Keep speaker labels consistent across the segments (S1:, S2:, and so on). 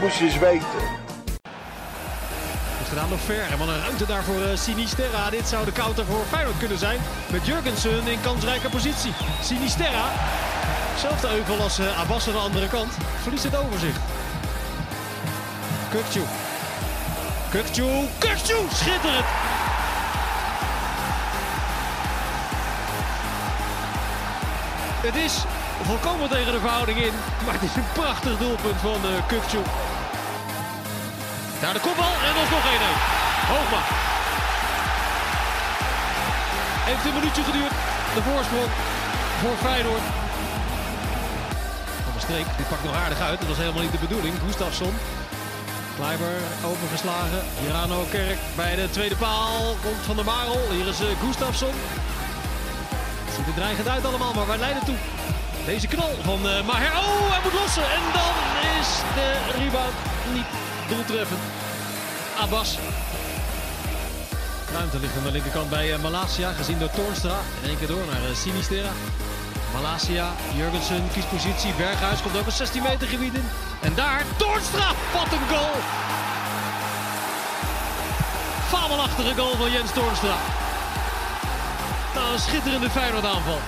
S1: moest je eens weten.
S2: Goed gedaan door Ver. En wat een ruimte daar voor eh, Sinisterra. Dit zou de counter voor Feyenoord kunnen zijn. Met Jurgensen in kansrijke positie. Sinisterra. Zelfde euvel als eh, Abbas aan de andere kant. Verliest het overzicht. Kukcu. Kukcu. Kukcu. Schitterend. Het is volkomen tegen de verhouding in. Maar het is een prachtig doelpunt van eh Kukcu. Daar de kopbal en ons nog 1-1. Hoogma. Heeft een minuutje geduurd. De voorsprong voor Feyenoord. Van de streek, dit pakt nog aardig uit. Dat was helemaal niet de bedoeling. Gustafsson. Kleiber overgeslagen. Jirano Kerk bij de tweede paal. Komt Van der Marel. Hier is eh, Gustafsson. Het ziet er dreigend uit allemaal, maar waar leidt het toe? Deze knal van eh, Maher. Oh, hij moet lossen. En dan is de rebound niet doeltreffend. Abbas. Ruimte ligt aan de linkerkant bij eh, Malasia, gezien door Toornstra. In één keer door naar eh, Sinistera. Malasia, Jurgensen kiest positie. Berghuis komt ook een 16 meter gebied in. En daar, Toornstra! Wat een goal! Fabelachtige goal van Jens Toornstra. Nou, een schitterende Feyenoord aanval.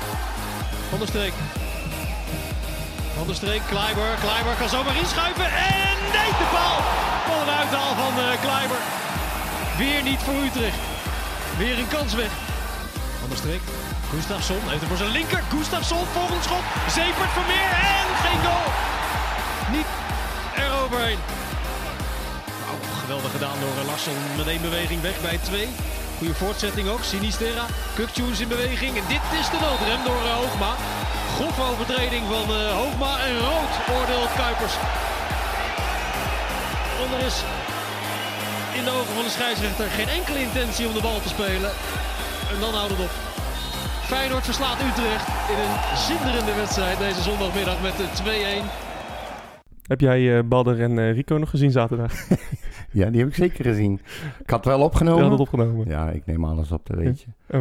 S2: Van der Streek. Van der Streek, Kleiber. Kleiber kan zomaar inschuiven. En nee, de paal. Wat een uithaal van eh, Kleiber. Weer niet voor Utrecht. Weer een kans weg. Van der Streek. Gustafsson heeft hem voor zijn linker. Gustafsson, volgend schot. Zepert Vermeer en geen goal. Niet eroverheen. Nou, geweldig gedaan door eh, Larsson. Met één beweging weg bij twee. Goede voortzetting ook. Sinisterra. Kukcu is in beweging. En dit is de noodrem door eh, Hoogma. Grove overtreding van eh, Hoogma. En rood oordeelt Kuipers. Want er is in de ogen van de scheidsrechter geen enkele intentie om de bal te spelen. En dan houdt het op. Feyenoord verslaat Utrecht in een zinderende wedstrijd deze zondagmiddag met eh, 2-1.
S3: Heb jij eh Badder en eh, Rico nog gezien zaterdag? Die
S4: Ja, die heb ik zeker gezien. Ik had wel opgenomen.
S3: hadden het opgenomen.
S4: Ja, ik neem alles op, dat weet je.
S3: Oh.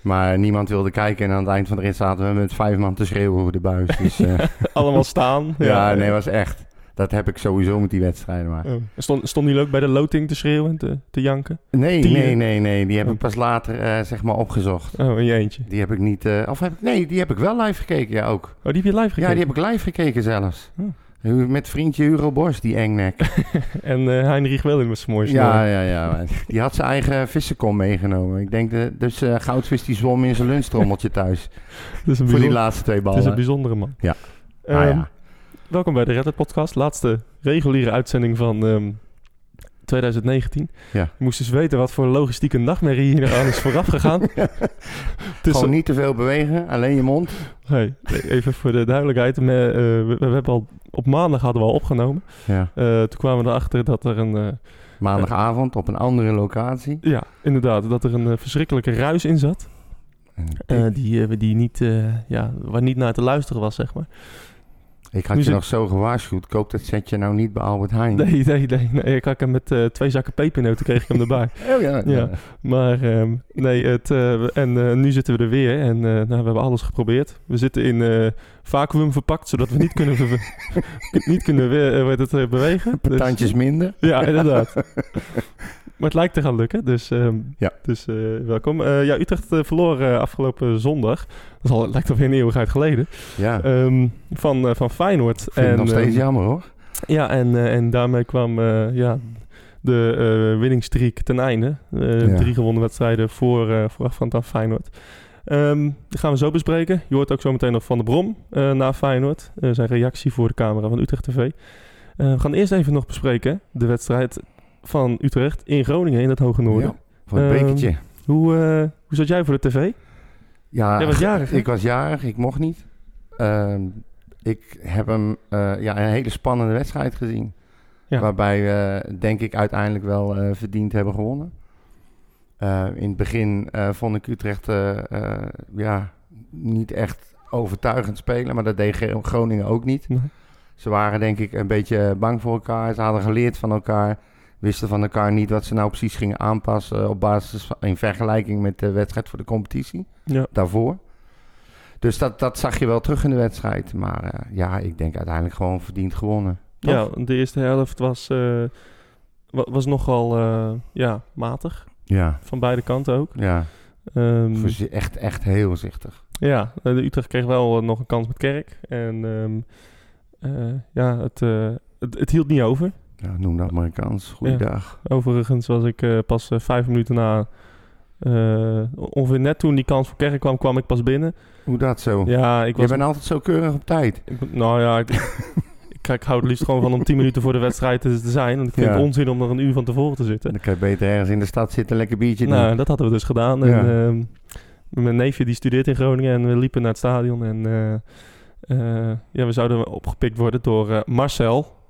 S4: Maar niemand wilde kijken en aan het eind van de rit zaten we met vijf man te schreeuwen over de buis. Dus, eh,
S3: Allemaal staan.
S4: ja, nee, was echt. Dat heb ik sowieso met die wedstrijden. Maar.
S3: Oh. Stond, stond hij ook bij de loting te schreeuwen en te, te janken?
S4: Nee,
S3: Tien.
S4: nee, nee, nee. Die heb
S3: Oh.
S4: ik pas later eh, zeg maar opgezocht.
S3: Oh, in je eentje.
S4: Die heb ik niet. eh, of heb ik, nee, die heb ik wel live gekeken, ja ook.
S3: Oh, die heb je live
S4: Ja,
S3: gekeken?
S4: die heb ik live gekeken zelfs.
S3: Oh.
S4: Hu- Met vriendje Hugo Borst, die engnek.
S3: En eh, Heinrich wel in met zijn mooie
S4: Ja,
S3: snor.
S4: ja, ja. maar Die had zijn eigen vissenkom meegenomen. Ik denk, de, dus eh Goudvis die zwom in zijn lunchtrommeltje thuis.
S3: Het is een,
S4: voor die
S3: bijzon-
S4: laatste twee
S3: het is een
S4: ballen.
S3: bijzondere man.
S4: Ja.
S3: Ehm,
S4: Ah, ja.
S3: Welkom bij de Red Hat Podcast. Laatste reguliere uitzending van ehm, 2019.
S4: Ja.
S3: Je moest dus weten wat voor logistieke nachtmerrie hier aan is vooraf gegaan. Het is
S4: Gewoon niet te veel bewegen, alleen je mond.
S3: Hey, even voor de duidelijkheid. Me- eh, we, we hebben al, op maandag hadden we al opgenomen.
S4: Ja.
S3: Eh, toen kwamen we erachter dat er een... eh,
S4: Maandagavond op een andere locatie.
S3: ja, inderdaad. Dat er een eh, verschrikkelijke ruis in zat.
S4: En
S3: eh,
S4: ik,
S3: die, eh, die niet, eh, ja, waar niet naar te luisteren was, zeg maar. nu
S4: ik had je
S3: zit-
S4: nog zo gewaarschuwd, koop dat setje nou niet bij Albert Heijn.
S3: Nee, nee, nee. nee. Ik had hem met eh, twee zakken pepernoten kreeg ik hem erbij.
S4: Oh ja.
S3: Ja. Maar ehm, nee, het, eh, en eh, nu zitten we er weer en eh, nou, we hebben alles geprobeerd. We zitten in eh, vacuüm verpakt, zodat we niet kunnen, ver- niet kunnen weer, eh, hoe heet het, eh, bewegen. Dus-
S4: Tandjes minder.
S3: ja, inderdaad. maar het lijkt te gaan lukken, dus, ehm,
S4: Ja.
S3: dus eh, welkom. Eh, ja, Utrecht eh, verloor eh, afgelopen zondag. Dat is al, lijkt alweer een eeuwigheid geleden.
S4: Ja,
S3: Ehm, van, eh, van Feyenoord.
S4: vind ik nog steeds
S3: ehm,
S4: jammer hoor.
S3: ja, en, eh, en daarmee kwam eh, ja, de eh winningstreek ten einde. Eh,
S4: Ja.
S3: Drie gewonnen wedstrijden voor, eh voorafgaand aan Feyenoord. Ehm die gaan we zo bespreken. Je hoort ook zo meteen nog Van de Brom eh na Feyenoord. Eh, zijn reactie voor de camera van Utrecht TV. Eh, we gaan eerst even nog bespreken de wedstrijd van Utrecht in Groningen in het Hoge Noorden.
S4: Ja, voor het
S3: Ehm,
S4: bekertje.
S3: Hoe, eh, hoe zat jij voor de tv?
S4: Ja,
S3: jij was jarig, hè?
S4: Ah, Ik was jarig, ik mocht niet. Ehm, ik heb hem eh, ja, een hele spannende wedstrijd gezien.
S3: Ja.
S4: Waarbij we, denk ik, uiteindelijk wel eh, verdiend hebben gewonnen. Eh, in het begin eh, vond ik Utrecht eh, eh, ja, niet echt overtuigend spelen, maar dat deed Ge- Groningen ook niet.
S3: Nee.
S4: Ze waren denk ik een beetje bang voor elkaar. Ze hadden geleerd van elkaar. Wisten van elkaar niet wat ze nou precies gingen aanpassen op basis van, in vergelijking met de wedstrijd voor de competitie
S3: Ja.
S4: daarvoor. Dus dat, dat zag je wel terug in de wedstrijd. Maar eh, ja, ik denk uiteindelijk gewoon verdiend gewonnen. Toch?
S3: Ja, de eerste helft was, eh, wa- was nogal eh, ja, matig.
S4: Ja,
S3: Van beide kanten ook.
S4: ja.
S3: Ehm,
S4: Voorzi- echt, echt heel zichtig.
S3: ja, eh, de Utrecht kreeg wel eh, nog een kans met Kerk. En ehm, eh, ja, het, eh, het, het hield niet over.
S4: Ja, noem dat maar een kans. Goeiedag.
S3: Overigens was ik eh, pas eh, vijf minuten na... eh, ongeveer net toen die kans voor Kerk kwam, kwam ik pas binnen.
S4: Hoe dat zo?
S3: Ja, ik
S4: Je
S3: was...
S4: bent altijd zo keurig op tijd.
S3: ik ben- nou ja, ik, ik, ik hou het liefst gewoon van om tien minuten voor de wedstrijd te te zijn. Want ik vind
S4: Ja.
S3: het onzin om nog een uur van tevoren te zitten.
S4: Dan kan je beter ergens in de stad zitten, lekker biertje doen.
S3: Nou, dat hadden we dus gedaan. En,
S4: Ja.
S3: ehm, mijn neefje die studeert in Groningen en we liepen naar het stadion. En eh, eh, ja, we zouden opgepikt worden door eh, Marcel.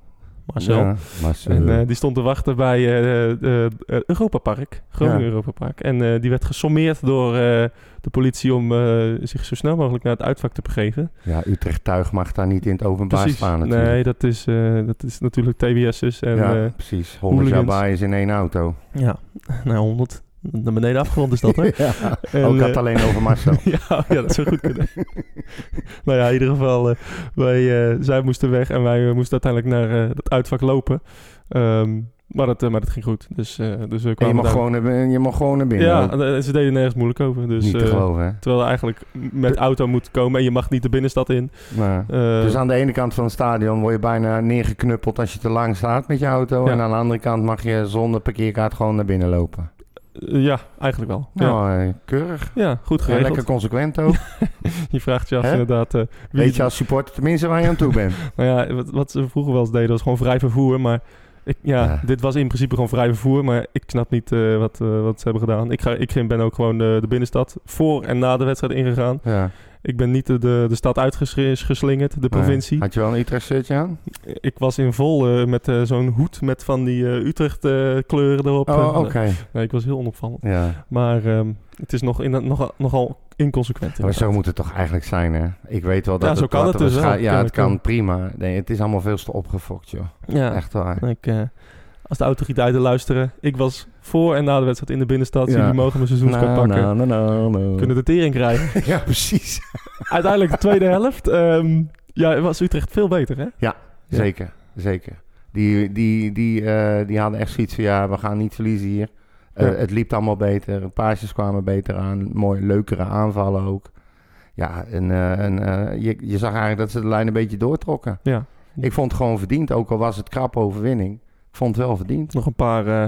S3: Marcel.
S4: Ja, Marcel.
S3: En eh, die stond te wachten bij eh, eh, eh, Europa Park, Groningen
S4: Ja.
S3: Europa Park. En eh, die werd gesommeerd door eh, de politie om eh, zich zo snel mogelijk naar het uitvak te begeven.
S4: ja, Utrecht Tuig mag daar niet in het openbaar staan natuurlijk.
S3: Nee, dat is, eh, dat is natuurlijk TBS'ers. dus. En,
S4: ja,
S3: ja.
S4: precies. 100 jaar
S3: hooligans.
S4: bij is in één auto.
S3: ja, nou 100 naar beneden afgerond is dat, hè?
S4: Ja,
S3: En,
S4: ook had
S3: eh,
S4: het alleen over Marcel.
S3: Ja, ja, dat zou goed kunnen. nou ja, in ieder geval, eh, wij, eh, zij moesten weg en wij eh, moesten uiteindelijk naar eh het uitvak lopen. Ehm, maar, dat, eh, maar dat ging goed. Dus, eh, dus we
S4: En je,
S3: kwamen
S4: mag
S3: daar-
S4: gewoon naar binnen, je mag gewoon naar binnen.
S3: Ja,
S4: Ook
S3: eh, ze deden nergens moeilijk over. Dus,
S4: niet te
S3: eh,
S4: geloven, hè?
S3: terwijl je eigenlijk met auto moet komen en je mag niet de binnenstad in.
S4: Maar-
S3: Eh,
S4: dus aan de ene kant van het stadion word je bijna neergeknuppeld als je te lang staat met je auto.
S3: Ja.
S4: En aan de andere kant mag je zonder parkeerkaart gewoon naar binnen lopen.
S3: eh, ja, eigenlijk wel. Ja,
S4: Nou, eh, keurig.
S3: ja goed
S4: Eh,
S3: geregeld.
S4: lekker consequent ook.
S3: Je vraagt je af
S4: Hè?
S3: inderdaad... eh, wie-
S4: Weet je als supporter tenminste waar je aan toe bent.
S3: Nou ja, wat, wat ze vroeger wel eens deden was gewoon vrij vervoer, maar... Ik, ja,
S4: Ja.
S3: dit was in principe gewoon vrij vervoer, maar ik snap niet eh, wat, eh, wat ze hebben gedaan. Ik, ga, ik ben ook gewoon de, de binnenstad voor en na de wedstrijd ingegaan.
S4: Ja.
S3: Ik ben niet de, de, de stad uitgeslingerd, de provincie.
S4: Had je wel een Utrecht shirtje aan?
S3: Ik was in vol eh, met eh, zo'n hoed met van die eh, Utrecht eh, kleuren erop.
S4: Oh,
S3: Eh,
S4: oké.
S3: nee, ik was heel onopvallend.
S4: Ja.
S3: Maar ehm, het is nog in, nogal, nogal inconsequent.
S4: Maar zo
S3: inderdaad.
S4: moet het toch eigenlijk zijn, hè? Ik weet wel dat
S3: Ja, zo
S4: het
S3: kan het
S4: laten we
S3: dus
S4: scha-
S3: wel,
S4: Ja, het
S3: kennelijk wel.
S4: kan prima. Nee, het is allemaal veel te opgefokt, joh.
S3: ja.
S4: Echt waar.
S3: Ik, eh, als de autoriteiten luisteren, ik was voor en na de wedstrijd in de binnenstad.
S4: Ja.
S3: Jullie mogen mijn seizoenskaart
S4: Nou,
S3: pakken.
S4: nou, nou, nou, nou.
S3: Kunnen de tering krijgen.
S4: Ja, precies.
S3: Uiteindelijk de tweede helft. ehm, ja, was Utrecht veel beter, hè? Ja.
S4: Zeker, zeker. Die, die, die, eh, die hadden echt zoiets van, ja, we gaan niet verliezen hier. Eh,
S3: Ja.
S4: Het liep allemaal beter. Paasjes kwamen beter aan. Mooi, leukere aanvallen ook. Ja, en, eh, en eh, je, je zag eigenlijk dat ze de lijn een beetje doortrokken.
S3: Ja.
S4: Ik vond het gewoon verdiend, ook al was het krappe overwinning. Ik vond het wel verdiend.
S3: Nog een paar eh,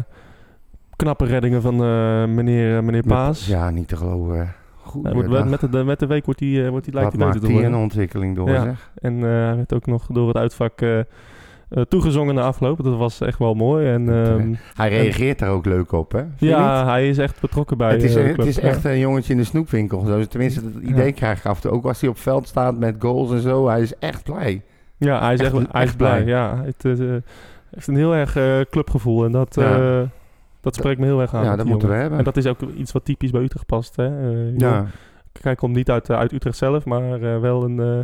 S3: knappe reddingen van eh, meneer, eh, meneer Paas.
S4: Ja, niet te geloven. Goed. eh,
S3: Hij wordt, wel- met, de, met de week wordt hij, eh, wordt hij lijkt
S4: Wat
S3: hij beter
S4: maakt
S3: te
S4: die
S3: worden.
S4: een ontwikkeling door,
S3: Ja.
S4: zeg.
S3: En eh, hij werd ook nog door het uitvak eh, eh, toegezongen na afloop. Dat was echt wel mooi. En ehm,
S4: Hij reageert daar ook leuk op, hè? Vind eh, je niet?
S3: ja, hij is echt betrokken bij
S4: het is,
S3: eh, de
S4: het
S3: club.
S4: is
S3: Ja.
S4: echt een jongetje in de snoepwinkel. Zo. Tenminste, dat idee krijg ik af en toe. Ook als hij op veld staat met goals en zo. Hij is echt blij.
S3: Ja, hij is
S4: Echt-
S3: echt, hij is
S4: echt
S3: blij.
S4: blij.
S3: Ja, het eh, heeft een heel erg eh, clubgevoel en dat,
S4: Ja.
S3: eh, dat spreekt me heel erg aan.
S4: ja,
S3: met
S4: dat
S3: die
S4: moeten we
S3: jongen.
S4: hebben.
S3: En dat is ook iets wat typisch bij Utrecht past. Hè? Eh,
S4: ja.
S3: joh, Kijk, komt niet uit, eh, uit Utrecht zelf, maar eh, wel een eh,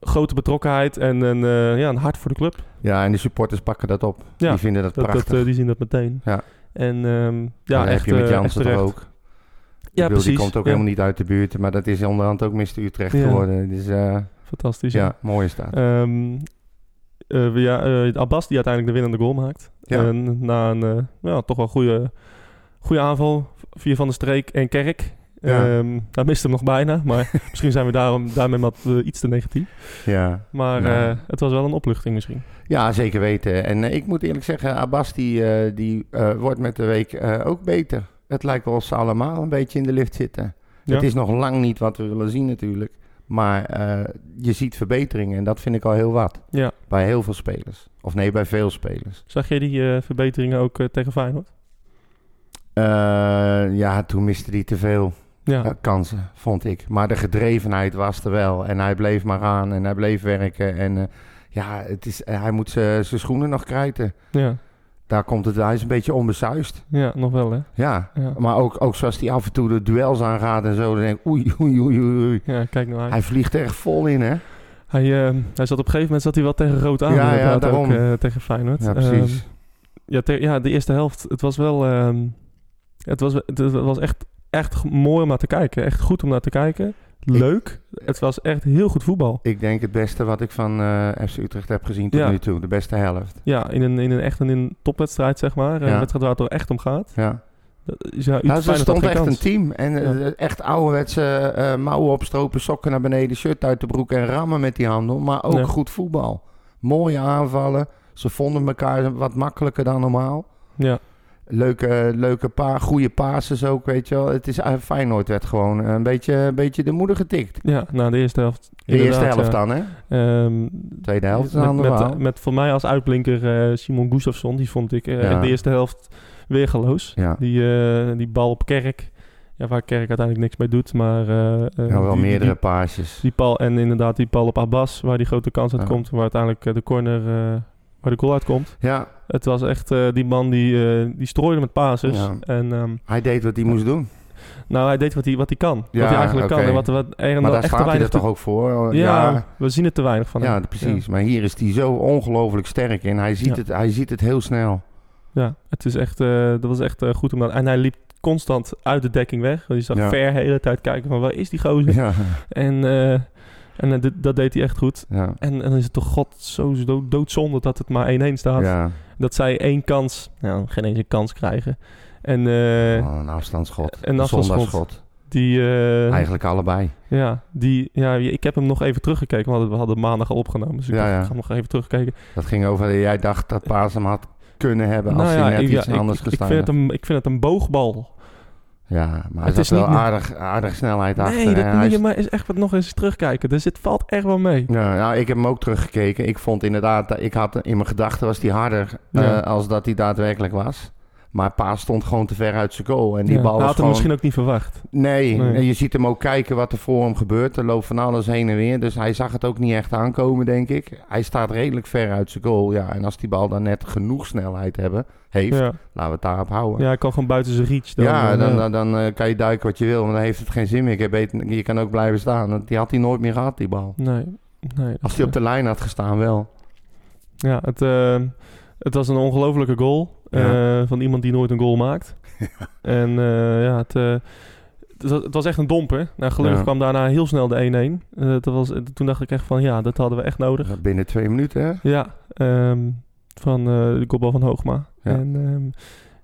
S3: grote betrokkenheid en een, eh, ja, een hart voor de club.
S4: ja, en de supporters pakken dat op.
S3: Ja,
S4: die vinden dat,
S3: Dat, dat,
S4: prachtig.
S3: eh, die zien dat meteen.
S4: Ja.
S3: En ehm, ja,
S4: dat
S3: echt,
S4: heb je met
S3: eh, echt
S4: Jansen toch
S3: terecht.
S4: ook.
S3: Ja,
S4: Ik bedoel,
S3: precies.
S4: Die komt ook
S3: Ja,
S4: helemaal niet uit de buurt. Maar dat is onderhand ook Mr. Utrecht
S3: Ja.
S4: geworden. Dus eh,
S3: Fantastisch.
S4: ja, mooi is dat.
S3: Ehm, eh, we- ja, eh, Abbas die uiteindelijk de winnende goal maakt.
S4: Ja.
S3: En na een eh, ja, toch wel goede, goede aanval. Via Van der Streek en Kerk.
S4: Ja.
S3: Ehm hij mist hem nog bijna. Maar misschien zijn we daarom, daarmee wat, eh, iets te negatief.
S4: Ja.
S3: Maar
S4: Ja.
S3: eh, het was wel een opluchting misschien.
S4: Ja, zeker weten. En eh, ik moet eerlijk zeggen, Abbas die, eh, die eh, wordt met de week eh, ook beter. Het lijkt wel of ze allemaal een beetje in de lift zitten.
S3: Ja.
S4: Het is nog lang niet wat we willen zien natuurlijk. Maar eh, je ziet verbeteringen en dat vind ik al heel wat.
S3: Ja.
S4: Bij heel veel spelers. Of nee, bij veel spelers.
S3: Zag jij die eh, verbeteringen ook eh, tegen Feyenoord?
S4: Eh, ja, toen miste hij te veel
S3: Ja.
S4: eh, kansen, vond ik. Maar de gedrevenheid was er wel. En hij bleef maar aan en hij bleef werken. En eh, ja, het is, eh, hij moet zijn schoenen nog krijten.
S3: Ja.
S4: Daar komt het, hij is een beetje onbesuist.
S3: ja, nog wel hè.
S4: Ja,
S3: Ja.
S4: maar ook, ook zoals hij af en toe de duels aangaat en zo. Dan denk ik, oei, oei, oei, oei, oei.
S3: Ja, kijk nou uit.
S4: Hij vliegt er echt vol in, hè?
S3: Hij, eh, hij zat op een gegeven moment zat hij wel tegen rood aan.
S4: Ja, ja,
S3: inderdaad,
S4: daarom.
S3: Ook, eh, tegen Feyenoord. Ehm,
S4: Ja, precies.
S3: Ja, te- ja, de eerste helft. Het was wel. ehm, het was, het was echt, echt mooi om naar te kijken. Echt goed om naar te kijken. leuk. Het was echt heel goed voetbal.
S4: Ik denk het beste wat ik van eh, FC Utrecht heb gezien tot
S3: Ja.
S4: nu toe. De beste helft.
S3: Ja, in een, in een echt een in topwedstrijd, zeg maar. Een
S4: Ja.
S3: wedstrijd waar het er echt om gaat.
S4: Ja.
S3: Dat is- Ja,
S4: Nou,
S3: Utrecht
S4: ze
S3: Feyenoord had
S4: stond
S3: geen
S4: echt een
S3: kans.
S4: team. En eh, echt ouderwetse eh mouwen opstropen, sokken naar beneden, shirt uit de broek en rammen met die handel. Maar ook
S3: Ja.
S4: goed voetbal. Mooie aanvallen. Ze vonden elkaar wat makkelijker dan normaal.
S3: Ja,
S4: Leuke, leuke pa goede pases ook, weet je wel. Het is, eh, Feyenoord werd gewoon eh, een beetje, een beetje de moeder getikt.
S3: ja, na de eerste helft.
S4: De eerste helft dan, hè?
S3: dan.
S4: Tweede helft is een
S3: met,
S4: ander verhaal.
S3: met, met voor mij als uitblinker eh, Simon Gustafsson. Die vond ik eh,
S4: Ja.
S3: echt de eerste helft weergeloos.
S4: Ja.
S3: Die, eh, die bal op Kerk. Ja, waar Kerk uiteindelijk niks mee doet. Maar eh, eh,
S4: Nou, wel
S3: die- die-
S4: meerdere
S3: Die,
S4: paasjes.
S3: die bal en inderdaad die bal op Abbas. Waar die grote kans uit
S4: Ja.
S3: komt. Waar uiteindelijk eh, de corner... eh, waar de goal uitkomt.
S4: Ja,
S3: Het was echt eh, die man die, eh, die strooide met passes.
S4: Ja.
S3: En ehm,
S4: hij deed wat hij moest doen.
S3: nou, hij deed wat hij, wat hij kan.
S4: Ja,
S3: wat hij eigenlijk
S4: oké.
S3: kan. En wat, wat er
S4: Maar daar
S3: echt te
S4: staat hij er
S3: weinig
S4: toch
S3: toe-
S4: ook voor? Oh,
S3: ja,
S4: ja,
S3: we zien het te weinig van hem.
S4: Ja, precies. Maar hier is hij zo ongelooflijk sterk in. Hij ziet,
S3: Ja.
S4: het, hij ziet het heel snel.
S3: Ja, het is echt, eh, dat was echt eh, goed om dat. En hij liep constant uit de dekking weg. Want je zag
S4: Ja.
S3: ver de hele tijd kijken van waar is die gozer?
S4: Ja,
S3: En, eh, en eh, dit- dat deed hij echt goed.
S4: ja,
S3: En, en dan is het toch god zo do- doodzonde dat het maar 1-1 staat.
S4: ja.
S3: Dat zij één kans, nou, geen eens een kans krijgen. En eh,
S4: Oh, een afstandsschot.
S3: een afstandsschot.
S4: zondagsschot.
S3: die, eh,
S4: Eigenlijk allebei.
S3: ja, die, ja, ik heb hem nog even teruggekeken. We hadden, we hadden maandag al opgenomen, dus ik,
S4: Ja,
S3: dacht,
S4: ja.
S3: ik ga hem nog even terugkijken.
S4: Dat ging over, jij dacht dat Paas hem had kunnen hebben als
S3: Nou
S4: hij net
S3: ik,
S4: iets
S3: ja, ik-
S4: anders
S3: ik,
S4: gestaan
S3: vind het
S4: had.
S3: een, ik vind het een boogbal.
S4: Ja, maar hij
S3: Het
S4: zat
S3: is
S4: wel
S3: niet-
S4: aardig, aardig snelheid achter.
S3: Nee,
S4: en
S3: dat
S4: hij
S3: moet je
S4: is-
S3: maar eens echt wat nog eens terugkijken. Dus het valt echt wel mee.
S4: ja, nou, ik heb hem ook teruggekeken. Ik vond inderdaad, dat- ik had in mijn gedachten was hij harder
S3: Ja.
S4: eh, als dat hij daadwerkelijk was. Maar Paas stond gewoon te ver uit zijn goal. En die
S3: Ja,
S4: bal
S3: hij
S4: was
S3: had hem
S4: gewoon...
S3: misschien ook niet verwacht.
S4: Nee,
S3: Nee.
S4: en je ziet hem ook kijken wat er voor hem gebeurt. Er loopt van alles heen en weer. Dus hij zag het ook niet echt aankomen, denk ik. Hij staat redelijk ver uit zijn goal. Ja, en als die bal dan net genoeg snelheid hebben, heeft,
S3: Ja.
S4: laten we het daarop houden.
S3: ja,
S4: Ja,
S3: hij kan gewoon buiten zijn reach. Dan, eh,
S4: dan,
S3: ja.
S4: dan, dan, eh, kan je duiken wat je wil, maar dan heeft het geen zin meer. Je, weet- je kan ook blijven staan. want Die had hij nooit meer gehad, die bal.
S3: Nee, nee.
S4: Als hij op
S3: dat-
S4: de lijn had gestaan, wel.
S3: Ja, het, eh, het was een ongelofelijke goal.
S4: Ja.
S3: eh, van iemand die nooit een goal maakt. en eh, ja, het... eh, het was- het was echt een domper. Nou, gelukkig
S4: Ja.
S3: kwam daarna heel snel de 1-1. Eh, dat was, toen dacht ik echt van, ja, dat hadden we echt nodig.
S4: Binnen twee minuten, hè?
S3: Ja, ehm, van eh, de kopbal van Hoogma.
S4: Ja.
S3: En, ehm,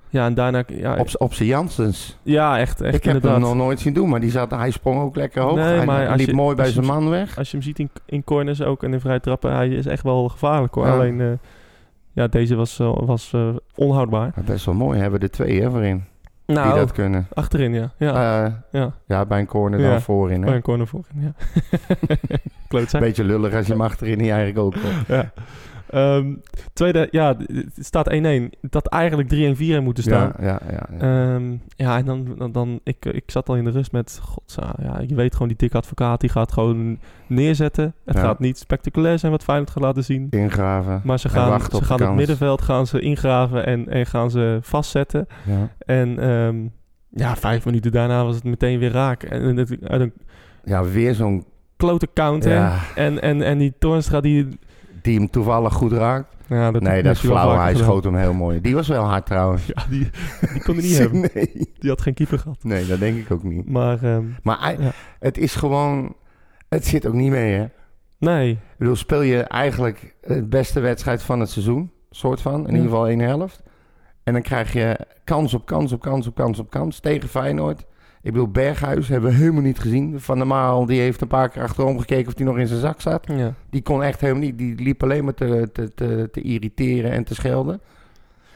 S3: ja, en daarna... Ja,
S4: Op, z'n- op zijn Janssens.
S3: ja echt, echt
S4: ik heb
S3: inderdaad.
S4: hem nog nooit zien doen, maar die zat, hij sprong ook lekker hoog.
S3: Nee, maar
S4: hij
S3: als
S4: liep
S3: je-
S4: mooi bij
S3: als je
S4: zijn man weg.
S3: als je hem ziet in, in corners ook en in vrije trappen, hij is echt wel gevaarlijk hoor.
S4: Ja.
S3: Alleen, eh, ja, deze was, eh, was eh, onhoudbaar.
S4: Maar Best wel mooi, hebben we er twee hè, voor in.
S3: Nou,
S4: die dat kunnen.
S3: achterin ja. Ja,
S4: Eh,
S3: ja.
S4: ja, bij een corner
S3: Ja.
S4: dan voorin. Hè?
S3: Bij een corner voorin, ja. Klootzak.
S4: Beetje lullig als je hem achterin niet eigenlijk ook.
S3: Ja. Ehm, tweede, ja, het staat 1-1. Dat eigenlijk 3-1-4 in moeten staan.
S4: Ja, ja, ja. ja.
S3: Ehm, ja, en dan, dan, dan ik, ik zat al in de rust met, godza, ja, je weet gewoon die dikke advocaat, die gaat gewoon neerzetten. Het
S4: Ja.
S3: gaat niet spectaculair zijn wat Feyenoord gaat laten zien.
S4: Ingraven.
S3: Maar ze
S4: En
S3: gaan,
S4: wachten op
S3: ze
S4: de
S3: gaan het
S4: kans.
S3: middenveld gaan ze ingraven en, en gaan ze vastzetten.
S4: Ja.
S3: En ehm, ja, vijf minuten daarna was het meteen weer raak. En, en het- uit een
S4: ja, weer zo'n
S3: klote counter.
S4: ja,
S3: En, en, en die Toornstra die...
S4: die hem toevallig goed raakt.
S3: Ja, dat
S4: nee,
S3: heeft
S4: dat is
S3: hij wel
S4: flauw.
S3: vaker
S4: Hij
S3: gedaan.
S4: schoot hem heel mooi. Die was wel hard trouwens.
S3: Ja, die, die kon hij niet hebben.
S4: nee.
S3: Die had geen keeper gehad.
S4: nee, dat denk ik ook niet.
S3: Maar ehm,
S4: Maar hij-
S3: Ja.
S4: het is gewoon... Het zit ook niet mee, hè?
S3: nee,
S4: Ik bedoel, speel je eigenlijk het beste wedstrijd van het seizoen, soort van, in
S3: Ja.
S4: ieder geval één helft. En dan krijg je kans op kans op kans op kans op kans tegen Feyenoord. Ik bedoel, Berghuis hebben we helemaal niet gezien. Van der Maal, die heeft een paar keer achterom gekeken of die nog in zijn zak zat.
S3: ja.
S4: Die kon echt helemaal niet. Die liep alleen maar te, te, te, te irriteren en te schelden.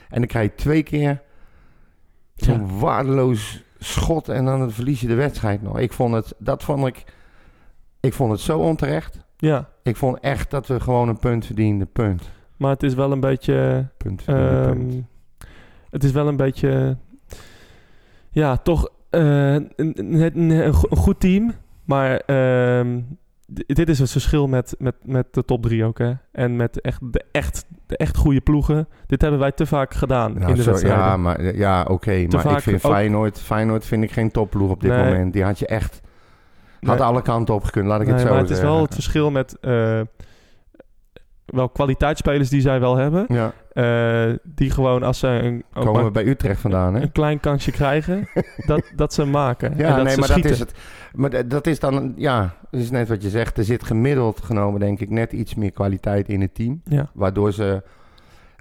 S4: En dan krijg je twee keer zo'n waardeloos schot en dan verlies je de wedstrijd nog. Ik vond het, dat vond ik, ik vond het zo onterecht.
S3: ja.
S4: Ik vond echt dat we gewoon een punt verdienden. Punt.
S3: Maar het is wel een beetje...
S4: Punt verdiende.
S3: Ehm,
S4: punt.
S3: het is wel een beetje, ja, toch eh, een, een, een- een go- een goed team. Maar ehm, d- dit is het verschil met, met, met de top drie ook. Hè? En met echt, de, echt, de echt goede ploegen. Dit hebben wij te vaak gedaan
S4: Nou,
S3: in de
S4: zo-
S3: wedstrijden.
S4: ja, maar, ja oké. maar ik
S3: vaak
S4: vind
S3: ook-
S4: Feyenoord, Feyenoord vind ik geen topploeg op dit
S3: Nee.
S4: moment. Die had je echt... Had
S3: Nee.
S4: alle kanten op gekund, laat ik het
S3: Nee,
S4: zo
S3: maar het is
S4: zeggen.
S3: wel het verschil met eh, wel kwaliteitsspelers die zij wel hebben.
S4: Ja,
S3: Eh, eh, die gewoon als ze een, ook
S4: Komen
S3: maar
S4: we bij Utrecht vandaan, hè?
S3: een klein kansje krijgen, dat, dat ze maken. en
S4: Ja,
S3: dat
S4: nee,
S3: ze
S4: maar
S3: schieten.
S4: dat is het. Maar d- dat is dan, een- ja, dat is net wat je zegt. Er zit gemiddeld genomen, denk ik, net iets meer kwaliteit in het team.
S3: Ja.
S4: Waardoor ze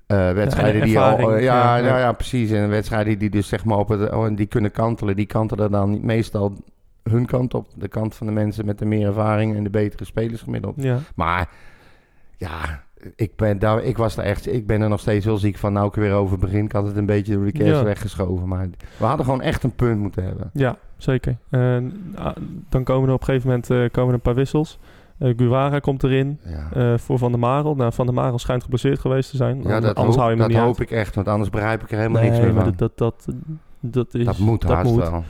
S4: eh, wedstrijden
S3: Ja,
S4: die al...
S3: ervaring,
S4: ja,
S3: ja,
S4: ja,
S3: ja.
S4: ja, precies. En wedstrijden die dus zeg maar op het... oh, die kunnen kantelen. Die kantelen dan niet meestal hun kant op. De kant van de mensen met de meer ervaring en de betere spelers gemiddeld.
S3: Ja.
S4: Maar ja, ik ben, daar, ik, was er echt, ik ben er nog steeds heel ziek van. Nou ik er weer over begin. Ik had het een beetje door de kerst
S3: Ja.
S4: weggeschoven. Maar we hadden gewoon echt een punt moeten hebben.
S3: Ja, zeker. En, ah, dan komen er op een gegeven moment eh, komen er een paar wissels. Eh Guevara komt erin
S4: Ja.
S3: eh, voor Van der Marel. Nou, Van der Marel schijnt geblesseerd geweest te zijn. Eh,
S4: Ja, dat,
S3: anders hou
S4: hoop,
S3: je hem
S4: dat
S3: er niet
S4: hoop ik echt, want anders begrijp ik er
S3: uit.
S4: helemaal niks
S3: Nee,
S4: meer
S3: maar
S4: van.
S3: dat, dat, dat, dat is...
S4: Dat, moet
S3: dat
S4: haast
S3: moet.
S4: wel.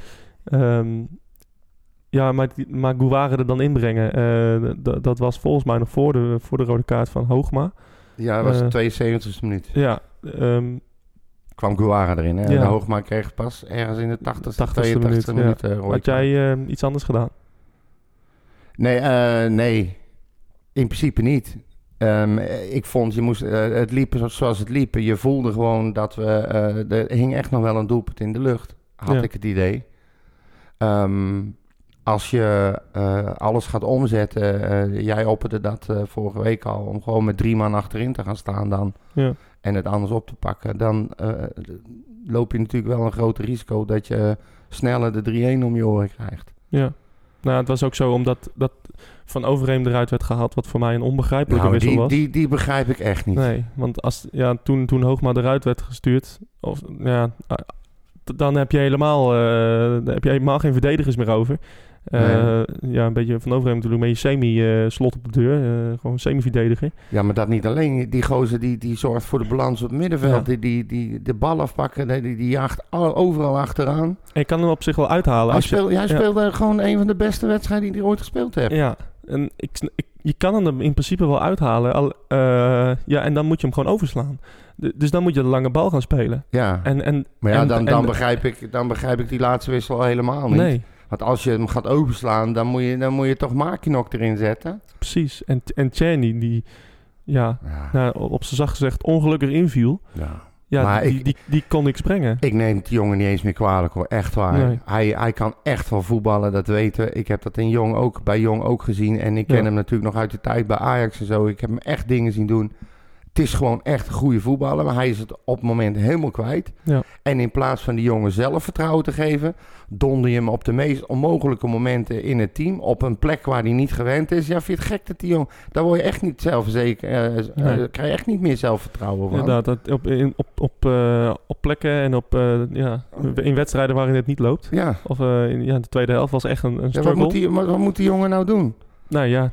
S3: Ehm, ja, maar, die- maar Guevara er dan inbrengen, eh, d- dat was volgens mij nog voor de, voor de rode kaart van Hoogma.
S4: Ja, dat was
S3: Eh.
S4: de 72e minuut.
S3: Ja, ehm,
S4: Kwam Guara erin. Hè?
S3: Ja.
S4: De Hoogma kreeg pas ergens in de 80ste,
S3: 80ste
S4: 82e
S3: minuut,
S4: minuut.
S3: ja.
S4: eh, rode
S3: had jij
S4: kaart.
S3: ehm, iets anders gedaan?
S4: Nee, eh, nee, in principe niet. Ehm, eh, ik vond, je moest, eh, het liep zo- zoals het liep. Je voelde gewoon dat we... eh, er hing echt nog wel een doelpunt in de lucht. Had
S3: Ja.
S4: ik het idee. Ehm, als je eh, alles gaat omzetten... eh, jij opperde dat eh, vorige week al... om gewoon met drie man achterin te gaan staan dan...
S3: Ja.
S4: en het anders op te pakken... dan eh, loop je natuurlijk wel een groot risico... dat je sneller de 3-1 om je oren krijgt.
S3: Ja. Nou, het was ook zo omdat dat van Overheem eruit werd gehaald, wat voor mij een onbegrijpelijke
S4: Nou,
S3: wissel
S4: die,
S3: was.
S4: die, die begrijp ik echt niet.
S3: Nee, want als, ja, toen, toen Hoogma eruit werd gestuurd, of, ja, ah, d- dan heb je, helemaal, eh, dan heb je helemaal geen verdedigers meer over. Eh, Ja, een beetje van overheen natuurlijk, maar je semi-slot op de deur. eh, gewoon semi-verdediger.
S4: Ja, maar dat niet alleen. Die gozer die, die zorgt voor de balans op het middenveld.
S3: Ja.
S4: Die, die, die de bal afpakken. Die, die die jaagt al- overal achteraan.
S3: En je kan hem op zich wel uithalen.
S4: Hij
S3: Als je,
S4: speelde, hij
S3: ja.
S4: speelde gewoon een van de beste wedstrijden die hij ooit gespeeld heeft.
S3: ja, en ik, sn- ik- je kan hem in principe wel uithalen. Al, eh, ja, en dan moet je hem gewoon overslaan. D- dus dan moet je de lange bal gaan spelen.
S4: Ja,
S3: En, en,
S4: maar ja,
S3: en-
S4: dan,
S3: en-
S4: dan, begrijp ik, dan begrijp ik die laatste wissel al helemaal niet.
S3: Nee,
S4: Want als je hem gaat overslaan, dan moet je, dan moet je toch Makinok erin zetten.
S3: precies. En, en Tjerni, die ja,
S4: Ja,
S3: nou, op zijn zacht gezegd ongelukkig inviel.
S4: ja.
S3: Ja,
S4: Maar
S3: die,
S4: ik-
S3: die, die kon niks brengen.
S4: Ik neem die jongen niet eens meer kwalijk hoor, echt waar.
S3: Nee.
S4: Hij, hij kan echt wel voetballen, dat weten we. Ik heb dat in Jong ook, bij Jong ook gezien. En ik ken
S3: Ja.
S4: hem natuurlijk nog uit de tijd bij Ajax en zo. Ik heb hem echt dingen zien doen. Het is gewoon echt een goede voetballer, maar hij is het op het moment helemaal kwijt.
S3: Ja.
S4: En in plaats van die jongen zelf vertrouwen te geven, donder je hem op de meest onmogelijke momenten in het team. Op een plek waar hij niet gewend is. Ja, vind je het gek dat die jongen... Daar word je echt niet zelf zeker... eh, eh,
S3: Nee.
S4: krijg je echt niet meer zelfvertrouwen van.
S3: Inderdaad, dat op, in, op, op, eh, op plekken en op, eh, ja,
S4: Oh.
S3: in wedstrijden waarin het niet loopt.
S4: Ja.
S3: Of eh, in ja, de tweede helft was echt een, een
S4: Ja, wat,
S3: struggle.
S4: moet die, wat, wat moet die jongen nou doen?
S3: Nou ja,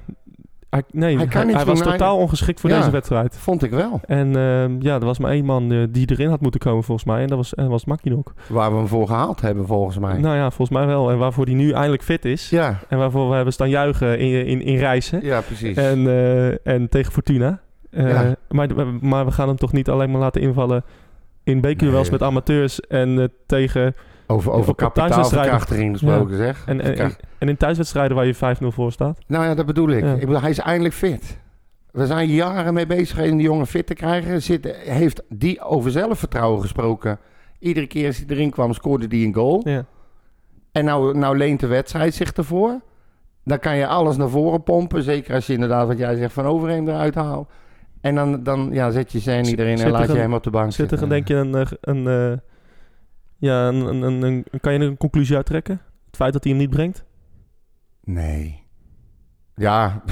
S3: hij, nee, hij,
S4: Hij kan niks
S3: hij was
S4: doen, hij-
S3: totaal ongeschikt voor
S4: Ja.
S3: deze wedstrijd.
S4: Vond ik wel.
S3: En ehm, ja, er was maar één man eh, die erin had moeten komen volgens mij. En dat was, en dat was Makinok.
S4: Waar we hem voor gehaald hebben, volgens mij.
S3: Nou ja, volgens mij wel. En waarvoor hij nu eindelijk fit is.
S4: Ja,
S3: En waarvoor we hebben staan juichen in, in, in reizen.
S4: ja, precies.
S3: En, eh, en tegen Fortuna. Eh,
S4: Ja.
S3: maar, maar we gaan hem toch niet alleen maar laten invallen in bekerduels
S4: Nee.
S3: met amateurs en eh, tegen...
S4: over over
S3: op- op thuiswedstrijden.
S4: kapitaalverkrachtiging gesproken, zeg.
S3: En, en,
S4: Verkracht-
S3: en in thuiswedstrijden waar je 5-0 voor staat.
S4: nou ja, dat bedoel ik.
S3: Ja.
S4: ik bedoel, hij is eindelijk fit. We zijn jaren mee bezig om die jongen fit te krijgen. Zit, heeft die over zelfvertrouwen gesproken. Iedere keer als hij erin kwam, scoorde hij een goal.
S3: Ja.
S4: En nou, nou leent de wedstrijd zich ervoor. Dan kan je alles naar voren pompen. Zeker als je inderdaad wat jij zegt van overheen eruit haalt. En dan, dan ja, zet je Zen
S3: Zit-
S4: iedereen
S3: zit er
S4: en laat je
S3: een-
S4: hem op de bank
S3: Zit er
S4: zitten.
S3: dan denk je een... eh, een eh, ja, een, een, een, een- kan je er een conclusie uit trekken? Het feit dat hij hem niet brengt?
S4: Nee. Ja,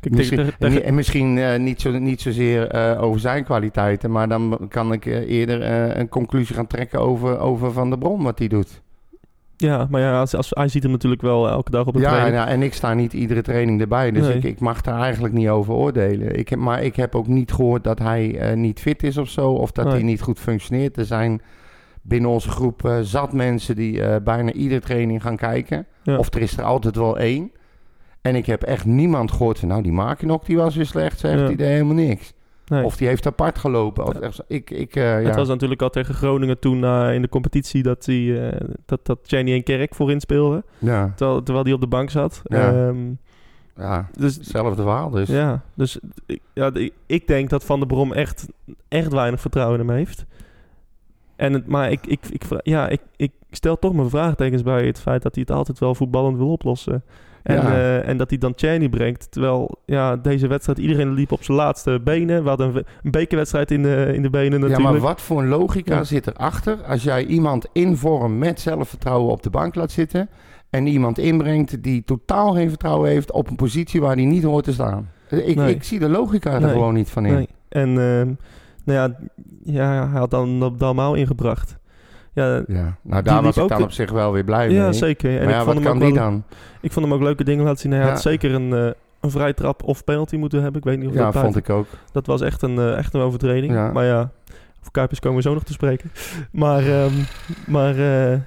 S3: Kijk, tegen-
S4: misschien,
S3: tegen- tegen-
S4: en misschien eh, niet, zo, niet zozeer eh, over zijn kwaliteiten, maar dan kan ik eh, eerder eh, een conclusie gaan trekken over, over Van der Brom, wat hij doet.
S3: ja, maar ja, als, als, hij ziet hem natuurlijk wel eh, elke dag op het
S4: Ja,
S3: training.
S4: ja, en ik sta niet iedere training erbij, dus
S3: Nee.
S4: ik, ik mag daar eigenlijk niet over oordelen. Ik heb, maar ik heb ook niet gehoord dat hij eh, niet fit is of zo, of dat
S3: Nee.
S4: hij niet goed functioneert. Er zijn binnen onze groep eh, zat mensen die eh, bijna iedere training gaan kijken.
S3: Ja.
S4: Of er is er altijd wel één. En ik heb echt niemand gehoord van, nou die Makinok die was weer slecht, zegt
S3: Ja.
S4: die deed helemaal niks.
S3: Nee.
S4: Of die heeft apart gelopen. Of, echt zo- ik, ik, eh, ja.
S3: Het was natuurlijk al tegen Groningen toen eh, in de competitie dat, hij, eh, dat, dat Cheney en Kerk voorin speelden.
S4: ja.
S3: Terwijl, terwijl die op de bank zat.
S4: Ja.
S3: Ehm,
S4: Ja,
S3: Dus
S4: hetzelfde verhaal dus.
S3: Ja, dus ik- ja, de- ik denk dat Van der Brom echt, echt weinig vertrouwen in hem heeft. En het, maar ik, ik, ik, vra- ja, ik, ik stel toch mijn vraagtekens bij het feit dat hij het altijd wel voetballend wil oplossen. En,
S4: Ja.
S3: eh, en dat hij dan Cheney brengt. Terwijl ja, deze wedstrijd, iedereen liep op zijn laatste benen. We hadden een, we- een bekerwedstrijd in de, in de benen natuurlijk.
S4: Ja, maar wat voor een logica
S3: Ja.
S4: zit erachter als jij iemand in vorm met zelfvertrouwen op de bank laat zitten en iemand inbrengt die totaal geen vertrouwen heeft op een positie waar hij niet hoort te staan? Eh, Ik,
S3: Nee.
S4: ik zie de logica er
S3: Nee.
S4: gewoon niet van in.
S3: Nee. En ehm, nou ja, ja, hij had dan Dalmau ingebracht. Ja,
S4: Ja. Nou,
S3: Die
S4: daar
S3: liep
S4: was ik
S3: ook
S4: dan
S3: de-
S4: op zich wel weer blij
S3: ja
S4: mee.
S3: zeker. En
S4: Maar ja,
S3: ik vond
S4: wat
S3: hem ook
S4: kan
S3: wel
S4: die dan?
S3: Ik vond hem ook leuke dingen laten zien. Hij had
S4: Ja.
S3: zeker een, eh een vrije trap of penalty moeten hebben. Ik weet niet of
S4: Ja,
S3: dat
S4: vond
S3: buiten-
S4: ik ook.
S3: Dat was echt een, eh, echt een overtreding.
S4: Ja.
S3: Maar ja, voor Kuipers komen we zo nog te spreken. Maar, ehm, maar eh,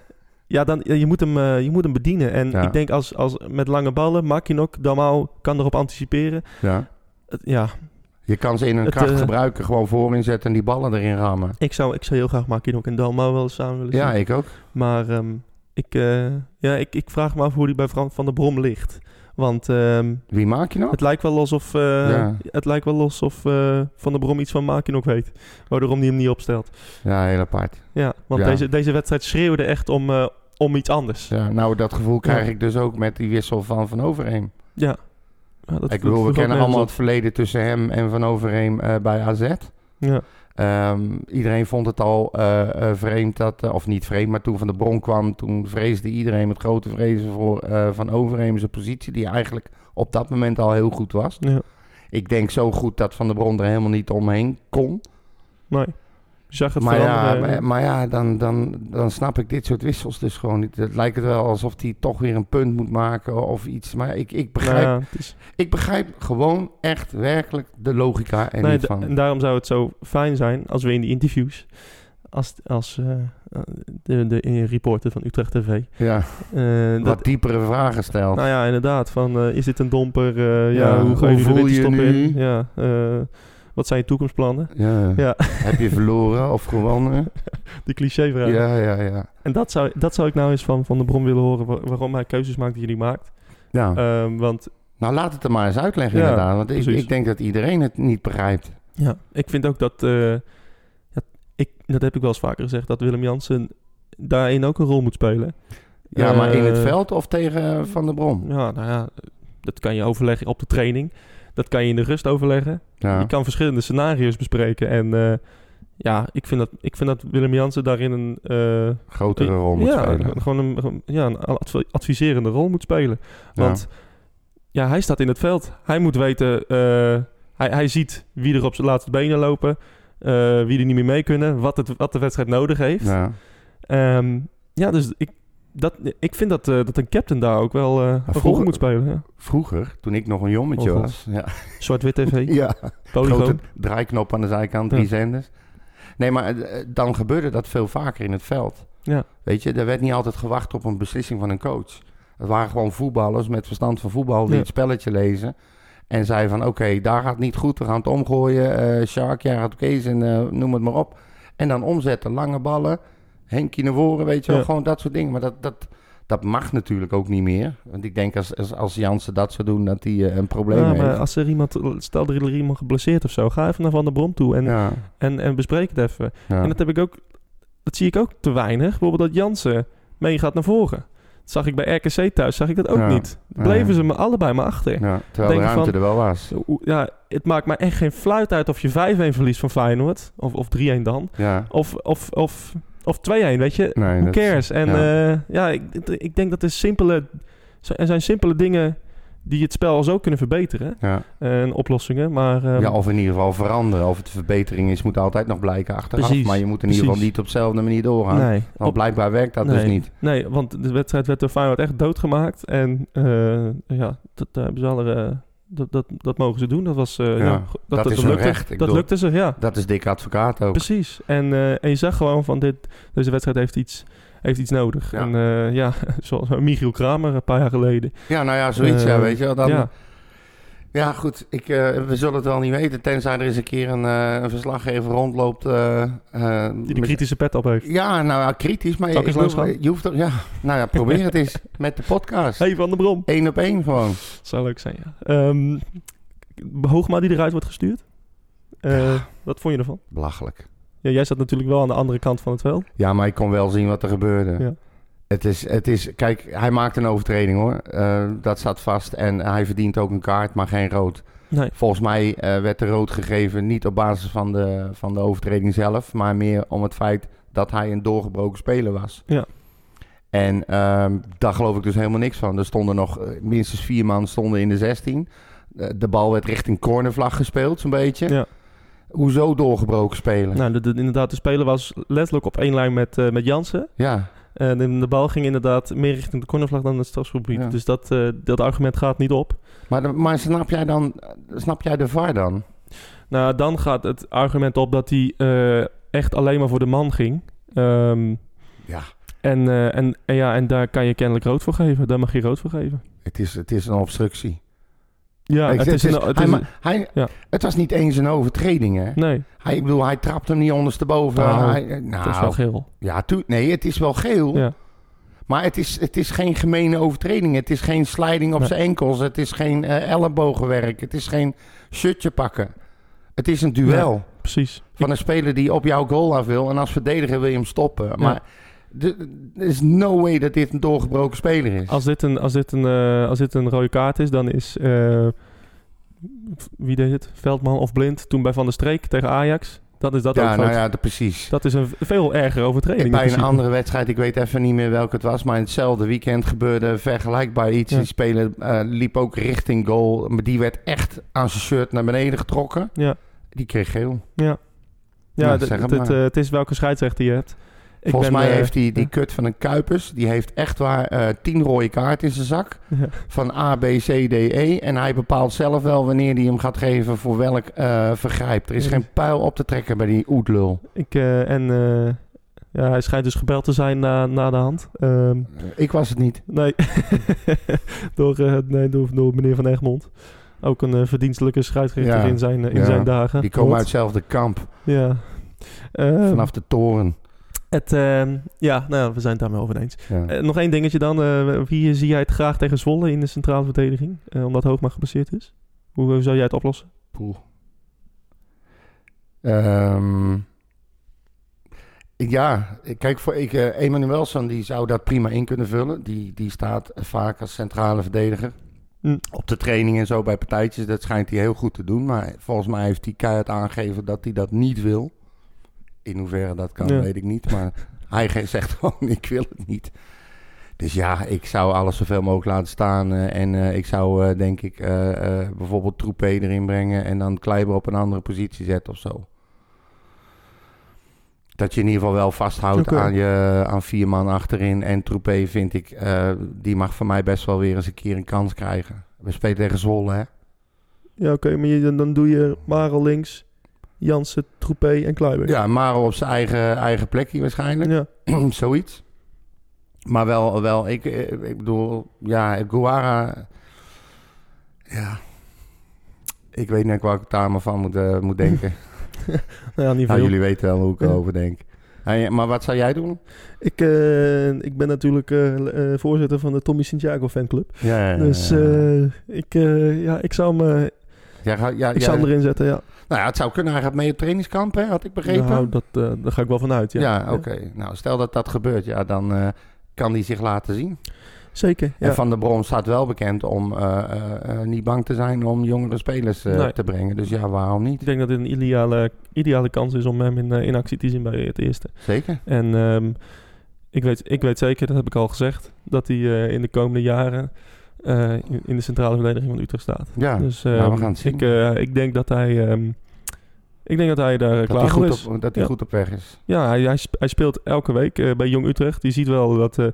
S3: ja, dan, ja, je, moet hem, eh, je moet hem bedienen. En
S4: Ja.
S3: ik denk als, als met lange ballen, Makinok, Damau kan erop anticiperen.
S4: Ja.
S3: Het- ja,
S4: Je kan ze in hun
S3: Het,
S4: kracht
S3: eh,
S4: gebruiken, gewoon voorin zetten en die ballen erin rammen.
S3: ik zou, ik zou heel graag Makinok en Dalmau wel eens samen willen zien.
S4: Ja, ik ook.
S3: Maar ehm, ik, eh, ja, ik, ik vraag me af hoe die bij Frank van der Brom ligt. Want ehm,
S4: Wie maak je nou?
S3: Het lijkt wel alsof, eh,
S4: Ja.
S3: het lijkt wel alsof eh, Van der Brom iets van Makin ook weet. Waarom hij hem niet opstelt.
S4: Ja, heel apart.
S3: Ja, want
S4: Ja.
S3: Deze, deze wedstrijd schreeuwde echt om, eh, om iets anders. Ja,
S4: Ja, nou, dat gevoel krijg
S3: Ja.
S4: ik dus ook met die wissel van Van Overheem.
S3: dat, dus dat
S4: ik bedoel, we
S3: vroeg ook
S4: kennen
S3: nergens
S4: allemaal
S3: op.
S4: het verleden tussen hem en Van Overheem eh, bij AZ.
S3: Ja,
S4: Ehm, iedereen vond het al eh, eh, vreemd dat, eh, of niet vreemd, maar toen Van de Bron kwam, toen vreesde iedereen met grote vrezen voor eh, Van Overheem zijn positie, die eigenlijk op dat moment al heel goed was.
S3: ja,
S4: Ik denk zo goed dat Van de Bron er helemaal niet omheen kon.
S3: nee. Je zag het
S4: Maar ja,
S3: veranderen.
S4: maar, maar ja dan, dan, dan snap ik dit soort wissels dus gewoon niet. Het lijkt het wel alsof hij toch weer een punt moet maken of iets. Maar ik, ik,
S3: Nou
S4: begrijp,
S3: ja, het is-
S4: ik begrijp gewoon echt werkelijk de logica en
S3: nee,
S4: niet
S3: da-
S4: van.
S3: en daarom zou het zo fijn zijn als we in die interviews, als, als eh, de, de reporter van Utrecht TV,
S4: ja,
S3: eh, dat,
S4: wat diepere vragen stelt.
S3: Nou ja, inderdaad. Van, eh, is dit een domper? Eh, ja,
S4: Ja,
S3: hoe ga je
S4: hoe
S3: nu de
S4: voel
S3: winterstop
S4: je nu?
S3: in? Ja, eh, wat zijn je toekomstplannen?
S4: Ja.
S3: Ja.
S4: Heb je verloren of gewonnen?
S3: Die clichévraag.
S4: Ja, ja, ja.
S3: En dat zou, dat zou ik nou eens van Van de Bron willen horen. wa- waarom hij keuzes maakt die hij maakt.
S4: ja.
S3: Ehm, want
S4: nou, laat het er maar eens uitleggen
S3: Ja,
S4: inderdaad. Want ik,
S3: precies.
S4: ik denk dat iedereen het niet begrijpt.
S3: ja, ik vind ook dat... eh, ja, ik, dat heb ik wel eens vaker gezegd. Dat Willem Jansen daarin ook een rol moet spelen.
S4: Ja, maar in het
S3: Eh,
S4: veld of tegen eh, Van der Brom?
S3: Ja, nou ja. Dat kan je overleggen op de training. Dat kan je in de rust overleggen.
S4: Ja.
S3: Je kan verschillende scenario's bespreken. En eh, ja, ik vind, dat, ik vind dat Willem Jansen daarin een... eh,
S4: Grotere rol moet
S3: ja,
S4: spelen.
S3: gewoon een, gewoon- ja, een adv- adviserende rol moet spelen.
S4: Ja.
S3: Want ja. hij staat in het veld. Hij moet weten, eh, hij, hij ziet wie er op zijn laatste benen lopen, eh, wie er niet meer mee kunnen, wat, het, wat de wedstrijd nodig heeft. Ja,
S4: Ja.
S3: ja dus ik, dat, ik vind dat, eh, dat een captain daar ook wel eh, een rol
S4: vroeger-
S3: moet spelen. Ja.
S4: Vroeger, toen ik nog een jommetje
S3: Oh, God.
S4: was. Ja,
S3: Zwart-wit TV,
S4: ja.
S3: polygoon.
S4: grote draaiknop aan de zijkant, drie
S3: Ja.
S4: zenders. Nee, maar eh, dan gebeurde dat veel vaker in het veld.
S3: Ja.
S4: Weet je, er werd niet altijd gewacht op een beslissing van een coach. Het waren gewoon voetballers met verstand van voetbal die
S3: Ja.
S4: het spelletje lezen. En zeiden van, oké, daar gaat het niet goed, we gaan het omgooien. eh Shark, jij gaat op Kees en eh, noem het maar op. En dan omzetten, lange ballen, Henkie naar voren, weet je wel.
S3: Ja.
S4: Gewoon dat soort dingen. Maar dat, dat, dat mag natuurlijk ook niet meer. Want ik denk als, als, als Jansen dat zou doen, dat hij eh, een probleem
S3: Ja, maar
S4: heeft.
S3: als er iemand, stel er is iemand geblesseerd of zo, ga even naar Van der Brom toe en,
S4: ja,
S3: en, en bespreek het even.
S4: ja.
S3: En dat heb ik ook, dat zie ik ook te weinig. Bijvoorbeeld dat Jansen meegaat naar voren. Dat zag ik bij RKC thuis, zag ik dat ook
S4: Ja.
S3: niet. Dan bleven
S4: Ja.
S3: ze me allebei maar achter.
S4: Ja, terwijl
S3: Denk
S4: de ruimte
S3: van-
S4: er wel was.
S3: Hoe- Ja, het maakt mij echt geen fluit uit of je 5-1 verliest van Feyenoord. Of, of 3-1 dan.
S4: Ja.
S3: Of, of, of, of 2-1, weet je.
S4: Nee,
S3: Who
S4: dat-
S3: cares? En
S4: ja.
S3: ja, ja ik, ik denk dat er, simpele, er zijn simpele dingen die het spel zo kunnen verbeteren. eh,
S4: Ja.
S3: En oplossingen, maar... ehm,
S4: ja, of in ieder geval veranderen. Of het een verbetering is, moet altijd nog blijken achteraf.
S3: Precies,
S4: Maar je moet in ieder geval
S3: precies.
S4: niet op dezelfde manier doorgaan.
S3: nee,
S4: Want
S3: op-
S4: blijkbaar werkt dat dus
S3: Nee.
S4: niet.
S3: Nee, want de wedstrijd werd door Feyenoord echt doodgemaakt. En eh, ja, dat, daar hebben ze alle, eh, dat, dat, dat mogen ze doen. Dat, was, eh,
S4: Ja,
S3: ja,
S4: dat
S3: dat,
S4: is hun
S3: lukte,
S4: recht. Ik
S3: Dat
S4: bedoel-
S3: lukte ze, ja.
S4: Dat is dikke advocaat ook.
S3: Precies. En, eh, en je zag gewoon van dit, deze wedstrijd heeft iets, heeft iets nodig.
S4: Ja.
S3: En eh, ja, zoals Michiel Kramer een paar jaar geleden.
S4: Ja, nou ja, zoiets. ja,
S3: Eh,
S4: weet je wel. Dan, ja.
S3: ja.
S4: Ja, goed. Ik, eh, we zullen het wel niet weten. Tenzij er eens een keer een, eh, een verslaggever rondloopt. eh, eh,
S3: Die de
S4: met-
S3: kritische pet op heeft.
S4: Ja, nou ja, kritisch. Maar
S3: Zal ik
S4: ik
S3: eens langs
S4: bedoel,
S3: gaan?
S4: je hoeft toch... Ja, nou ja, probeer het eens met de podcast.
S3: Hey, Van de Brom.
S4: Eén op één gewoon.
S3: Zou leuk zijn, ja. Ehm, Hoogma die eruit wordt gestuurd. Eh, Wat vond je ervan?
S4: Belachelijk.
S3: Ja, jij zat natuurlijk wel aan de andere kant van het veld.
S4: Ja, maar ik kon wel zien wat er gebeurde.
S3: Ja.
S4: Het is, het is, kijk, hij maakt een overtreding hoor. Eh, dat staat vast. En hij verdient ook een kaart, maar geen rood.
S3: Nee.
S4: Volgens mij eh, werd de rood gegeven niet op basis van de, van de overtreding zelf, maar meer om het feit dat hij een doorgebroken speler was.
S3: Ja.
S4: En ehm, daar geloof ik dus helemaal niks van. Er stonden nog eh, minstens vier man stonden in de 16. Eh, de bal werd richting cornervlag gespeeld, zo'n beetje.
S3: Ja.
S4: Hoezo doorgebroken spelen?
S3: Nou, de, de- inderdaad, de speler was letterlijk op één lijn met, eh, met Jansen.
S4: Ja,
S3: En de, de bal ging inderdaad meer richting de cornervlag dan het strafschopgebied.
S4: Ja.
S3: Dus dat, eh, dat argument gaat niet op.
S4: maar, de- maar snap jij dan, snap jij de VAR dan?
S3: Nou, dan gaat het argument op dat hij eh, echt alleen maar voor de man ging. Ehm,
S4: Ja.
S3: en, eh, en, en ja, en daar kan je kennelijk rood voor geven. Daar mag je rood voor geven.
S4: Het is, het is een obstructie.
S3: Ja,
S4: Ik- dus-
S3: het is, een- het
S4: hij
S3: is
S4: ma-
S3: een-
S4: hij-
S3: ja.
S4: Het was niet eens een overtreding, hè?
S3: Nee,
S4: Hij, ik bedoel, hij trapt hem niet ondersteboven.
S3: Nou,
S4: hij, eh,
S3: het is wel
S4: nou
S3: geel.
S4: ja, tu- nee, het is wel geel.
S3: Ja.
S4: Maar het is, het is geen gemene overtreding. Het is geen sliding op
S3: Nee.
S4: zijn enkels. Het is geen eh, ellebogenwerk. Het is geen shirtje pakken. Het is een duel
S3: Precies.
S4: van een speler die op jouw goal af wil. En als verdediger wil je hem stoppen. Maar de- er is no way dat dit een doorgebroken speler is.
S3: Als dit een, als dit een, eh, als dit een rode kaart is, dan is... eh, wie deed het? Veldman of Blind toen bij Van der Streek tegen Ajax. Dat is dat ook
S4: ja, nou
S3: fout.
S4: ja, de- precies.
S3: Dat is een veel erger overtreding. in
S4: Bij een
S3: principe.
S4: andere wedstrijd, ik weet even niet meer welke het was, maar in hetzelfde weekend gebeurde vergelijkbaar iets.
S3: Ja.
S4: Die speler eh, liep ook richting goal, maar die werd echt aan zijn shirt naar beneden getrokken.
S3: Ja.
S4: Die kreeg geel.
S3: Ja,
S4: Ja,
S3: d-
S4: zeg het
S3: d- het,
S4: maar.
S3: eh, het is welke scheidsrechter je hebt. Ik
S4: Volgens
S3: ben,
S4: mij
S3: eh,
S4: heeft die, die
S3: ja.
S4: kut van een Kuipers, die heeft echt waar eh, tien rode kaarten in zijn zak.
S3: Ja.
S4: Van A, B, C, D, E. En hij bepaalt zelf wel wanneer hij hem gaat geven voor welk eh, vergrijp. Er is
S3: Ja.
S4: geen pijl op te trekken bij die oetlul.
S3: Ik, eh, en eh, ja, hij schijnt dus gebeld te zijn na, na de hand. Ehm,
S4: Ik was het niet.
S3: nee. door, eh, nee door, door meneer Van Egmond. Ook een eh, verdienstelijke scheidsrechter
S4: Ja,
S3: in, zijn, eh, in
S4: ja.
S3: zijn dagen.
S4: Die komen uit
S3: Klopt.
S4: hetzelfde kamp,
S3: Ja. Ehm,
S4: vanaf de toren.
S3: het, ehm, ja, nou, we zijn het daarmee over eens.
S4: Ja.
S3: Eh, nog één dingetje dan. eh, wie zie jij het graag tegen Zwolle in de centrale verdediging? Eh, omdat Hoogma geblesseerd is. Hoe, hoe zou jij het oplossen?
S4: Poeh. Ehm, ja, kijk, voor ik, eh, Emanuelson die zou dat prima in kunnen vullen. Die, die staat vaak als centrale verdediger.
S3: Hm.
S4: Op de training en zo bij partijtjes, dat schijnt hij heel goed te doen. Maar volgens mij heeft hij keihard aangegeven dat hij dat niet wil. In hoeverre dat kan,
S3: Ja.
S4: weet ik niet. Maar hij ge- zegt gewoon, ik wil het niet. Dus ja, ik zou alles zoveel mogelijk laten staan. eh, en eh, ik zou, eh, denk ik, eh, eh, bijvoorbeeld Troepé erin brengen... en dan Kleiber op een andere positie zetten of zo. Dat je in ieder geval wel vasthoudt
S3: Oké.
S4: aan, je, aan vier man achterin. En Troepé vind ik, eh, die mag van mij best wel weer eens een keer een kans krijgen. We spelen tegen Zwolle, hè?
S3: Ja, oké, maar je- dan, dan doe je Marel links, Jansen, Troepé en Kluiber.
S4: Ja, Maro op zijn eigen, eigen plekje waarschijnlijk.
S3: Ja. Nou
S4: Zoiets. Maar wel, wel ik, eh, ik bedoel, ja, Guara. Ja. Ik weet niet aan waar ik daar maar van moet, eh, moet denken.
S3: Ja, niet
S4: nou,
S3: veel.
S4: jullie weten wel hoe ik
S3: Ja.
S4: erover denk. Hey, maar wat zou jij doen?
S3: ik, eh, ik ben natuurlijk eh, eh, voorzitter van de Tommy Santiago fanclub.
S4: Ja,
S3: dus eh, ik, eh, ja, ik zou hem, eh,
S4: jij gaat, ja,
S3: ik
S4: Ah, jij-
S3: zou hem erin zetten, ja.
S4: Nou ja, het zou kunnen. Hij gaat mee op trainingskamp, hè? had ik begrepen.
S3: Nou, dat, eh, daar ga ik wel van uit, ja.
S4: ja, oké. Nou, stel dat dat gebeurt, ja, dan eh, kan hij zich laten zien.
S3: Zeker, ja.
S4: En Van der Brom staat wel bekend om eh, eh, eh, niet bang te zijn om jongere spelers eh,
S3: Nee.
S4: te brengen. Dus ja, waarom niet?
S3: Ik denk dat dit een ideale, ideale kans is om hem in, eh, in actie te zien bij het eerste.
S4: Zeker.
S3: En ehm, ik, weet, ik weet zeker, dat heb ik al gezegd, dat hij eh, in de komende jaren eh, in- in de centrale verdediging van Utrecht staat.
S4: Ja.
S3: Dus
S4: Nou, we
S3: ehm,
S4: gaan het zien.
S3: Ik, eh, ik denk dat hij. ehm, ik denk dat hij daar eh,
S4: dat
S3: klaar
S4: hij,
S3: voor
S4: goed
S3: is.
S4: op, dat hij
S3: Ja.
S4: goed op weg is.
S3: Ja, hij, hij sp- hij speelt elke week eh, bij Jong Utrecht. Je ziet wel dat. eh,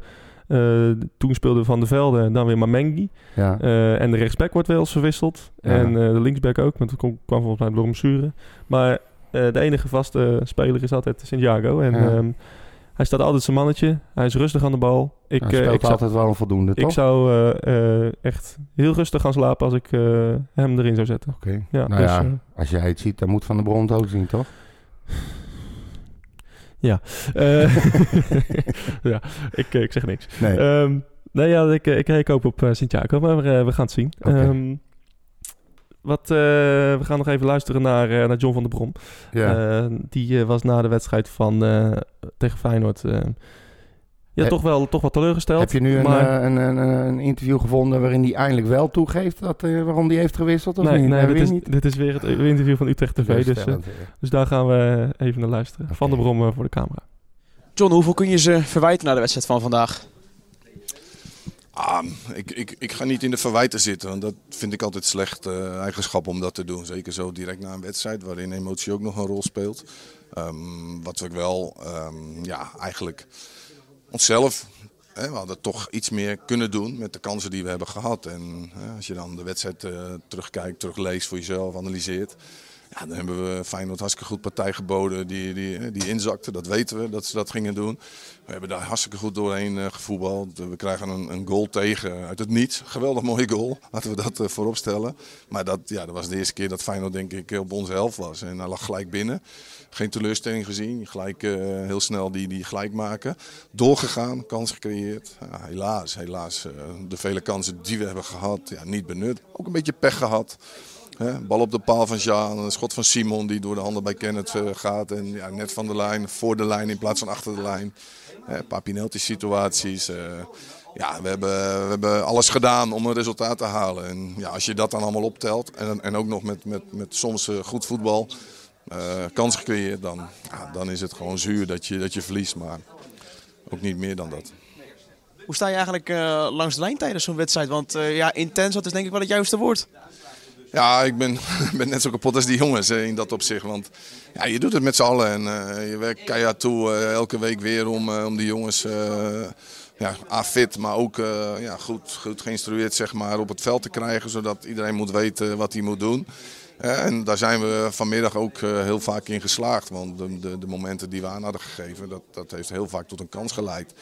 S3: eh, toen speelde Van der Velde en dan weer Mamengi.
S4: Ja.
S3: Eh, en de rechtsback wordt wel eens verwisseld.
S4: Ja.
S3: En eh, de linksback ook, want dat kwam kwam volgens mij door blessure. Maar eh, de enige vaste speler is altijd Santiago. En
S4: Ja.
S3: ehm, Hij staat altijd zijn mannetje. Hij is rustig aan de bal. Ik,
S4: Ik,
S3: eh,
S4: speelt
S3: ik, zou,
S4: altijd wel een voldoende, toch?
S3: ik zou eh, eh, echt heel rustig gaan slapen als ik eh, hem erin zou zetten.
S4: Oké.
S3: Ja,
S4: nou
S3: dus,
S4: ja,
S3: eh,
S4: als jij het ziet, dan moet Van de Bron het ook zien, toch?
S3: Eh, ja, ik, eh, ik zeg niks.
S4: Nee.
S3: Ehm, nee, ja, ik, eh, ik, ik hoop op eh, Sint-Jacob, maar eh, we gaan het zien.
S4: Oké.
S3: Ehm, wat, eh, we gaan nog even luisteren naar, eh, naar John van der Brom.
S4: ja.
S3: Eh, die eh, was na de wedstrijd van, eh, tegen Feyenoord eh, ja,
S4: Heb-
S3: toch, wel, toch wel teleurgesteld.
S4: Heb je nu een,
S3: maar-
S4: eh, een, een, een interview gevonden waarin hij eindelijk wel toegeeft dat, eh, waarom hij heeft gewisseld of
S3: nee,
S4: niet?
S3: nee
S4: Dat
S3: dit,
S4: weet
S3: is,
S4: ik niet.
S3: dit is weer het interview van Utrecht TV. Dus, eh,
S4: Teleurstellend, eh.
S3: dus daar gaan we even naar luisteren.
S4: Oké.
S3: Van der Brom eh, voor de camera.
S1: John, hoeveel kun je ze verwijten na de wedstrijd van vandaag?
S5: Ah, ik, ik, ik ga niet in de verwijten zitten, want dat vind ik altijd slecht eh, eigenschap om dat te doen. Zeker zo direct na een wedstrijd, waarin emotie ook nog een rol speelt. Ehm, wat we wel, ehm, ja, eigenlijk onszelf, hè, we hadden toch iets meer kunnen doen met de kansen die we hebben gehad. En hè, als je dan de wedstrijd eh, terugkijkt, terugleest voor jezelf, analyseert. Ja, dan hebben we Feyenoord hartstikke goed partij geboden die, die, hè, die inzakte. Dat weten we, dat ze dat gingen doen. We hebben daar hartstikke goed doorheen eh, gevoetbald. We krijgen een, een goal tegen uit het niets. Geweldig mooie goal, laten we dat eh, voorop stellen. Maar dat, ja, dat was de eerste keer dat Feyenoord denk ik op onze helft was. En hij lag gelijk binnen. Geen teleurstelling gezien. Gelijk, eh, heel snel die, die gelijk maken. Doorgegaan, kans gecreëerd. Ja, helaas, helaas. eh, de vele kansen die we hebben gehad, ja, niet benut. Ook een beetje pech gehad. Hè, bal op de paal van Jaan, een schot van Simon die door de handen bij Kenneth eh, gaat. En ja, net van de lijn, voor de lijn in plaats van achter de lijn. Hè, een paar penalty situaties. eh, ja, we hebben, we hebben alles gedaan om een resultaat te halen. En ja, als je dat dan allemaal optelt en, en ook nog met, met, met soms eh, goed voetbal eh, kans gecreëerd, dan, ja, dan is het gewoon zuur dat je, dat je verliest. Maar ook niet meer dan dat.
S1: Hoe sta je eigenlijk eh, langs de lijn tijdens zo'n wedstrijd? Want eh, ja, intens, dat is denk ik wel het juiste woord.
S5: Ja, ik ben, ben net zo kapot als die jongens hè, in dat opzicht. Want ja, je doet het met z'n allen en eh, je werkt keihard toe eh, elke week weer om, eh, om die jongens eh, ja, A, fit, maar ook eh, ja, goed, goed geïnstrueerd zeg maar, op het veld te krijgen. Zodat iedereen moet weten wat hij moet doen. Eh, en daar zijn we vanmiddag ook eh, heel vaak in geslaagd. Want de, de, de momenten die we aan hadden gegeven, dat, dat heeft heel vaak tot een kans geleid.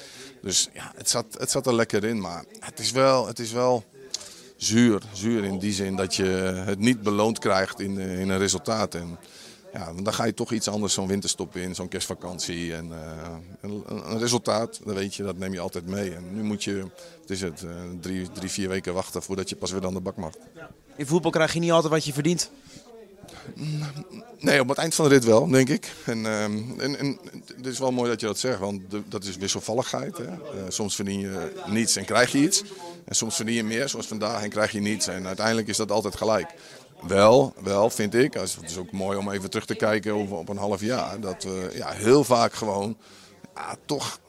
S5: Dus ja, het zat, het zat er lekker in. Maar het is wel... Het is wel zuur. Zuur in die zin dat je het niet beloond krijgt in, eh, in een resultaat. En ja, dan ga je toch iets anders zo'n winterstop in, zo'n kerstvakantie. En eh, een, een resultaat, dat weet je, dat neem je altijd mee. En nu moet je, het is het, eh, drie, drie, vier weken wachten voordat je pas weer aan de bak mag.
S1: In voetbal krijg je niet altijd wat je verdient.
S5: Nee, op het eind van de rit wel, denk ik. En, ehm, en, en het is wel mooi dat je dat zegt, want de- dat is wisselvalligheid. Hè? Eh, soms verdien je niets en krijg je iets. En soms verdien je meer, zoals vandaag, en krijg je niets. En uiteindelijk is dat altijd gelijk. Wel, wel, vind ik. als- Het is ook mooi om even terug te kijken over, op een half jaar. Dat we ja, heel vaak gewoon ja, toch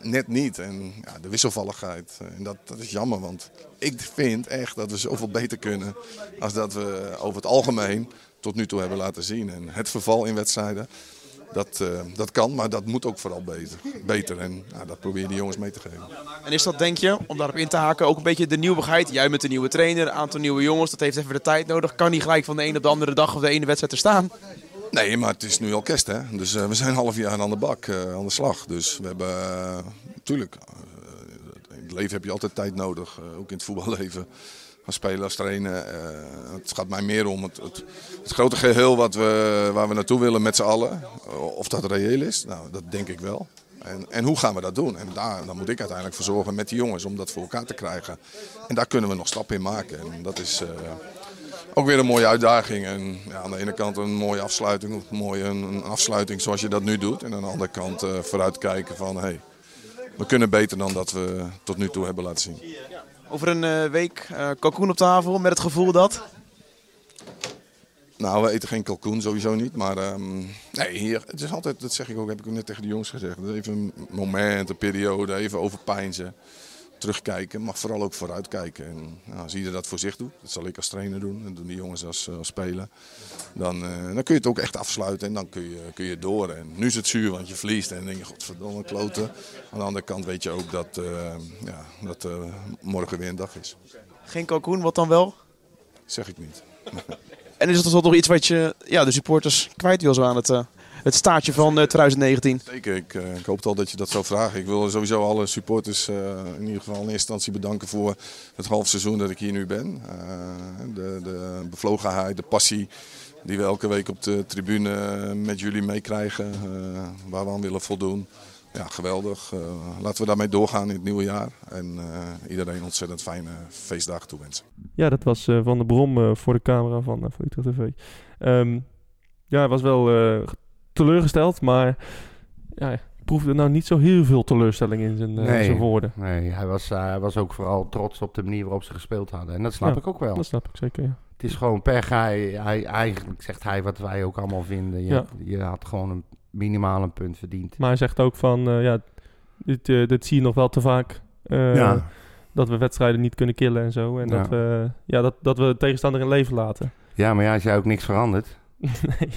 S5: net niet. En ja, de wisselvalligheid. eh, En dat, dat is jammer, want ik vind echt dat we zoveel beter kunnen. als dat we over het algemeen tot nu toe hebben laten zien. En het verval in wedstrijden, dat, eh, dat kan, maar dat moet ook vooral beter. beter. En ja, dat probeer je de jongens mee te geven.
S1: En is dat, denk je, om daarop in te haken, ook een beetje de nieuwigheid? Jij met een nieuwe trainer, een aantal nieuwe jongens, dat heeft even de tijd nodig. Kan niet gelijk van de ene op de andere dag of de ene wedstrijd er staan?
S5: Nee, maar het is nu al kerst, hè? Dus eh, we zijn een half jaar aan de bak, eh, aan de slag. Dus we hebben, eh, tuurlijk, eh, in het leven heb je altijd tijd nodig. eh, ook in het voetballeven. Als spelen, als trainen. eh, het gaat mij meer om het, het, het grote geheel wat we, waar we naartoe willen met z'n allen. Eh, of dat reëel is, nou, dat denk ik wel. En, en hoe gaan we dat doen? En daar dan moet ik uiteindelijk voor zorgen met die jongens om dat voor elkaar te krijgen. En daar kunnen we nog stappen in maken. En dat is... eh, ook weer een mooie uitdaging. En ja, aan de ene kant een mooie afsluiting, of mooi een, een afsluiting zoals je dat nu doet. En aan de andere kant eh, vooruitkijken van hey, we kunnen beter dan dat we tot nu toe hebben laten zien.
S1: Over een eh, week eh kalkoen op tafel met het gevoel dat...
S5: Nou, we eten geen kalkoen, sowieso niet. Maar ehm, nee, hier, het is altijd, dat zeg ik ook, heb ik ook net tegen de jongens gezegd. Even een moment, een periode, even overpeinzen. Terugkijken, maar vooral ook vooruitkijken. En nou, als ieder dat voor zich doet, dat zal ik als trainer doen. Dat doen de jongens als, eh, als speler. Dan, eh, dan kun je het ook echt afsluiten en dan kun je, kun je door. En nu is het zuur, want je verliest en dan denk je, godverdomme kloten. Aan de andere kant weet je ook dat, eh, ja, dat eh, morgen weer een dag is.
S1: Geen kalkoen, wat dan wel?
S5: Zeg ik niet.
S1: En is dat toch nog iets wat je ja, de supporters kwijt wil zo aan het eh, het staartje van eh, 2019.
S5: Zeker, ik, eh, ik hoop al dat je dat zou vragen. Ik wil sowieso alle supporters eh, in ieder geval in eerste instantie bedanken voor het half seizoen dat ik hier nu ben. Eh, de, de bevlogenheid, de passie die we elke week op de tribune eh, met jullie meekrijgen, eh, waar we aan willen voldoen. Ja, geweldig. Eh, laten we daarmee doorgaan in het nieuwe jaar. En eh, iedereen ontzettend fijne feestdagen toewensen.
S3: Ja, dat was eh, Van de Brom eh, voor de camera van, eh, van Utrecht TV. Ehm, ja, hij was wel eh, teleurgesteld, maar ja, ik proefde nou niet zo heel veel teleurstelling in zijn, eh,
S4: Nee.
S3: zijn woorden.
S4: Nee, hij was, eh, hij was ook vooral trots op de manier waarop ze gespeeld hadden. En dat snap
S3: Ja,
S4: ik ook wel.
S3: Dat snap ik zeker, ja.
S4: Het is gewoon pech. Hij, hij, eigenlijk zegt hij wat wij ook allemaal vinden. Je,
S3: Ja.
S4: je had gewoon een, minimaal een punt verdiend.
S3: Maar hij zegt ook van, eh, ja, dit, eh, dit zie je nog wel te vaak. eh, Dat we wedstrijden niet kunnen killen en zo. En
S4: Ja.
S3: dat, we, ja, dat, dat we de tegenstander in leven laten.
S4: ja, maar ja, als jij ook niks verandert.
S3: nee.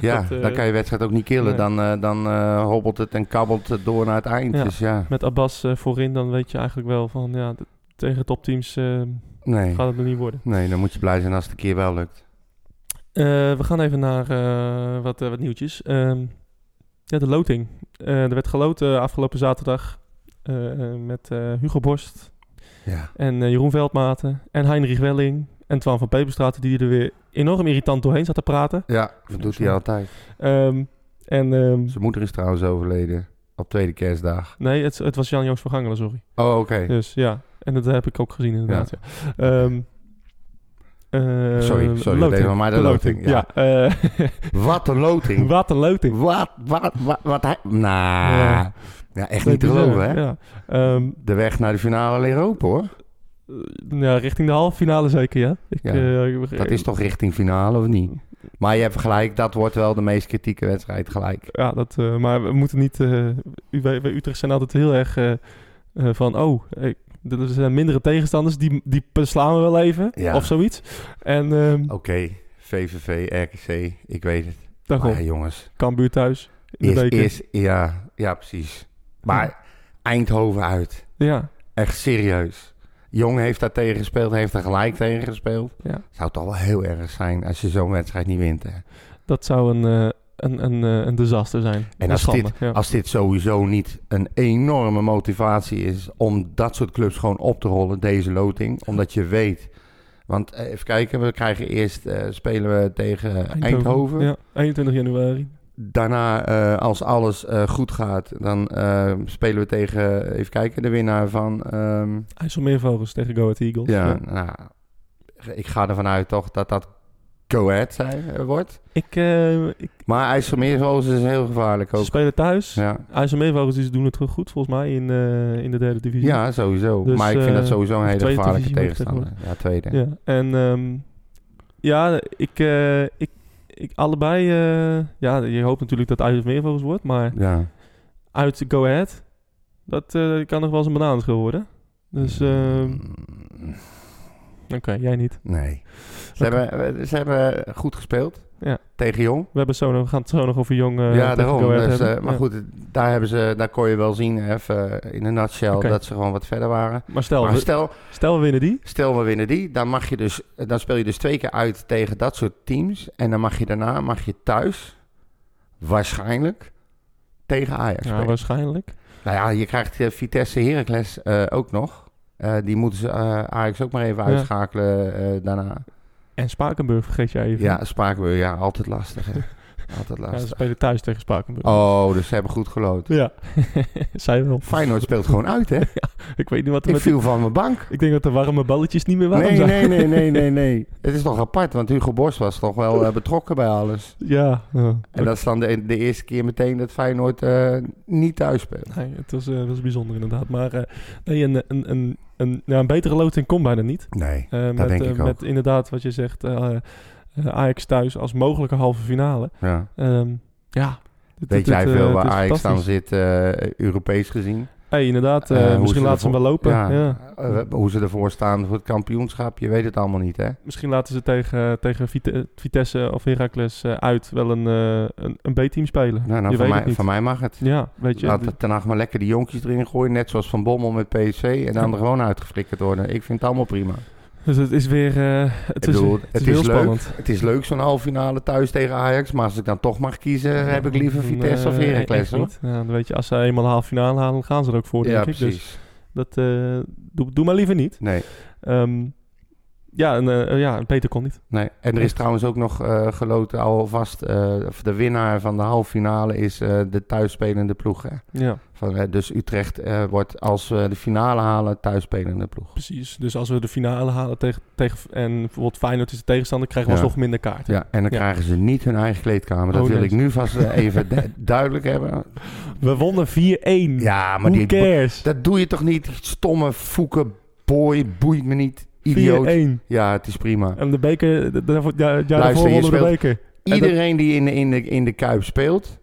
S4: Ja,
S3: Dat, eh,
S4: dan kan je wedstrijd ook niet killen.
S3: nee.
S4: Dan, eh, dan eh, hobbelt het en kabbelt het door naar het eind.
S3: Ja.
S4: Dus ja,
S3: Met Abbas eh, voorin, dan weet je eigenlijk wel van, ja, d- tegen topteams eh,
S4: nee.
S3: gaat het er niet worden.
S4: Nee, dan moet je blij zijn als het een keer wel lukt.
S3: Eh, we gaan even naar eh, wat, eh, wat nieuwtjes. Ehm, ja, de loting. Eh, er werd geloot eh, afgelopen zaterdag eh, eh, met eh, Hugo Borst
S4: Ja.
S3: en eh, Jeroen Veldmaten en Heinrich Welling en Twan van Peperstraat, die er weer enorm irritant doorheen zat te praten.
S4: Ja, dat doet hij altijd.
S3: Ehm, en ehm,
S4: Zijn moeder is trouwens overleden op tweede kerstdag.
S3: nee, het, het was Jan-Joost van Gangelen, sorry.
S4: Oh, oké.
S3: Dus ja, en dat heb ik ook gezien inderdaad. Ja. Ehm, eh,
S4: Sorry, sorry, deze van mij, de loting, ja.
S3: ja,
S4: Wat een
S3: eh,
S4: loting.
S3: wat een loting.
S4: Wat, wat, wat, wat hij... Nou,
S3: Ja.
S4: ja. echt niet te
S3: Bizar,
S4: geloven, hè?
S3: Ja. Ehm,
S4: De weg naar de finale ligt open, hoor.
S3: eh, ja, richting de halve finale zeker, ja. Ik,
S4: Ja,
S3: eh, ik-
S4: Dat is toch richting finale, of niet? Maar je hebt gelijk, dat wordt wel de meest kritieke wedstrijd gelijk.
S3: Ja, dat, eh, maar we moeten niet... eh, u- wij, wij Utrecht zijn altijd heel erg eh, eh, van... Oh, ik- er zijn mindere tegenstanders, die, die slaan we wel even.
S4: Ja. Oh,
S3: Of zoiets. En ehm
S4: Oké, VVV, RKC, ik weet het.
S3: dan
S4: Maar
S3: gewoon
S4: ja, jongens,
S3: Cambuur thuis. In de
S4: is,
S3: beker.
S4: is, ja, ja, precies. Maar Eindhoven uit,
S3: Ja,
S4: echt serieus. Jong heeft daar tegen gespeeld, heeft daar gelijk tegen gespeeld.
S3: Ja.
S4: Zou toch wel heel erg zijn als je zo'n wedstrijd niet wint, hè?
S3: dat zou een, eh, een, een, eh, een disaster zijn.
S4: En
S3: Een
S4: als
S3: schande,
S4: dit,
S3: ja.
S4: als dit sowieso niet een enorme motivatie is om dat soort clubs gewoon op te rollen, deze loting. Omdat je weet. Want eh, even kijken, we krijgen eerst eh, spelen we tegen Eindhoven.
S3: Ja, 21 januari.
S4: Daarna, eh, als alles eh, goed gaat, dan eh, spelen we tegen, even kijken, de winnaar van. ehm,
S3: IJsselmeervogels tegen Go Ahead Eagles.
S4: ja, nou, ik ga ervan uit toch dat dat go ahead zijn, eh, wordt.
S3: Ik, eh, ik,
S4: Maar IJsselmeervogels is heel gevaarlijk
S3: ze
S4: ook.
S3: spelen thuis.
S4: Ja.
S3: IJsselmeervogels die doen het gewoon goed volgens mij in, eh, in de derde divisie.
S4: Ja, sowieso.
S3: Dus,
S4: maar ik vind
S3: eh,
S4: dat sowieso een hele
S3: tweede
S4: gevaarlijke
S3: divisie moet
S4: tegenstander. Ja, tweede.
S3: Ja. En ehm, ja, ik, eh, ik, ik allebei. eh, ja, je hoopt natuurlijk dat IJsselmeervogels wordt, maar
S4: Ja.
S3: uit Go Ahead, dat eh, kan nog wel eens een bananenschil worden. Dus ehm,
S4: Mm,
S3: oké, jij niet.
S4: Nee. Ze,
S3: Oké.
S4: hebben, eh, ze hebben goed gespeeld
S3: Ja.
S4: tegen Jong.
S3: We, hebben zo nog, we gaan het zo nog over jong. eh,
S4: ja,
S3: tegen Go
S4: daarom.
S3: Ahead
S4: Dus, eh,
S3: hebben.
S4: maar
S3: Ja.
S4: goed, het- daar, hebben ze, daar kon je wel zien, eh, even in een nutshell,
S3: Oké.
S4: dat ze gewoon wat verder waren.
S3: Maar stel,
S4: maar
S3: we,
S4: stel,
S3: stel we winnen die.
S4: stel we winnen die, dan, mag je dus, dan speel je dus twee keer uit tegen dat soort teams. En dan mag je daarna mag je thuis waarschijnlijk tegen Ajax
S3: Ja,
S4: spelen.
S3: waarschijnlijk.
S4: Nou ja, je krijgt eh, Vitesse Heracles eh, ook nog. Eh, die moeten ze eh, Ajax ook maar even
S3: Ja.
S4: uitschakelen eh, daarna.
S3: En Spakenburg vergeet jij even.
S4: Ja, Spakenburg, ja, altijd lastig. Hè. Altijd
S3: Ja, ze
S4: lastig.
S3: spelen thuis tegen Spakenburg.
S4: Oh, dus ze hebben goed gelood.
S3: Ja, zij wel.
S4: Feyenoord speelt gewoon uit, hè?
S3: Ik weet niet wat er
S4: Ik
S3: met die-
S4: viel van mijn bank.
S3: Ik denk dat de warme balletjes niet meer warm
S4: Nee,
S3: zijn.
S4: nee, nee, nee, nee, nee. Het is toch apart, want Hugo Bos was toch wel eh, betrokken bij alles.
S3: Ja. ja.
S4: En dat is dan de, de eerste keer meteen dat Feyenoord eh, niet thuis speelt.
S3: Nee, het was, eh, was bijzonder inderdaad. Maar eh, nee, een, een, een, een, ja, een betere loting komt bijna niet.
S4: Nee.
S3: Eh, met,
S4: denk
S3: eh,
S4: ik ook.
S3: met inderdaad wat je zegt, eh, eh, Ajax thuis als mogelijke halve finale.
S4: Ja.
S3: Ehm, ja. Dit-
S4: Weet
S3: dit-
S4: jij
S3: dit,
S4: veel
S3: eh,
S4: waar
S3: dit is
S4: Ajax nou dan
S3: fantastisch.
S4: zit, eh, Europees gezien?
S3: Hey, inderdaad, eh,
S4: Eh, hoe
S3: misschien
S4: ze
S3: laten ze hem wel lopen. Ja.
S4: Ja, eh, hoe ze ervoor staan voor het kampioenschap, je weet het allemaal niet, hè?
S3: Misschien laten ze tegen, tegen Vite- Vitesse of Heracles eh, uit wel een, eh, een, een B-team spelen.
S4: Nou, nou,
S3: je
S4: van,
S3: weet
S4: mij,
S3: het niet.
S4: van mij mag het.
S3: Ja, weet je.
S4: Laat Ten Hag maar lekker die jonkjes erin gooien, net zoals Van Bommel met PSV. En dan er gewoon uitgeflikkerd worden. Ik vind het allemaal prima.
S3: Dus het is weer eh, het
S4: Ik
S3: is,
S4: bedoel,
S3: het is heel spannend.
S4: Leuk. Het is leuk zo'n halve finale thuis tegen Ajax. Maar als ik dan toch mag kiezen, Eh, heb ik liever Vitesse of
S3: Nee,
S4: Heracles.
S3: eh, e- echt
S4: hoor.
S3: niet. Ja, dan weet je, als ze eenmaal een halve finale halen, dan gaan ze er ook voor, denk
S4: Ja,
S3: ik. Dus
S4: precies.
S3: dat, eh, doe, doe maar liever niet.
S4: Nee,
S3: Ehm, ja, en, eh, ja, en Peter kon niet.
S4: nee. En er is trouwens ook nog eh, geloten alvast. eh, of de winnaar van de halve finale is eh, de thuisspelende ploeg. Hè?
S3: Ja,
S4: Van, eh, dus Utrecht eh, wordt, als we de finale halen, thuisspelende ploeg.
S3: precies. Dus als we de finale halen tegen, tegen en bijvoorbeeld Feyenoord is de tegenstander, krijgen we
S4: Ja.
S3: alsnog minder kaarten.
S4: Ja, en dan
S3: Ja.
S4: krijgen ze niet hun eigen kleedkamer. Dat
S3: Oh,
S4: wil
S3: nee.
S4: ik nu vast eh, even du- duidelijk hebben.
S3: We wonnen 4-1.
S4: Ja, maar
S3: Who
S4: die,
S3: cares?
S4: dat doe je toch niet? Die Stomme, foeken, boy, boeit me niet. Idioot.
S3: 4-1.
S4: Ja, het is prima.
S3: En de beker, de- daarvoor, ja, ja,
S4: Luister,
S3: daarvoor
S4: je
S3: wonnen we de
S4: speelt-
S3: beker. dat-
S4: Iedereen die in de, in de, in de Kuip speelt,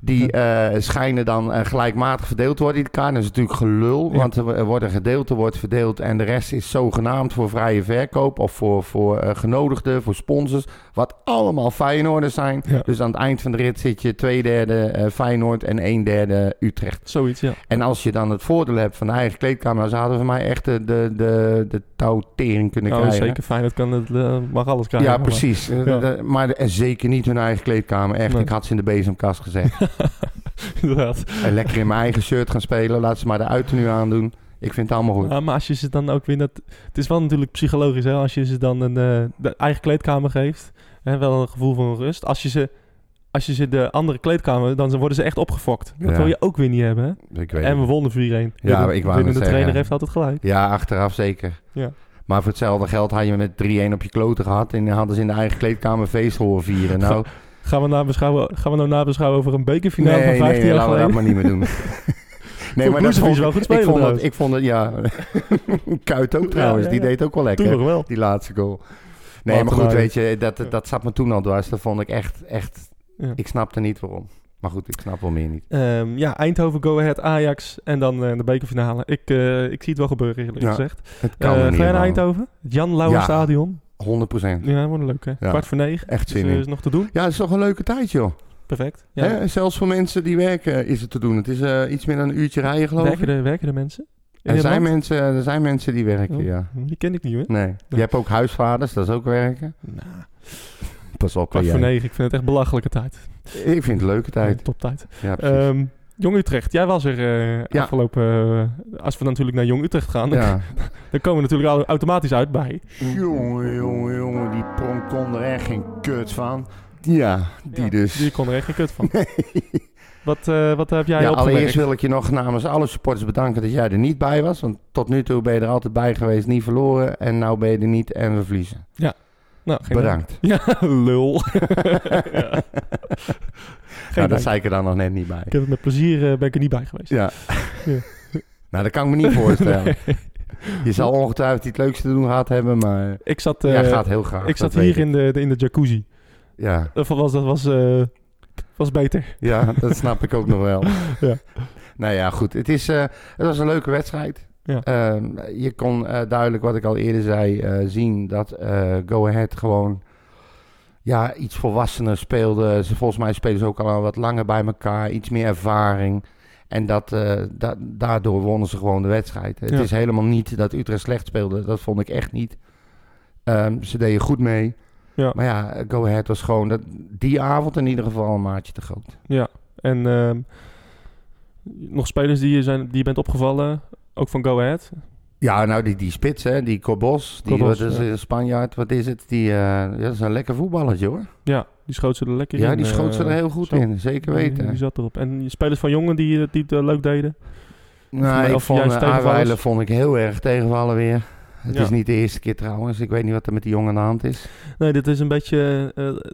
S4: die eh, schijnen dan eh, gelijkmatig verdeeld te worden in elkaar. Dat is natuurlijk gelul,
S3: Ja.
S4: want er wo- er wordt een gedeelte wordt verdeeld en de rest is zogenaamd voor vrije verkoop of voor, voor eh, genodigden, voor sponsors, wat allemaal Feyenoorders zijn.
S3: Ja.
S4: Dus aan het eind van de rit zit je twee derde eh, Feyenoord en een derde Utrecht.
S3: Zoiets, ja.
S4: En als je dan het voordeel hebt van de eigen kleedkamer, dan zouden we voor mij echt de, de, de, de touwtering kunnen
S3: Nou,
S4: krijgen.
S3: zeker Feyenoord kan het, eh, mag alles krijgen.
S4: Ja,
S3: maar-
S4: precies. Eh,
S3: Ja.
S4: de- Maar de- en zeker niet hun eigen kleedkamer. Echt,
S3: Nee.
S4: ik had ze in de bezemkast gezet.
S3: Inderdaad.
S4: en lekker in mijn eigen shirt gaan spelen. Laat ze maar de uiternu aandoen. Ik vind het allemaal goed.
S3: Ja, Ah, maar als je ze dan ook weer... Dat, het is wel natuurlijk psychologisch, hè. Als je ze dan een eh, de eigen kleedkamer geeft. Hè, wel een gevoel van rust. Als je ze... Als je ze de andere kleedkamer, dan worden ze echt opgefokt. Dat
S4: Ja.
S3: wil je ook weer niet hebben. Hè?
S4: Ik weet
S3: En we
S4: het.
S3: wonnen 4-1.
S4: maar ik wou
S3: de, de
S4: net zeggen.
S3: trainer heeft altijd gelijk.
S4: Ja, achteraf zeker.
S3: Ja.
S4: Maar voor hetzelfde geld had je met 3-1 op je kloten gehad. En hadden ze in de eigen kleamer feest horen vieren. Nou,
S3: Gaan we, nabeschouwen, gaan we nou nabeschouwen over een bekerfinale
S4: nee,
S3: van 15
S4: nee,
S3: jaar
S4: laten we
S3: geleden?
S4: dat maar niet meer doen. nee,
S3: Vond Brozovic wel goed spelen
S4: ik vond dat,
S3: trouwens.
S4: ik vond dat, ja. Kuit ook trouwens,
S3: ja,
S4: die
S3: ja.
S4: deed ook wel lekker.
S3: Toen nog wel.
S4: Die laatste goal. Nee,
S3: Wat
S4: maar
S3: een
S4: goed,
S3: aardig.
S4: weet je, dat, dat zat me toen al dwars. Dat vond ik echt, echt...
S3: Ja.
S4: Ik snapte niet waarom. Maar goed, ik snap wel meer niet.
S3: Ehm, ja, Eindhoven, Go Ahead, Ajax en dan eh, de bekerfinale. Ik, eh, ik zie het wel gebeuren, eerlijk
S4: Ja,
S3: gezegd.
S4: Het
S3: Eh
S4: kan
S3: ga je naar
S4: niet,
S3: Eindhoven? Het Jan Lauwer
S4: Ja.
S3: Stadion.
S4: man. 100%.
S3: Ja, wordt leuk hè.
S4: Ja.
S3: Kwart voor negen.
S4: Echt
S3: Dus
S4: zin
S3: eh,
S4: in.
S3: is nog te doen.
S4: Ja, het is toch een leuke tijd, joh.
S3: Perfect. Ja.
S4: Hè? Zelfs voor mensen die werken is het te doen. Het is eh, iets meer dan een uurtje rijden, geloof
S3: Werken
S4: ik.
S3: de, werken de mensen? In
S4: Er zijn
S3: Nederland?
S4: mensen, er zijn mensen die werken, ja.
S3: Oh, Die ken ik niet hoor.
S4: Nee. Je hebt ook huisvaders, dat is ook werken.
S3: Nou,
S4: Pas op, hè,
S3: kwart voor
S4: jij.
S3: negen. Ik vind het echt belachelijke tijd.
S4: Ik vind het leuke tijd.
S3: Top tijd.
S4: Ja, precies.
S3: Jong Utrecht, jij was er eh,
S4: Ja.
S3: afgelopen... eh, als we natuurlijk naar Jong Utrecht gaan, dan,
S4: ja.
S3: dan komen we natuurlijk au- automatisch uit bij...
S4: Jongen, jongen, jongen, die pronk kon er echt geen kut van. Ja, die
S3: Ja,
S4: dus.
S3: Die kon er echt geen kut van. Wat, eh, wat heb jij
S4: ja,
S3: opgemerkt?
S4: allereerst wil ik je nog namens alle supporters bedanken dat jij er niet bij was. Want tot nu toe ben je er altijd bij geweest, niet verloren. En nou ben je er niet en we verliezen.
S3: Nou, geen
S4: Bedankt.
S3: Ja, lul. ja.
S4: Nou, dat
S3: dank.
S4: zei ik er dan nog net niet bij.
S3: Ik heb het met plezier eh, ben ik er niet bij geweest.
S4: Ja.
S3: Ja.
S4: nou, dat kan ik me niet voorstellen.
S3: Nee.
S4: Je zal ongetwijfeld iets leuks te doen gehad hebben, maar
S3: Ik zat, eh,
S4: jij gaat heel graag.
S3: ik zat
S4: dat
S3: hier
S4: weet ik.
S3: in de, de- in de jacuzzi.
S4: Ja.
S3: Of was, dat was, eh, was beter.
S4: ja, dat snap ik ook nog wel.
S3: Ja.
S4: Nou ja, goed. Het, is, eh, het was een leuke wedstrijd.
S3: Ja.
S4: Ehm, je kon eh, duidelijk, wat ik al eerder zei, eh, zien dat eh, Go Ahead gewoon ja, iets volwassener speelde. Ze, volgens mij spelen ze ook al wat langer bij elkaar, iets meer ervaring. En dat, eh, da- daardoor wonnen ze gewoon de wedstrijd. Het
S3: Ja.
S4: is helemaal niet dat Utrecht slecht speelde. Dat vond ik echt niet. Ehm, ze deden goed mee.
S3: Ja.
S4: Maar ja, Go Ahead was gewoon dat, die avond in ieder geval een maatje te groot.
S3: En ehm, nog spelers die je, zijn, die je bent opgevallen. Ook van Go Ahead.
S4: Ja, nou die, die spits, hè, die Cobos, die
S3: Cobos,
S4: wat is,
S3: ja.
S4: een Spanjaard, wat is het? Die, eh, ja, dat is een lekker voetballertje hoor.
S3: Ja, die schoot ze er lekker in.
S4: Ja, die schoot ze
S3: eh,
S4: er heel goed
S3: zo.
S4: in, zeker
S3: Die, die
S4: weten.
S3: zat erop. En die spelers van Jongen die, die het eh, leuk deden.
S4: Nou,
S3: mij
S4: ik
S3: of
S4: vond
S3: juist
S4: eh,
S3: tegenvallers.
S4: Aarweilen vond ik heel erg tegenvallen weer. Het
S3: Ja.
S4: is niet de eerste keer trouwens, ik weet niet wat er met die jongen aan de hand is.
S3: Nee, dit is een beetje... eh,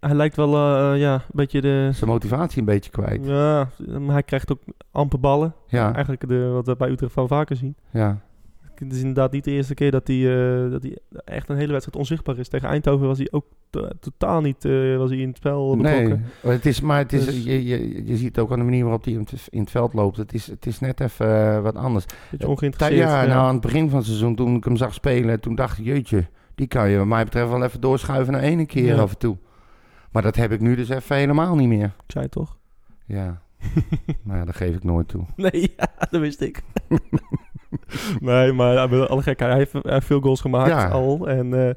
S3: hij lijkt wel eh, ja, een beetje de...
S4: Zijn motivatie een beetje kwijt.
S3: Ja, maar hij krijgt ook amper ballen.
S4: Ja,
S3: Eigenlijk de, wat we bij Utrecht wel vaker zien.
S4: ja.
S3: Het is inderdaad niet de eerste keer dat hij, eh, dat hij echt een hele wedstrijd onzichtbaar is. Tegen Eindhoven was hij ook to- totaal niet eh, was hij in het spel betrokken.
S4: Nee, maar het is, maar het is,
S3: Dus-
S4: je, je, je ziet ook aan de manier waarop hij in het- in het veld loopt. Het is, het is net even eh, wat anders.
S3: Beetje
S4: Ja,
S3: ongeïnteresseerd.
S4: ja, nou aan het begin van het seizoen toen ik hem zag spelen, toen dacht ik, jeetje, die kan je wat mij betreft wel even doorschuiven naar ene keer
S3: Ja.
S4: af en toe. Maar dat heb ik nu dus even helemaal niet meer. Nou
S3: Ik zei het toch?
S4: Ja, maar ja, dat geef ik nooit toe.
S3: Nee, ja, dat wist ik. nee, maar hij- alle gekheid. Hij heeft, hij heeft veel goals gemaakt
S4: Ja.
S3: al. En eh,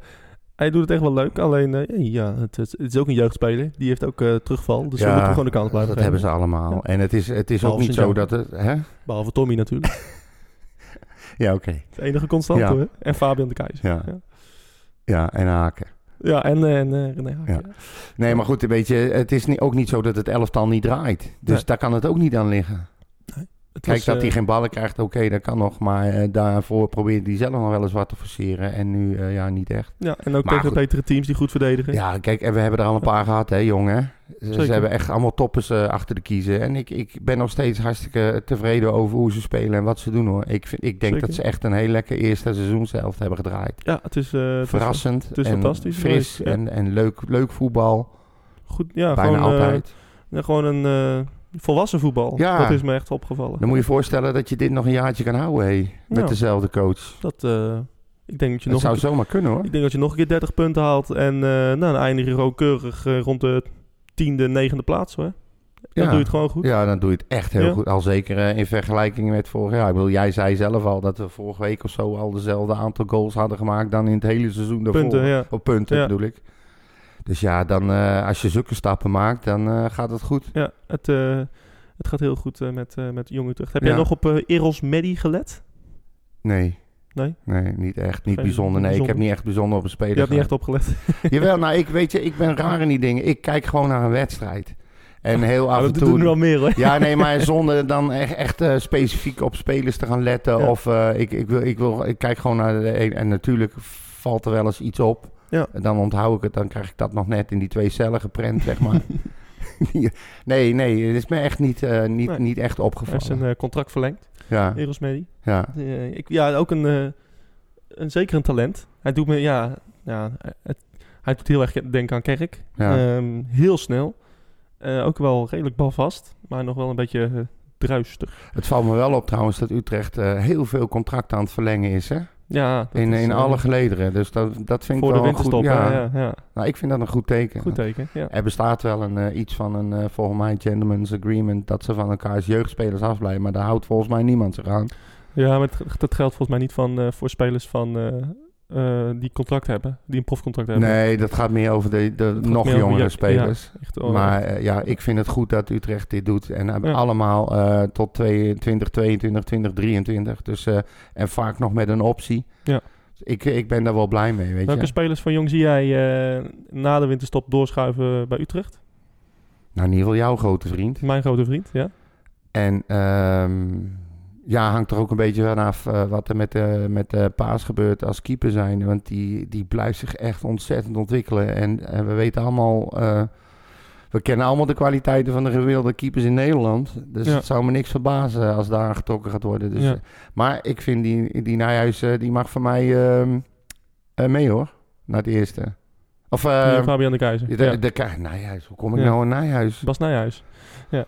S3: hij doet het echt wel leuk. Alleen, eh, ja, het, is- het is ook een jeugdspeler. Die heeft ook eh, terugval. Dus we moeten gewoon de kans blijven geven.
S4: Dat hebben ze allemaal.
S3: Ja.
S4: En het is, het is ook
S3: Behalve
S4: niet zo
S3: Sint-Jan.
S4: dat het... Hè?
S3: Behalve Tommy natuurlijk.
S4: Ja, oké.
S3: Het enige constante
S4: Ja.
S3: hoor. En Fabian de Keizer.
S4: Ja.
S3: Ja.
S4: Ja, en haken.
S3: Ja, en, eh, en eh, René Haak.
S4: Ja.
S3: ja.
S4: Nee, maar goed, weet je, het is ni- ook niet zo dat het elftal niet draait. Dus
S3: Nee.
S4: daar kan het ook niet aan liggen.
S3: Het
S4: Kijk,
S3: was,
S4: dat
S3: eh,
S4: hij geen ballen krijgt, oké, dat kan nog. Maar eh, daarvoor probeert hij zelf nog wel eens wat te forceren. En nu, eh, ja, niet echt.
S3: Ja, en ook
S4: Maar
S3: tegen
S4: goed.
S3: betere teams die goed verdedigen.
S4: Ja, kijk, en we hebben er al een paar gehad, hè, jongen. Ze, ze
S3: Zeker.
S4: hebben echt allemaal toppers eh, achter de kiezen. En ik, ik ben nog steeds hartstikke tevreden over hoe ze spelen en wat ze doen, hoor. Ik, vind, ik denk
S3: Zeker.
S4: dat ze echt een heel lekker eerste seizoen zelf hebben gedraaid.
S3: Ja, het is, eh, het is
S4: Verrassend
S3: is
S4: en
S3: fantastisch
S4: fris
S3: geweest, ja.
S4: en, en leuk, leuk voetbal,
S3: goed. Ja,
S4: bijna
S3: gewoon, eh,
S4: altijd.
S3: ja, gewoon een eh, volwassen voetbal.
S4: Ja.
S3: Dat is me echt opgevallen.
S4: Dan moet je voorstellen dat je dit nog een jaartje kan houden, hé. Met
S3: Ja.
S4: dezelfde coach.
S3: dat, eh, ik, denk dat je nog
S4: Dat zou
S3: een,
S4: zomaar kunnen, hoor.
S3: ik denk dat je nog een keer 30 punten haalt. En eh nou, dan eindig je gewoon keurig eh, rond de tiende, negende plaats hoor. Dan
S4: Ja.
S3: doe je het gewoon goed.
S4: Ja, dan doe je het echt heel
S3: Ja.
S4: goed. Al zeker eh, in vergelijking met vorig jaar. Ik bedoel, jij zei zelf al dat we vorige week of zo al dezelfde aantal goals hadden gemaakt dan in het hele seizoen daarvoor.
S3: punten, ja.
S4: Op punten
S3: Ja.
S4: bedoel ik. Dus ja, dan, eh, als je zulke stappen maakt, dan eh, gaat het goed.
S3: ja het, eh, het gaat heel goed eh, met, eh met Jong Utrecht. Heb
S4: Ja.
S3: jij nog op eh, Eros Medi gelet?
S4: Nee.
S3: Nee?
S4: Nee, niet echt. Niet
S3: Geen-
S4: bijzonder. Nee, ik
S3: bijzonder.
S4: heb niet echt bijzonder op een speler
S3: Je hebt niet
S4: gelet.
S3: echt opgelet.
S4: Jawel, nou, ik weet je, ik ben raar in die dingen. Ik kijk gewoon naar een wedstrijd. En heel af en
S3: dat
S4: toe...
S3: doen nu al meer hoor.
S4: Ja, nee, maar zonder dan echt, echt eh, specifiek op spelers te gaan letten.
S3: Ja.
S4: Of eh, ik, ik, wil, ik, wil, ik kijk gewoon naar de een. En natuurlijk valt er wel eens iets op.
S3: Ja.
S4: En dan onthoud ik het. Dan krijg ik dat nog net in die twee cellen geprent, zeg maar. nee, nee, het is me echt niet, eh, niet,
S3: Nee.
S4: niet echt
S3: Hij heeft
S4: opgevallen.
S3: zijn eh, contract verlengd,
S4: Ja,
S3: Eros Medi.
S4: ja.
S3: Eh, ik, ja, ook een, eh, een zeker een talent. Hij doet me, ja, ja het- hij doet heel erg denken aan Kerk.
S4: Ja.
S3: Ehm, heel snel. Eh, ook wel redelijk balvast, maar nog wel een beetje eh, druistig.
S4: Het valt me wel op trouwens dat Utrecht eh, heel veel contracten aan het verlengen is. Hè?
S3: Ja, dat
S4: In,
S3: is,
S4: in
S3: eh,
S4: alle gelederen. Dus dat, dat vind
S3: voor
S4: ik
S3: de
S4: wel een
S3: winterstop.
S4: goed.
S3: hè,
S4: Ja,
S3: ja. Ja,
S4: Nou, ik vind dat een goed teken.
S3: Goed teken. Ja.
S4: Er bestaat wel een, eh, iets van een, eh, volgens mij, gentleman's agreement... dat ze van elkaars jeugdspelers afblijven. Maar daar houdt volgens mij niemand zich aan.
S3: ja, maar het- dat geldt volgens mij niet van, eh, voor spelers van, eh, eh, die contract hebben, die een profcontract hebben.
S4: Nee, dat gaat meer over de, de
S3: Eh, gaat
S4: nog
S3: meer over
S4: jongere
S3: je-
S4: spelers.
S3: Echt, oh,
S4: Maar eh, ja, ik vind het goed dat Utrecht dit doet. En eh,
S3: Ja.
S4: allemaal eh, tot 2022, 22, 2023. Dus, eh, en vaak nog met een optie.
S3: Ja.
S4: Dus Ik, ik ben daar wel blij mee, weet
S3: Welke
S4: je.
S3: spelers van Jong zie jij eh, na de winterstop doorschuiven bij Utrecht?
S4: Nou, in ieder geval jouw grote vriend.
S3: Mijn grote vriend, ja.
S4: En ehm, ja, hangt er ook een beetje vanaf eh, wat er met, de met de Paas gebeurt als keeper zijn. Want die, die blijft zich echt ontzettend ontwikkelen. En eh, we weten allemaal, eh, we kennen allemaal de kwaliteiten van de gewilde keepers in Nederland. Dus
S3: Ja.
S4: het zou me niks verbazen als daar getrokken gaat worden. Dus,
S3: Ja.
S4: eh, maar ik vind die, die Nijhuis, eh, die mag van mij ehm, eh, mee hoor, naar het eerste. Of... eh,
S3: Die Fabian de Keizer.
S4: de,
S3: ja.
S4: de, Ka- Nijhuis, hoe kom ik
S3: Ja.
S4: nou aan Nijhuis?
S3: Bas Nijhuis. Ja.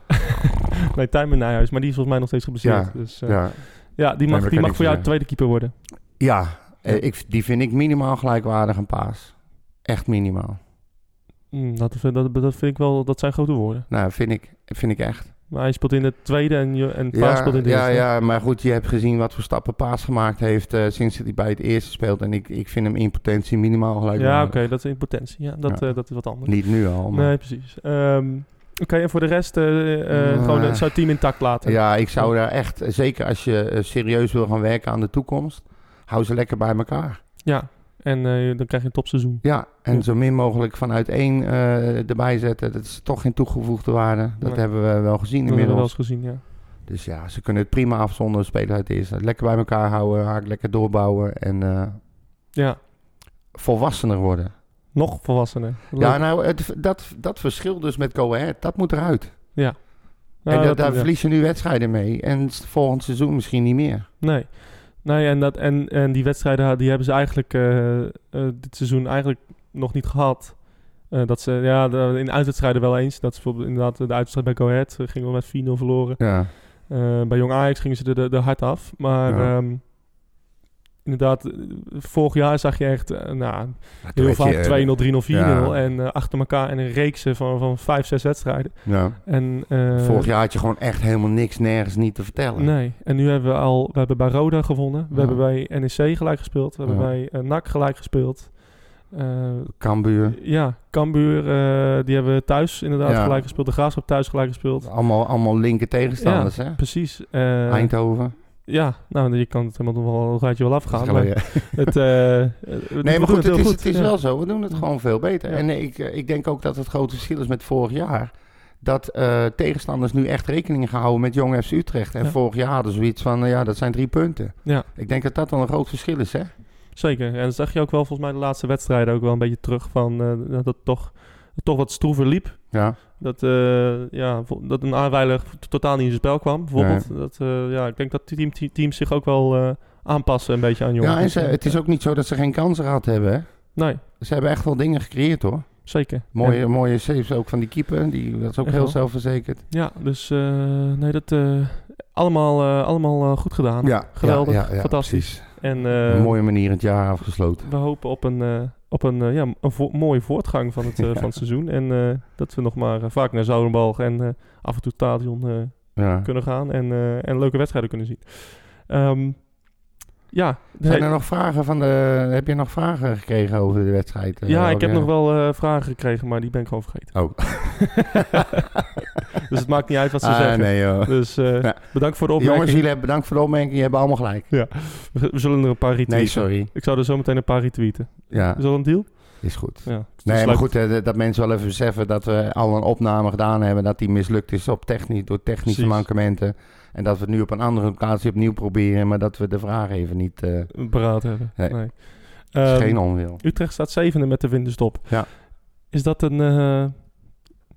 S3: nee, Tijmen Nijhuis. Maar die is volgens mij nog steeds geblesseerd.
S4: Ja,
S3: Dus, eh, ja.
S4: Ja,
S3: die mag,
S4: maar dat
S3: die
S4: kan
S3: mag
S4: ik
S3: voor jou
S4: zeggen.
S3: tweede keeper worden.
S4: Ja, eh,
S3: Ja.
S4: ik, die vind ik minimaal gelijkwaardig aan Paas. Echt minimaal.
S3: Mm, dat, dat, dat vind ik wel... Dat zijn grote woorden.
S4: Nou, vind ik, vind ik echt.
S3: Maar hij speelt in de tweede en, je- en Paas speelt in de
S4: ja,
S3: eerste.
S4: ja, maar goed, je hebt gezien wat voor stappen Paas gemaakt heeft eh, sinds dat hij bij het eerste speelt. En ik, ik vind hem in potentie minimaal
S3: Ja,
S4: gelijkwaardig.
S3: oké. dat is in potentie. Ja, dat,
S4: Ja.
S3: eh, dat is wat anders.
S4: Niet nu al, maar...
S3: Nee, precies. Ehm, oké, en voor de rest eh, eh,
S4: Ja.
S3: gewoon het zou het team intact laten.
S4: Ja, ik zou daar echt, eh, zeker als je eh, serieus wil gaan werken aan de toekomst, hou ze lekker bij elkaar.
S3: Ja. En eh, dan krijg je een topseizoen.
S4: Ja, en
S3: Ja.
S4: zo min mogelijk vanuit één eh, erbij zetten. Dat is toch geen toegevoegde waarde. Dat
S3: Nee.
S4: hebben we wel gezien
S3: Dat hebben we wel
S4: inmiddels.
S3: eens gezien, ja.
S4: Dus ja, ze kunnen het prima af zonder spelen uit de eerste. Lekker bij elkaar houden, haak lekker doorbouwen en eh,
S3: Ja,
S4: volwassener worden.
S3: nog volwassenen.
S4: Ja, nou, het, dat, dat verschil dus met Go Ahead, dat moet eruit.
S3: Nou,
S4: en dat, daar
S3: ja.
S4: verlies je nu wedstrijden mee. En s- volgend seizoen misschien niet meer.
S3: Nee. Nee, en, dat, en, en die wedstrijden die hebben ze eigenlijk eh, eh, dit seizoen eigenlijk nog niet gehad. Eh, dat ze, ja, de- in uitwedstrijden wel eens. Dat is bijvoorbeeld inderdaad de uitwedstrijd bij Go Ahead. eh, Gingen we met 4-0 verloren.
S4: Ja,
S3: Eh, bij Jong Ajax gingen ze er de, de hard af. Maar
S4: Ja.
S3: ehm, inderdaad, eh, vorig jaar zag je echt eh, nou,
S4: Ja, toen
S3: heel
S4: werd je,
S3: vaak 2-0, 3-0, 4-0.
S4: eh, ja.
S3: En eh, achter elkaar en een reeksen van, van 5, 6 wedstrijden.
S4: Ja.
S3: En, eh,
S4: Vorig jaar had je gewoon echt helemaal niks, nergens niet te vertellen.
S3: Nee, en nu hebben we al, we hebben bij Roda gewonnen, we
S4: Ja.
S3: hebben bij NEC gelijk gespeeld, we hebben
S4: Ja.
S3: bij eh, NAC gelijk gespeeld. Eh,
S4: Cambuur,
S3: ja, Cambuur, eh, die hebben thuis inderdaad
S4: Ja.
S3: gelijk gespeeld, de Graafschap thuis gelijk gespeeld.
S4: allemaal, allemaal linker tegenstanders, hè?
S3: Precies. eh,
S4: Eindhoven.
S3: ja, nou, je kan het helemaal nog wel, een rijtje wel
S4: Dat
S3: afgaan.
S4: gaan we-
S3: maar het, eh, eh, we doen-
S4: Nee,
S3: we
S4: maar
S3: doen
S4: goed, het
S3: heel
S4: is, het is
S3: ja.
S4: wel zo. We doen het gewoon veel beter.
S3: Ja.
S4: En eh, ik, eh, ik denk ook dat het grote verschil is met vorig jaar. Dat eh, tegenstanders nu echt rekening gaan houden met Jong FC Utrecht. En
S3: Ja.
S4: vorig jaar hadden ze zoiets van, nou ja, dat zijn drie punten.
S3: Ja.
S4: Ik denk dat dat wel een groot verschil is, hè?
S3: Zeker. En dat zag je ook wel volgens mij de laatste wedstrijden ook wel een beetje terug van eh, dat het toch, toch wat stroever liep.
S4: Ja,
S3: Dat, eh, ja, vo- dat een aanwijler t- totaal niet in zijn spel kwam. Bijvoorbeeld, dat, eh, ja, ik denk dat die team, die teams zich ook wel eh, aanpassen een beetje aan jongens.
S4: ja en ze, het is ook niet zo dat ze geen kansen gehad hebben. hè?
S3: Nee,
S4: Ze hebben echt wel dingen gecreëerd, hoor.
S3: zeker.
S4: Mooie,
S3: En-
S4: mooie saves ook van die keeper. Die was ook
S3: Echt
S4: heel
S3: wel.
S4: zelfverzekerd.
S3: ja, dus eh, nee, dat eh, allemaal, eh, allemaal eh, goed gedaan. geweldig, fantastisch. En eh,
S4: Een mooie manier het jaar afgesloten.
S3: we hopen op een, eh, op een, eh, ja, een vo- mooie voortgang van het, eh,
S4: Ja.
S3: van het seizoen. En eh, dat we nog maar eh, vaak naar Zoudenbalg en eh, af en toe Stadion eh,
S4: Ja.
S3: kunnen gaan. En, eh, en leuke wedstrijden kunnen zien. Ehm, ja,
S4: Zijn
S3: nee.
S4: er nog vragen van de... Heb je nog vragen gekregen over de wedstrijd? eh,
S3: Ja, ik
S4: Rogier?
S3: heb nog wel eh, vragen gekregen, maar die ben ik gewoon vergeten.
S4: Oh.
S3: dus het maakt niet uit wat ze
S4: Ah,
S3: zeggen.
S4: nee, joh.
S3: Dus eh,
S4: Ja.
S3: bedankt voor de opmerking.
S4: Jongens, jullie hebben, bedankt voor de opmerking. Jullie hebben allemaal gelijk.
S3: we, we zullen er een paar retweeten.
S4: Nee, sorry.
S3: Ik zou er zo meteen een paar retweeten.
S4: Ja,
S3: Is dat een deal?
S4: is goed.
S3: Ja.
S4: Nee,
S3: Dus
S4: maar
S3: leuk.
S4: goed, hè, dat mensen wel even beseffen dat we al een opname gedaan hebben. Dat die mislukt is op technisch, door technische
S3: Precies.
S4: mankementen. En dat we het nu op een andere locatie opnieuw proberen. Maar dat we de vraag even niet... eh het
S3: Beraad hebben.
S4: Nee.
S3: Nee.
S4: is
S3: Ehm,
S4: geen onwil.
S3: Utrecht staat zevende met de winterstop.
S4: Ja.
S3: Is dat een... eh,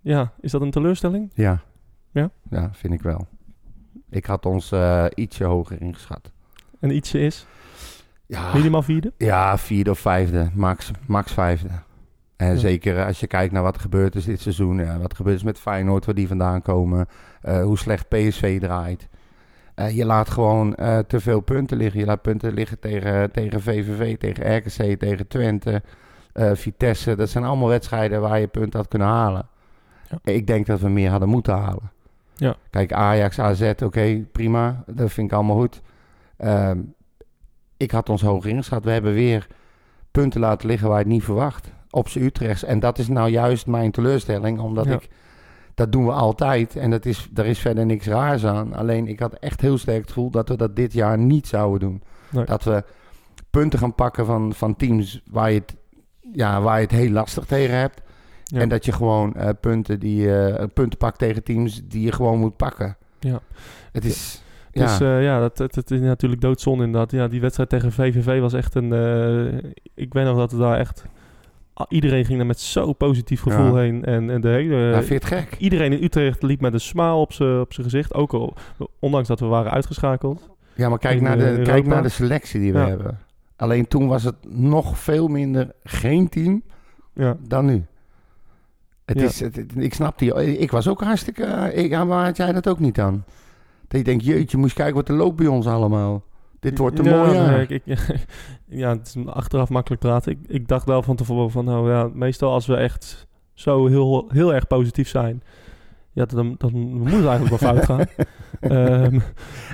S3: ja, is dat een teleurstelling?
S4: Ja.
S3: Ja?
S4: Ja, vind ik wel. Ik had ons eh, ietsje hoger ingeschat.
S3: En ietsje is?
S4: Ja,
S3: Minimaal vierde?
S4: Ja, vierde of vijfde. Max, max vijfde. En
S3: Ja.
S4: zeker eh, als je kijkt naar wat er gebeurd is dit seizoen. Ja, wat gebeurd is met Feyenoord, waar die vandaan komen. eh, hoe slecht PSV draait. Eh, je laat gewoon eh, te veel punten liggen. Je laat punten liggen tegen, tegen VVV, tegen RKC, tegen Twente, eh, Vitesse. Dat zijn allemaal wedstrijden waar je punten had kunnen halen. Ik denk dat we meer hadden moeten halen.
S3: Ja.
S4: Kijk, Ajax, AZ, oké, prima. Dat vind ik allemaal goed. Ehm, ik had ons hoog ingeschat. We hebben weer punten laten liggen waar je het niet verwacht. Op z'n Utrechts. En dat is nou juist mijn teleurstelling. Omdat
S3: Ja.
S4: ik... Dat doen we altijd. En dat is, daar is verder niks raars aan. Alleen ik had echt heel sterk het gevoel dat we dat dit jaar niet zouden doen.
S3: Nee.
S4: Dat we punten gaan pakken van, van teams waar je, het, ja, waar je het heel lastig tegen hebt.
S3: Ja.
S4: En dat je gewoon eh, punten, die, eh, punten pakt tegen teams die je gewoon moet pakken.
S3: Ja.
S4: Het is... Ja.
S3: Dus eh, ja, dat, dat, dat is natuurlijk doodzonde inderdaad. Ja, die wedstrijd tegen VVV was echt een... eh, ik weet nog dat we daar echt... a- Iedereen ging daar met zo'n positief gevoel
S4: Ja.
S3: heen. En, en de hele...
S4: Nou, vind je het gek?
S3: Iedereen in Utrecht liep met een smaal op zijn op z'n gezicht. Ook al, ondanks dat we waren uitgeschakeld.
S4: Ja, maar kijk,
S3: in,
S4: naar
S3: eh,
S4: de,
S3: Europa.
S4: kijk naar de selectie die we
S3: Ja.
S4: hebben. Alleen toen was het nog veel minder geen team
S3: Ja,
S4: dan nu. Het
S3: Ja.
S4: is, het- het- ik snap die. Ik was ook hartstikke. eh, Ik, ja, maar had jij dat ook niet dan? Dat je denkt, jeetje, moest kijken wat er loopt bij ons allemaal. Dit wordt een
S3: ja,
S4: mooi jaar.
S3: nee, ik, ik- ja, het is achteraf makkelijk praten. Ik, ik dacht wel van tevoren van... Nou ja, meestal als we echt zo heel, heel erg positief zijn... Ja, dan, dan moet het eigenlijk wel fout gaan. Ehm,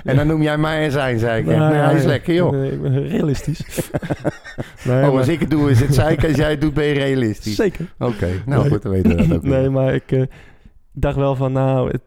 S4: En dan noem jij mij en zijn, zei ik.
S3: Nou,
S4: nee,
S3: ja,
S4: hij is
S3: ja.
S4: lekker, joh.
S3: Nee, ik ben realistisch. nee,
S4: oh, als
S3: maar-
S4: ik het doe, is het zeik. Als jij het doet, ben je realistisch.
S3: Zeker.
S4: Oké, nou
S3: Nee.
S4: goed, dan weten we dat ook. weer.
S3: Nee, maar ik eh, dacht wel van, nou, het,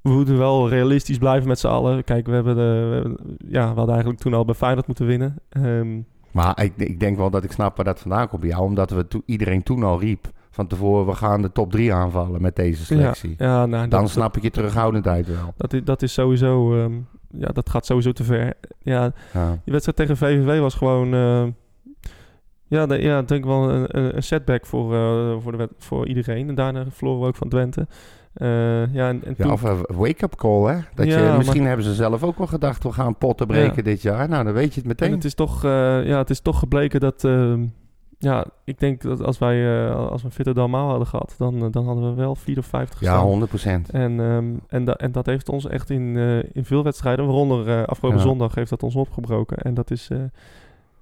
S3: we moeten wel realistisch blijven met z'n allen. Kijk, we hebben, de, we hebben- ja, we hadden eigenlijk toen al bij Feyenoord moeten winnen. Ehm,
S4: Maar ik, ik denk wel dat ik snap waar dat vandaan komt bij jou. Omdat we to- iedereen toen al riep van tevoren, we gaan de top 3 aanvallen met deze
S3: ja,
S4: selectie.
S3: ja, nou,
S4: Dan
S3: dat,
S4: snap ik je terughoudendheid wel.
S3: dat, is- dat is sowieso, ehm, ja, dat gaat sowieso te ver. Ja,
S4: Ja.
S3: Die wedstrijd tegen VVV was gewoon... eh, ja, de, ja, ik denk wel een, een- een setback voor, eh, voor, de wed- voor iedereen. En daarna verloren we ook van Twente. Eh, ja, en, en
S4: Ja,
S3: toen-
S4: of een wake-up call, hè? Dat
S3: Ja,
S4: je,
S3: maar-
S4: misschien hebben ze zelf ook wel gedacht, we gaan potten breken dit jaar. Nou, dan weet je het
S3: en
S4: meteen.
S3: het, is toch, eh, ja, het is toch gebleken dat... eh, Ja, ik denk dat als wij eh als we Vitter Dalmau hadden gehad, dan, eh, dan hadden we wel 4 of 50 gestaan.
S4: Ja, 100 procent.
S3: En, ehm, en, da- en dat heeft ons echt in, eh, in veel wedstrijden, waaronder eh, afgelopen
S4: Ja.
S3: zondag, heeft dat ons opgebroken. En dat is, eh,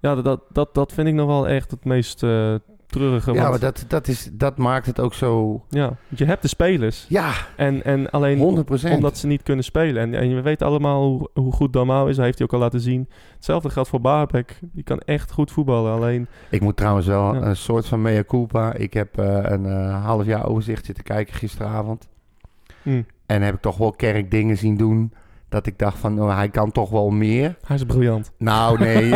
S3: ja, dat- dat, dat, dat vind ik nog wel echt het meest eh, treurige.
S4: Ja,
S3: want-
S4: maar dat, dat, is, dat maakt het ook zo...
S3: ja, want je hebt de spelers
S4: Ja,
S3: en, en alleen
S4: 100 procent.
S3: omdat ze niet kunnen spelen. En, en we weten allemaal hoe, hoe goed Damau is, hij heeft hij ook al laten zien. Hetzelfde geldt voor Baarbek, die kan echt goed voetballen. Alleen,
S4: Ik moet trouwens wel
S3: Ja.
S4: een soort van mea culpa. Ik heb eh, een eh, half jaar overzicht zitten kijken gisteravond.
S3: hm,
S4: En heb ik toch wel kerk dingen zien doen. Dat ik dacht van, oh, hij kan toch wel meer.
S3: hij is briljant.
S4: Nou, nee.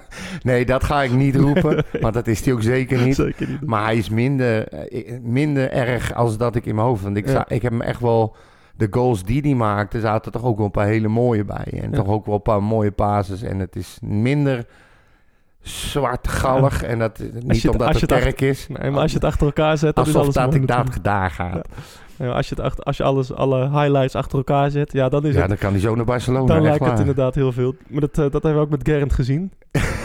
S4: nee, dat ga ik niet roepen. Want dat is hij ook zeker niet.
S3: Zeker niet.
S4: Maar hij is minder, eh, minder erg als dat ik in mijn hoofd. Want ik,
S3: Ja.
S4: za- ik heb hem echt wel... De goals die hij maakte, zaten toch ook wel een paar hele mooie bij. En
S3: Ja.
S4: toch ook wel een paar mooie pases. En het is minder zwartgallig. En dat niet
S3: je het-
S4: omdat
S3: als je
S4: het
S3: het
S4: kerk is.
S3: Nee, maar als je het achter elkaar zet, dan is
S4: Alsof
S3: alles
S4: dat
S3: mooi
S4: ik
S3: natuurlijk.
S4: daar, daar ga.
S3: Nee, maar als je, het achter, als je alles, alle highlights achter elkaar zet, ja, dan is
S4: Ja,
S3: het.
S4: dan kan hij zo naar Barcelona.
S3: Dan
S4: echt
S3: lijkt het
S4: waar.
S3: inderdaad heel veel. Maar dat, eh, dat hebben we ook met Gerrit gezien.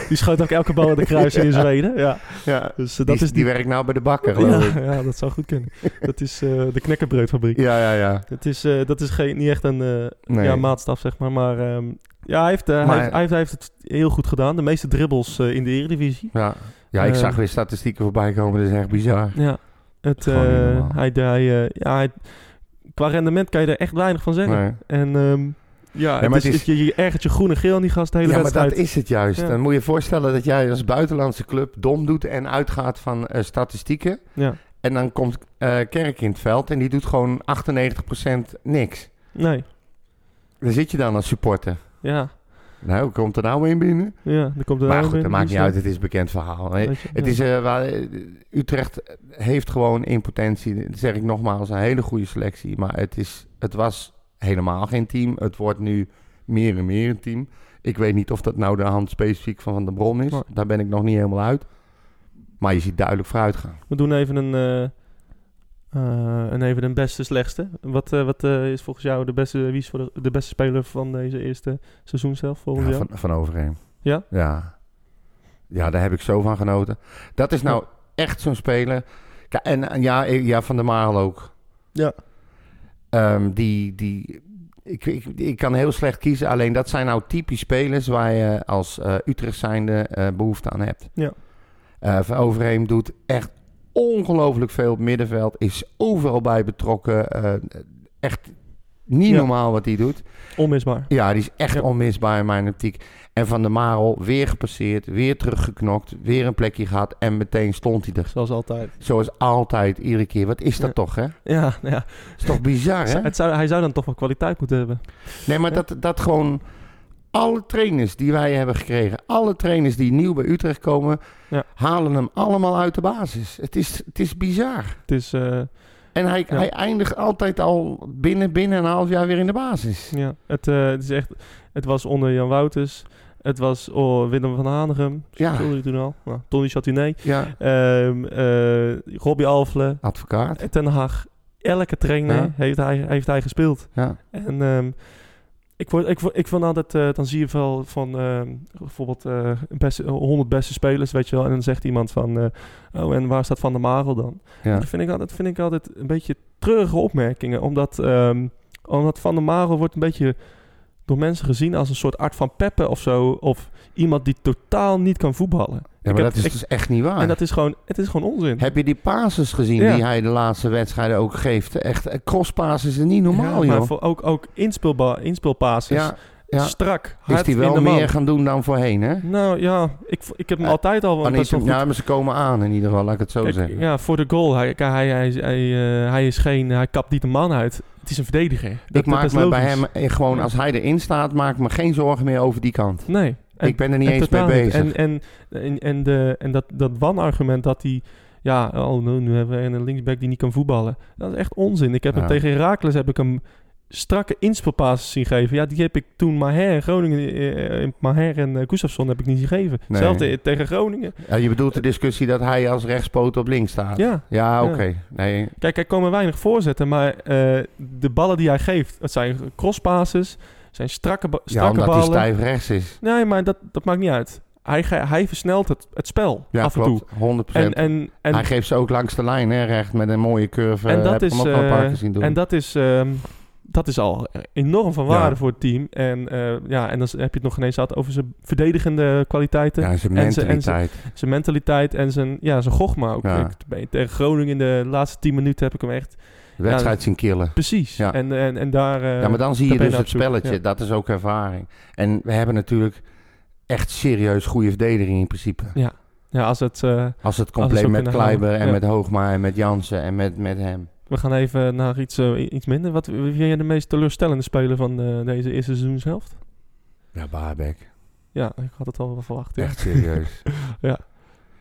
S3: Die schoot ook elke bal in de kruis in Zweden. Ja.
S4: Ja.
S3: Dus eh, dat
S4: die,
S3: is
S4: die werkt nou bij de bakker, geloof ik.
S3: ja, ja, dat zou goed kunnen. Dat is eh, de knekkenbreudfabriek.
S4: Ja, ja, ja.
S3: Het is, eh, dat is geen, niet echt een eh,
S4: Nee.
S3: ja, maatstaf, zeg maar. Maar ehm, ja, hij heeft, eh,
S4: Maar-
S3: hij, heeft, hij, heeft, hij heeft het heel goed gedaan. De meeste dribbles eh, in de Eredivisie.
S4: ja. Ja, ik
S3: Eh.
S4: zag weer statistieken voorbij komen. Dat is echt bizar.
S3: Ja, het,
S4: Gewoon niet
S3: eh,
S4: normaal.
S3: hij, hij, eh, ja, hij- qua rendement kan je er echt weinig van zeggen.
S4: Nee.
S3: En ehm, ja,
S4: maar
S3: het is,
S4: het is-
S3: je, je ergert je groen en geel aan die gast de hele
S4: Ja, maar
S3: wedstrijd.
S4: dat is het juist.
S3: Ja.
S4: Dan moet je je voorstellen dat jij als buitenlandse club dom doet en uitgaat van eh, statistieken.
S3: Ja.
S4: En dan komt eh, Kerk in het veld en die doet gewoon 98% niks.
S3: Nee,
S4: Daar zit je dan als supporter.
S3: ja.
S4: Nou, hoe komt er nou in binnen?
S3: Ja, dan komt er
S4: maar
S3: nou
S4: goed,
S3: weer-
S4: dat maakt niet
S3: dus,
S4: uit. Het is een bekend verhaal.
S3: eh,
S4: hè.
S3: weet je,
S4: Het
S3: ja.
S4: is, eh, waar, eh, Utrecht heeft gewoon in potentie, dat zeg ik nogmaals, een hele goede selectie. Maar het, is, het was helemaal geen team. Het wordt nu meer en meer een team. Ik weet niet of dat nou de hand specifiek van Van der Bron is.
S3: Nee.
S4: Daar ben ik nog niet helemaal uit. Maar je ziet duidelijk vooruit gaan.
S3: We doen even een, eh, eh, een even een beste slechtste. Wat, eh, wat eh, is volgens jou de beste, wie is voor de, de beste speler van deze eerste seizoen zelf? Volgens
S4: Ja,
S3: jou?
S4: van, van overheen.
S3: Ja?
S4: ja? Ja, daar heb ik zo van genoten. Dat is nou echt zo'n speler. Ka- En en ja, eh, ja, Van der Marel ook.
S3: Ja.
S4: Ehm, die, die, ik, ik, ik kan heel slecht kiezen. Alleen dat zijn nou typisch spelers waar je als eh, Utrecht zijnde eh, behoefte aan hebt.
S3: Ja.
S4: Eh, van Overheem doet echt ongelooflijk veel op middenveld. Is overal bij betrokken. Eh, echt niet
S3: Ja.
S4: normaal wat hij doet.
S3: Onmisbaar.
S4: Ja, die is echt
S3: Ja.
S4: onmisbaar in mijn optiek. En Van der Marel weer gepasseerd, weer teruggeknokt, weer een plekje gehad en meteen stond hij er.
S3: Zoals altijd.
S4: Zoals altijd, iedere keer. Wat is dat
S3: Ja.
S4: toch, hè?
S3: Ja, nou ja.
S4: Is toch bizar, hè?
S3: Het zou, hij zou dan toch wel kwaliteit moeten hebben.
S4: Nee, maar dat, dat gewoon alle trainers die wij hebben gekregen, alle trainers die nieuw bij Utrecht komen,
S3: Ja.
S4: halen hem allemaal uit de basis. Het is, het is bizar.
S3: Het is, eh,
S4: En hij,
S3: Ja.
S4: hij eindigt altijd al binnen, binnen een half jaar weer in de basis.
S3: ja, het, eh, het is echt, het was onder Jan Wouters. Het was oh, Willem van Hanegem.
S4: Ja.
S3: Sorry toen al. Nou, Tony Chatinet.
S4: Ja,
S3: Ehm eh, Robbie Alfle,
S4: advocaat.
S3: Ten Hag. Elke trainer
S4: Ja.
S3: heeft, hij, heeft hij gespeeld.
S4: Ja.
S3: En ehm, ik, word, ik, word, ik vond altijd, eh, dan zie je wel van ehm, bijvoorbeeld eh, beste, 100 beste spelers, weet je wel. En dan zegt iemand van, eh, oh en waar staat Van der Marel dan?
S4: Ja.
S3: Dat, vind ik altijd, vind ik altijd een beetje treurige opmerkingen. Omdat, ehm, omdat Van der Marel wordt een beetje door mensen gezien als een soort Art van Peppe of zo. Of iemand die totaal niet kan voetballen.
S4: Ja,
S3: Ik
S4: maar
S3: heb-
S4: dat is
S3: ik-
S4: dus echt niet waar.
S3: En dat is gewoon, het is gewoon onzin.
S4: Heb je die passes gezien
S3: Ja.
S4: die hij de laatste wedstrijden ook geeft? Echt, eh, crosspases is niet normaal,
S3: ja, maar
S4: joh.
S3: voor ook, ook inspelba- inspelpases.
S4: Ja, ja.
S3: Strak,
S4: Is
S3: hard
S4: hij
S3: in
S4: wel
S3: de man.
S4: meer gaan doen dan voorheen, hè?
S3: Nou ja, ik, v- ik heb hem
S4: Eh,
S3: altijd al...
S4: Maar
S3: want best wel goed.
S4: ja, maar ze komen aan in ieder geval, laat ik het zo
S3: Kijk,
S4: zeggen.
S3: ja, voor de goal. Hij, hij, hij, hij, eh, hij is geen... Hij kapt niet de man uit. Het is een verdediger. Dat- dat
S4: ik maak
S3: is
S4: me bij
S3: logisch.
S4: hem, eh, gewoon
S3: Ja.
S4: als hij erin staat, maak ik me geen zorgen meer over die kant.
S3: Nee. En-
S4: ik ben er niet
S3: en
S4: eens mee
S3: totaal niet.
S4: bezig.
S3: En, en, en, en, de, en dat, dat wanargument dat hij... Ja, oh no, nu hebben we een linksback die niet kan voetballen. Dat is echt onzin. Ik heb
S4: Ja.
S3: hem tegen Heracles heb ik hem strakke inspelpases zien geven. Ja, die heb ik toen Maher en Groningen... eh, eh, Maher en eh, Gustafsson heb ik niet zien geven.
S4: Nee.
S3: Hetzelfde eh, tegen Groningen.
S4: Ja, je bedoelt de discussie dat hij als rechtspoot op links staat?
S3: Ja.
S4: Ja,
S3: Ja.
S4: oké. Nee,
S3: Kijk, er komen weinig voorzetten, maar eh, de ballen die hij geeft... Het zijn crosspases, zijn strakke, ba-
S4: ja,
S3: strakke
S4: omdat hij
S3: ballen.
S4: stijf rechts is.
S3: Nee, maar dat, dat maakt niet uit. hij, ge- hij versnelt het, het spel
S4: Ja,
S3: af en toe.
S4: klopt. 100%.
S3: En, en, en,
S4: hij geeft ze ook langs de lijn, hè, recht met een mooie curve.
S3: En dat
S4: Heb ik
S3: is,
S4: hem ook al een paar
S3: eh,
S4: keer zien doen.
S3: en dat is, ehm, dat is al enorm van waarde
S4: Ja.
S3: voor het team. En, eh, ja, en dan heb je het nog ineens gehad over zijn verdedigende kwaliteiten.
S4: ja, zijn
S3: en ze- en ze-
S4: mentaliteit.
S3: Zijn mentaliteit en zijn, ja, zijn gochma ook.
S4: Ja.
S3: Ik ben tegen Groningen in de laatste tien minuten heb ik hem echt...
S4: de wedstrijd zien killen.
S3: Precies.
S4: Ja.
S3: En, en, en daar... eh,
S4: ja, maar dan zie je
S3: daar ben
S4: dus
S3: je
S4: het
S3: naar op zoek,
S4: spelletje.
S3: ja.
S4: Dat is ook ervaring. En we hebben natuurlijk echt serieus goede verdediging in principe.
S3: ja, als het... eh,
S4: Als het
S3: Als
S4: compleet
S3: het zo
S4: met
S3: kunnen houden,
S4: Kleiber en
S3: ja.
S4: met Hoogma en met Jansen en met, met hem.
S3: we gaan even naar iets, eh, iets minder. Wat wie vind jij de meest teleurstellende speler van eh, deze eerste seizoenshelft?
S4: Ja, Baarbek.
S3: Ja, ik had het al wel verwacht. ja.
S4: Echt serieus.
S3: Ja.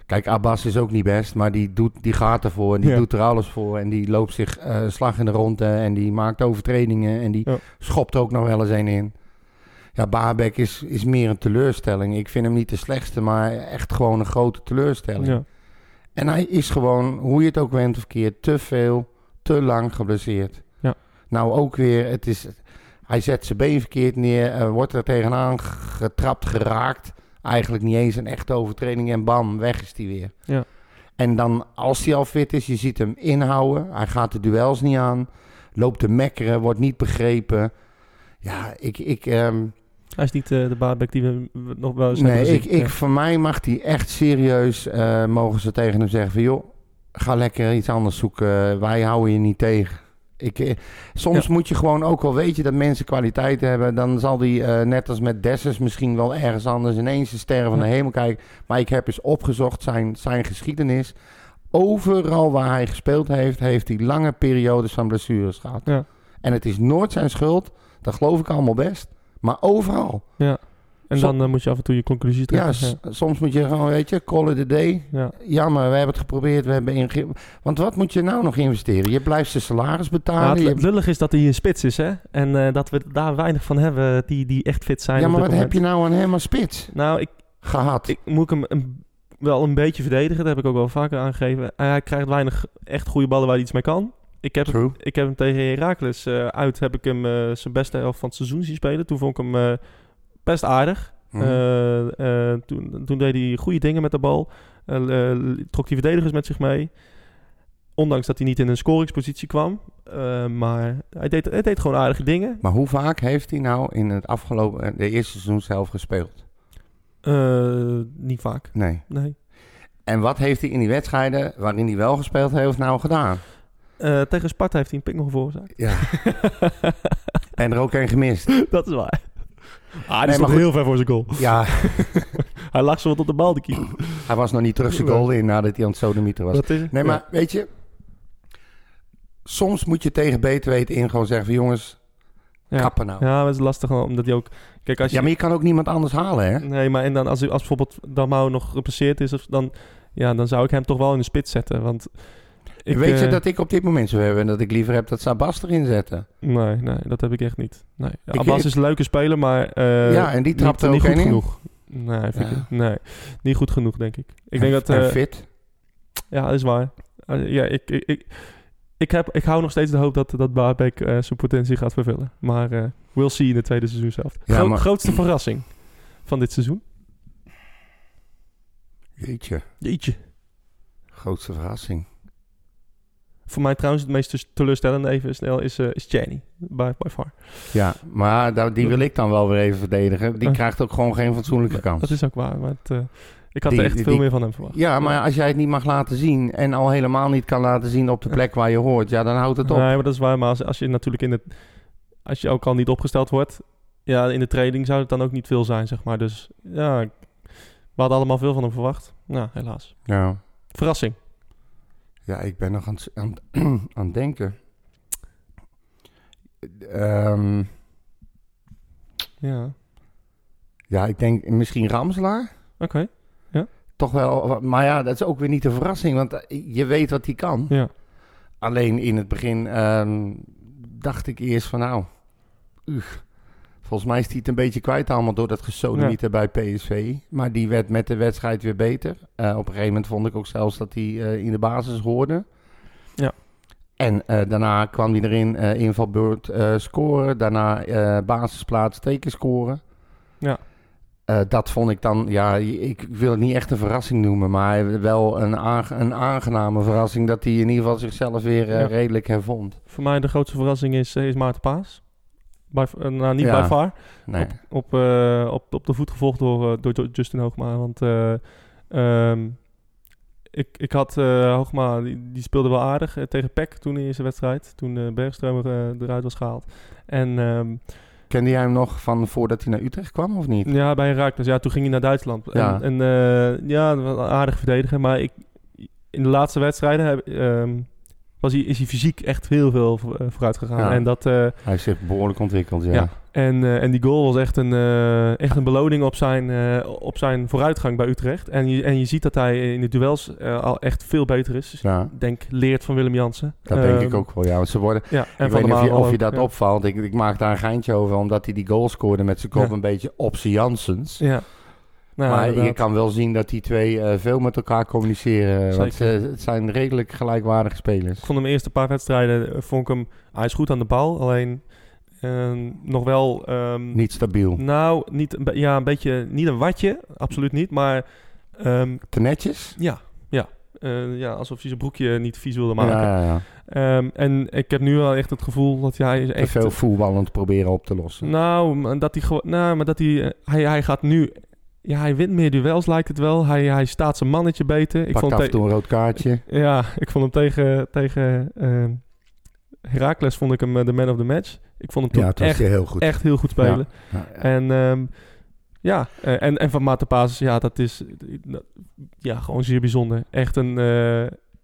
S4: Kijk, Abbas is ook niet best, maar die, doet, die gaat ervoor en die
S3: Ja.
S4: doet er alles voor. En die loopt zich eh, slag in de ronde en die maakt overtredingen en die
S3: Ja.
S4: schopt er ook nog wel eens een in. Ja, Baarbek is, is meer een teleurstelling. Ik vind hem niet de slechtste, maar echt gewoon een grote teleurstelling.
S3: Ja.
S4: En hij is gewoon, hoe je het ook went of keert, te veel, te lang geblesseerd.
S3: Ja.
S4: Nou ook weer, het is, hij zet zijn been verkeerd neer, eh, wordt er tegenaan g- getrapt, geraakt. Eigenlijk niet eens een echte overtreding en bam, weg is hij weer.
S3: Ja.
S4: En dan als hij al fit is, je ziet hem inhouden. Hij gaat de duels niet aan, loopt te mekkeren, wordt niet begrepen. Ja, ik, ik, ehm,
S3: Hij is niet eh, de baardback die we we nog wel eens
S4: Nee,
S3: hebben eh,
S4: ik,
S3: gezien.
S4: ik,
S3: Ja.
S4: voor mij mag die echt serieus, eh, mogen ze tegen hem zeggen van... joh, ga lekker iets anders zoeken, wij houden je niet tegen. Ik, eh, soms moet je gewoon, ook al weet je dat mensen kwaliteit hebben... dan zal die, eh, net als met Dessers, misschien wel ergens anders... ineens de sterren van de
S3: Ja.
S4: hemel kijken. Maar ik heb eens opgezocht zijn, zijn geschiedenis. Overal waar hij gespeeld heeft, heeft hij lange periodes van blessures gehad.
S3: Ja.
S4: En het is nooit zijn schuld, dat geloof ik allemaal best... Maar overal.
S3: En
S4: Zo-
S3: dan eh, moet je af en toe je conclusies
S4: Ja,
S3: trekken.
S4: s- soms moet je gewoon, weet je, call it a day.
S3: ja.
S4: Jammer, we hebben het geprobeerd. We hebben inge- Want wat moet je nou nog investeren? Je blijft zijn salaris
S3: Ja,
S4: betalen.
S3: het
S4: je-
S3: lullig is dat hij een spits is, hè? En eh, dat we daar weinig van hebben die, die echt fit zijn.
S4: Ja,
S3: op
S4: maar
S3: dit
S4: wat heb je
S3: moment.
S4: nou aan hem als spits
S3: Nou, ik,
S4: gehad?
S3: ik moet ik hem een- wel een beetje verdedigen. Dat heb ik ook wel vaker aangegeven. Hij- hij krijgt weinig echt goede ballen waar hij iets mee kan. Ik heb,
S4: True.
S3: ik heb hem tegen Heracles eh, uit, heb ik hem eh, zijn beste helft van het seizoen zien spelen. Toen vond ik hem eh, best aardig.
S4: Mhm.
S3: Eh, eh, toen, toen deed hij goede dingen met de bal. Eh, eh, trok hij verdedigers met zich mee. Ondanks dat hij niet in een scoringspositie kwam. Eh, maar hij deed, hij deed gewoon aardige dingen.
S4: Maar hoe vaak heeft hij nou in het afgelopen, eh, de eerste seizoen zelf gespeeld?
S3: Eh, niet vaak.
S4: Nee.
S3: Nee.
S4: En wat heeft hij in die wedstrijden waarin hij wel gespeeld heeft nou gedaan?
S3: Eh, tegen Sparta heeft hij een pingel veroorzaakt.
S4: Ja. en er ook een gemist.
S3: dat is waar. Ah, die
S4: maar
S3: stond
S4: goed.
S3: heel ver voor zijn goal.
S4: Ja,
S3: Hij lag zo wat op de bal, de keeper.
S4: hij was nog niet terug zijn goal in nadat hij aan het sodemieter was.
S3: Dat is het.
S4: Nee,
S3: Ja.
S4: maar weet je, soms moet je tegen beter weten in gewoon zeggen van jongens,
S3: Ja.
S4: kappen nou.
S3: Ja, maar het is lastig omdat hij ook... Kijk, als je
S4: Ja, maar je kan ook niemand anders halen, hè?
S3: Nee, maar en dan als, als bijvoorbeeld Damau nog gepasseerd is, of dan, ja, dan zou ik hem toch wel in de spits zetten. Want ik,
S4: Weet je
S3: eh,
S4: dat ik op dit moment zo heb en dat ik liever heb dat Sabas erin zetten?
S3: Nee, nee, dat heb ik echt niet. Nee.
S4: Ik-
S3: Abbas is een leuke speler, maar... eh,
S4: ja, en die trapt
S3: niet,
S4: er ook
S3: niet goed
S4: één in.
S3: genoeg. Nee, vind
S4: Ja.
S3: ik, nee, niet goed genoeg, denk ik. Ik
S4: En-
S3: denk dat...
S4: en
S3: eh,
S4: fit.
S3: ja, dat is waar. Eh, ja, ik, ik, ik, ik heb, ik hou nog steeds de hoop dat, dat Baarbek eh, zijn potentie gaat vervullen. Maar eh, we'll see in de tweede seizoen zelf.
S4: Ja, maar-
S3: Grootste verrassing van dit seizoen?
S4: Jeetje,
S3: Jeetje.
S4: grootste verrassing.
S3: Voor mij trouwens het meest dus- teleurstellende even snel is, eh is Jenny, by, by far.
S4: Ja, maar daar- die wil ik dan wel weer even verdedigen. Die
S3: Eh.
S4: krijgt ook gewoon geen fatsoenlijke
S3: Dat
S4: kans.
S3: is ook waar, maar het, eh, ik had
S4: Die-
S3: er echt
S4: die-
S3: veel
S4: die-
S3: meer van hem verwacht.
S4: Ja, maar als jij het niet mag laten zien en al helemaal niet kan laten zien op de plek waar je hoort, ja, dan houdt het op.
S3: Nee, maar dat is waar, maar als, als je natuurlijk in het... Als je ook al niet opgesteld wordt, ja, in de training zou het dan ook niet veel zijn, zeg maar. Dus ja, ik- we hadden allemaal veel van hem verwacht. Ja, helaas.
S4: Ja,
S3: Verrassing.
S4: ja ik ben nog aan het, aan, aan het denken. Ehm,
S3: Ja, oké.
S4: ja, ik denk misschien Ramselaar. toch wel. Maar ja, dat is ook weer niet de verrassing, want eh, je weet wat hij kan.
S3: Ja.
S4: Alleen in het begin ehm, dacht ik eerst van nou, uch, volgens mij is hij het een beetje kwijt allemaal door dat gesodemieter bij PSV. Maar die werd met de wedstrijd weer beter. Eh, op een gegeven moment vond ik ook zelfs dat hij eh, in de basis hoorde.
S3: Ja.
S4: En eh, daarna kwam hij erin, eh, invalbeurt eh, scoren. Daarna eh, basisplaats, twee keer scoren.
S3: Ja.
S4: Eh, dat vond ik dan, ja, ik wil het niet echt een verrassing noemen, maar wel een, aange- een aangename verrassing dat hij in ieder geval zichzelf weer eh,
S3: Ja.
S4: redelijk hervond.
S3: Voor mij de grootste verrassing is, eh, is Maarten Paas. Bij, eh, nou, niet
S4: Ja.
S3: bij VAR.
S4: Nee.
S3: Op, eh, op, op de voet gevolgd door, eh, door Jo- Justin Hoogma. Want eh, ehm, ik, ik had eh, Hoogma, die, die speelde wel aardig eh, tegen PEC toen in de eerste wedstrijd. Toen eh Bergströmer eh, eruit was gehaald. En ehm,
S4: Kende jij hem nog van voordat hij naar Utrecht kwam of niet?
S3: ja, bij Raakles, ja, toen ging hij naar Duitsland.
S4: Ja.
S3: En, en eh, ja, wel een aardig verdediger. Maar ik, in de laatste wedstrijden heb, ehm, was hij, is hij fysiek echt heel veel vo- eh, vooruit gegaan.
S4: Ja.
S3: En dat... eh,
S4: Hij heeft zich behoorlijk ontwikkeld, ja.
S3: Ja. En, eh, en die goal was echt een, eh, echt een beloning op zijn, eh, op zijn vooruitgang bij Utrecht. En je, en je ziet dat hij in de duels eh, al echt veel beter is. Dus
S4: Ja,
S3: ik denk, leert van Willem Jansen.
S4: dat denk
S3: Ehm,
S4: ik ook wel. Ja, want ze worden,
S3: Ja, en
S4: ik
S3: van
S4: weet
S3: de
S4: niet of je,
S3: Marel
S4: of je
S3: ook,
S4: dat
S3: ja.
S4: opvalt. Ik, ik maak daar een geintje over, omdat hij die goal scoorde met zijn kop
S3: Ja.
S4: een beetje op zijn Janssens.
S3: Ja. Nou,
S4: maar je
S3: inderdaad.
S4: kan wel zien dat die twee eh, veel met elkaar communiceren. Want ze,
S3: Zeker.
S4: het zijn redelijk gelijkwaardige spelers.
S3: Ik vond hem eerst een paar wedstrijden, eh, vond ik hem, hij is goed aan de bal. Alleen ehm, nog wel... ehm,
S4: Niet stabiel.
S3: Nou, niet, een be- ja, een beetje, niet een watje, absoluut niet. Maar ehm,
S4: Te netjes?
S3: ja, ja. Eh, ja, alsof hij zijn broekje niet vies wilde maken.
S4: ja, ja, ja.
S3: Ehm, en ik heb nu wel echt het gevoel dat hij is
S4: Te
S3: echt...
S4: veel voetballend proberen op te lossen.
S3: Nou, maar dat hij gewoon... Nou, maar dat hij, eh, hij... Hij gaat nu... Ja, hij wint meer duels, lijkt het wel. Hij, hij staat zijn mannetje beter. Ik
S4: Pakt af
S3: te-
S4: en toe een rood kaartje.
S3: Ja, ik vond hem tegen... tegen ehm Heracles vond ik hem eh, de man of the match. Ik vond hem
S4: Ja,
S3: toen
S4: het was
S3: echt,
S4: heel goed.
S3: echt heel goed spelen.
S4: Ja, ja.
S3: En... ehm, ja, eh, en, en van Maarten Paas, ja, dat is eh, ja, gewoon zeer bijzonder. Echt een, eh,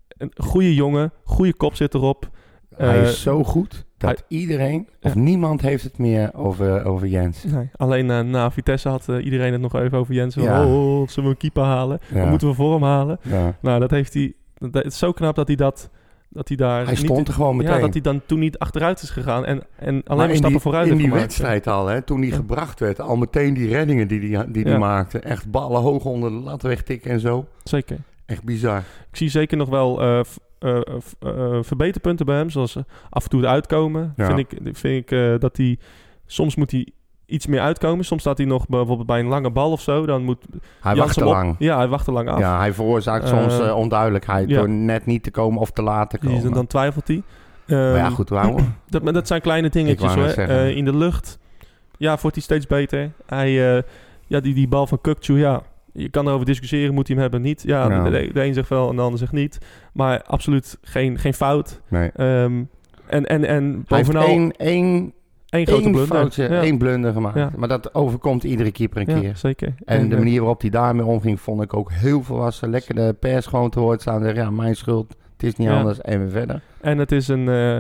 S3: een goede jongen, goede kop zit erop.
S4: hij
S3: eh,
S4: is zo goed dat iedereen of niemand heeft het meer over, over Jens.
S3: Nee, alleen eh, na Vitesse had eh, iedereen het nog even over Jensen.
S4: Ja.
S3: Oh, zullen we een keeper halen?
S4: Ja.
S3: Wat moeten we voor hem halen?
S4: Ja.
S3: Nou, dat heeft hij... dat- Het is zo knap dat hij dat... Dat hij daar
S4: Hij stond er gewoon
S3: niet,
S4: meteen.
S3: Ja, dat hij dan toen niet achteruit is gegaan en, en alleen
S4: Maar
S3: maar,
S4: in
S3: stappen
S4: die,
S3: vooruit
S4: In
S3: heeft
S4: die
S3: gemaakt.
S4: wedstrijd al, hè, toen die
S3: Ja.
S4: gebracht werd. Al meteen die reddingen die die, die, die
S3: Ja.
S4: maakte. Echt ballen hoog onder de lat wegtikken en zo.
S3: Zeker.
S4: Echt bizar.
S3: Ik zie zeker nog wel eh, v- eh, v- eh, verbeterpunten bij hem. Zoals eh, af en toe het uitkomen.
S4: Ja.
S3: Vind ik, vind ik eh, dat hij... Soms moet hij iets meer uitkomen. Soms staat hij nog bijvoorbeeld bij een lange bal of zo. Dan moet
S4: Hij
S3: Jansen
S4: wacht te
S3: hem op-
S4: lang.
S3: Ja, hij wacht te lang af.
S4: Ja, hij veroorzaakt
S3: Eh,
S4: soms eh, onduidelijkheid
S3: ja.
S4: door net niet te komen of te laat te
S3: Precies,
S4: komen.
S3: en dan twijfelt hij. Ehm,
S4: maar ja, goed, waarom?
S3: dat, maar dat zijn kleine
S4: Ik
S3: dingetjes
S4: wou net
S3: hoor.
S4: zeggen.
S3: Eh, in de lucht ja, wordt hij steeds beter. Hij, eh, ja, die, die bal van Kukcu, ja, je kan erover discussiëren, moet hij hem hebben of niet. Ja,
S4: Ja.
S3: De, de een zegt wel en de ander zegt niet. Maar absoluut geen, geen fout.
S4: Nee.
S3: Ehm, en, en, en
S4: Hij heeft
S3: bovenal één,
S4: één, één,
S3: grote
S4: één
S3: blunder.
S4: foutje,
S3: ja.
S4: één blunder gemaakt.
S3: Ja.
S4: Maar dat overkomt iedere keeper een
S3: Ja,
S4: keer.
S3: zeker.
S4: En de
S3: eh,
S4: manier waarop hij daarmee omging, vond ik ook heel volwassen. Lekker de pers gewoon te horen staan en zeggen, ja, mijn schuld, het is niet
S3: Ja.
S4: anders en weer verder.
S3: En het is een, eh,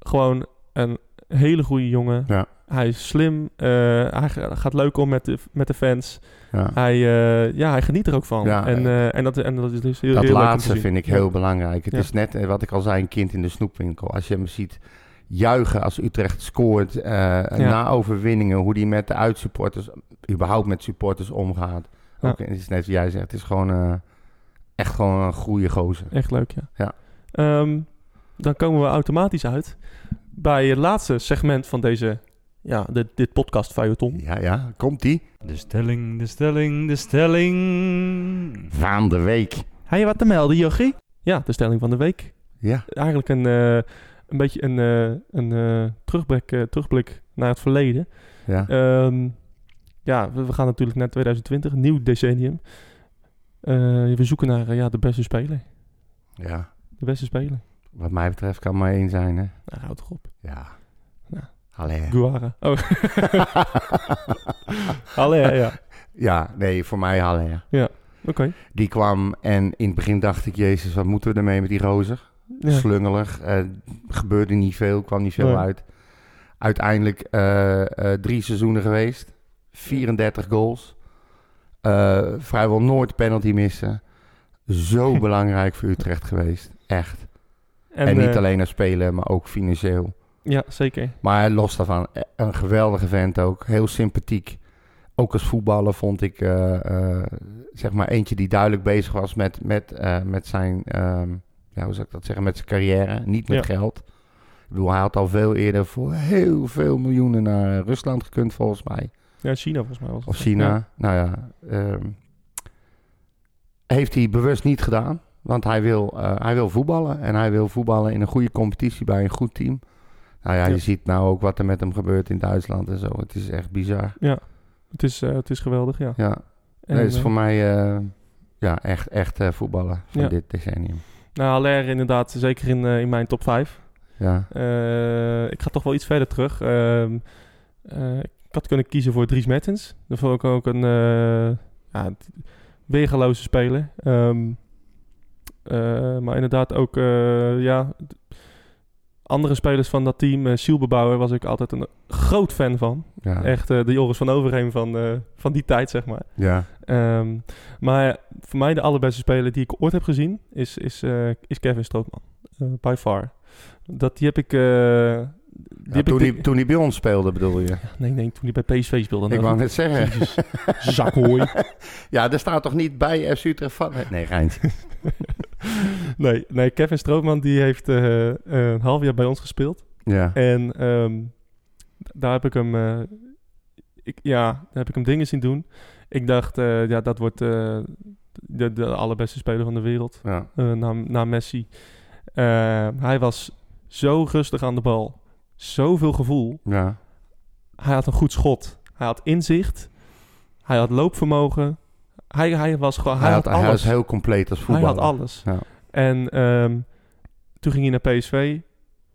S3: gewoon een hele goede jongen.
S4: Ja.
S3: Hij is slim. eh, hij ga- gaat leuk om met de, met de fans.
S4: Ja.
S3: Hij, eh, ja, hij geniet er ook van.
S4: Ja,
S3: en,
S4: eh,
S3: eh, en, dat, en dat is dus heel,
S4: Dat
S3: heel leuk om te
S4: laatste
S3: zien.
S4: vind ik
S3: Ja.
S4: heel belangrijk. Het
S3: Ja.
S4: is net, eh, wat ik al zei, een kind in de snoepwinkel. Als je hem ziet juichen als Utrecht scoort eh, na overwinningen, hoe die met de uitsupporters, überhaupt met supporters omgaat.
S3: Ja.
S4: Ook, het is net wat jij zegt, het is gewoon eh, echt gewoon een goede gozer.
S3: Echt leuk, ja.
S4: Ja.
S3: Ehm, dan komen we automatisch uit bij het laatste segment van deze, ja, de, dit podcast Fayoton.
S4: Ja, ja, komt die?
S6: De stelling, de stelling, de stelling.
S4: Van de week.
S3: Heb je wat te melden, Jochie? Ja, de stelling van de week.
S4: Ja,
S3: Eigenlijk een, eh, een beetje een, eh, een eh, terugblik, eh, terugblik naar het verleden.
S4: ja.
S3: Ehm, ja, we, we gaan natuurlijk naar 2020, een nieuw decennium. Eh, we zoeken naar eh, ja, de beste speler.
S4: ja.
S3: De beste speler.
S4: Wat mij betreft kan maar één zijn, hè?
S3: Nou, houd toch op.
S4: Ja.
S3: Ja.
S4: Allee.
S3: Guara. Oh, allee, ja. ja.
S4: ja, nee, voor mij Allee.
S3: Oké.
S4: Die kwam en in het begin dacht ik, jezus, wat moeten we ermee met die gozer?
S3: Ja.
S4: slungelig. eh, gebeurde niet veel, kwam niet veel
S3: Nee.
S4: uit. Uiteindelijk eh, eh, drie seizoenen geweest. 34 goals. Eh, vrijwel nooit penalty missen. Zo belangrijk voor Utrecht geweest. Echt. En, niet
S3: eh,
S4: alleen als speler, maar ook financieel.
S3: Ja, zeker.
S4: Maar los daarvan, eh, een geweldige vent ook. Heel sympathiek. Ook als voetballer vond ik eh, eh, zeg maar eentje die duidelijk bezig was met, met, eh, met zijn, ehm, ja, hoe zou ik dat zeggen, met zijn carrière. Niet met
S3: Ja.
S4: geld. Ik bedoel, hij had al veel eerder voor heel veel miljoenen naar Rusland eh, gekund volgens mij.
S3: Ja, China volgens mij was het.
S4: Of China. Nou ja. ehm, heeft hij bewust niet gedaan. Want hij wil, eh, hij wil voetballen. En hij wil voetballen in een goede competitie bij een goed team. Nou ja,
S3: Ja.
S4: je ziet nou ook wat er met hem gebeurt in Duitsland en zo. Het is echt bizar.
S3: Het is, eh, het is geweldig, ja.
S4: Ja,
S3: En,
S4: nee, het is
S3: eh,
S4: voor mij eh, ja, echt, echt eh, voetballen van
S3: Ja.
S4: dit decennium.
S3: Nou, Haller inderdaad, zeker in, eh, in mijn top 5.
S4: Ja,
S3: Eh, ik ga toch wel iets verder terug. Ehm, eh, ik had kunnen kiezen voor Dries Mertens. Dat vond ik ook een eh ja, t- weergeloze speler. Ehm, eh, maar inderdaad ook eh, ja, d- andere spelers van dat team. eh Sielbebouwer was ik altijd een groot fan van.
S4: ja,
S3: Echt eh, de Joris van Overheem van, eh, van die tijd, zeg maar.
S4: ja.
S3: Ehm, maar voor mij de allerbeste speler die ik ooit heb gezien is, is, eh, is Kevin Strootman. Eh, by far. Dat, die heb ik... eh, die
S4: Ja,
S3: heb
S4: toen,
S3: ik
S4: hij, toen hij bij ons speelde, bedoel je?
S3: Nee, nee, toen hij bij PSV speelde.
S4: ik wou net zeggen.
S3: Zakhooi.
S4: Ja, er staat toch niet bij FC Utrecht van... Nee, Geintje.
S3: nee, nee, Kevin Strootman die heeft eh, eh, een half jaar bij ons gespeeld.
S4: Ja,
S3: En ehm, d- daar heb ik hem... eh, ik, ja, daar heb ik hem dingen zien doen. Ik dacht, eh, ja, dat wordt eh, de, de allerbeste speler van de wereld.
S4: ja.
S3: eh, na, na Messi. Eh, hij was zo rustig aan de bal. Zoveel gevoel.
S4: ja.
S3: Hij had een goed schot. Hij had inzicht. Hij had loopvermogen. Hij, hij was gewoon... Hij,
S4: Hij,
S3: had,
S4: had, hij was
S3: alles.
S4: heel compleet als
S3: Hij
S4: voetballer.
S3: had alles.
S4: Ja.
S3: En ehm, toen ging hij naar PSV.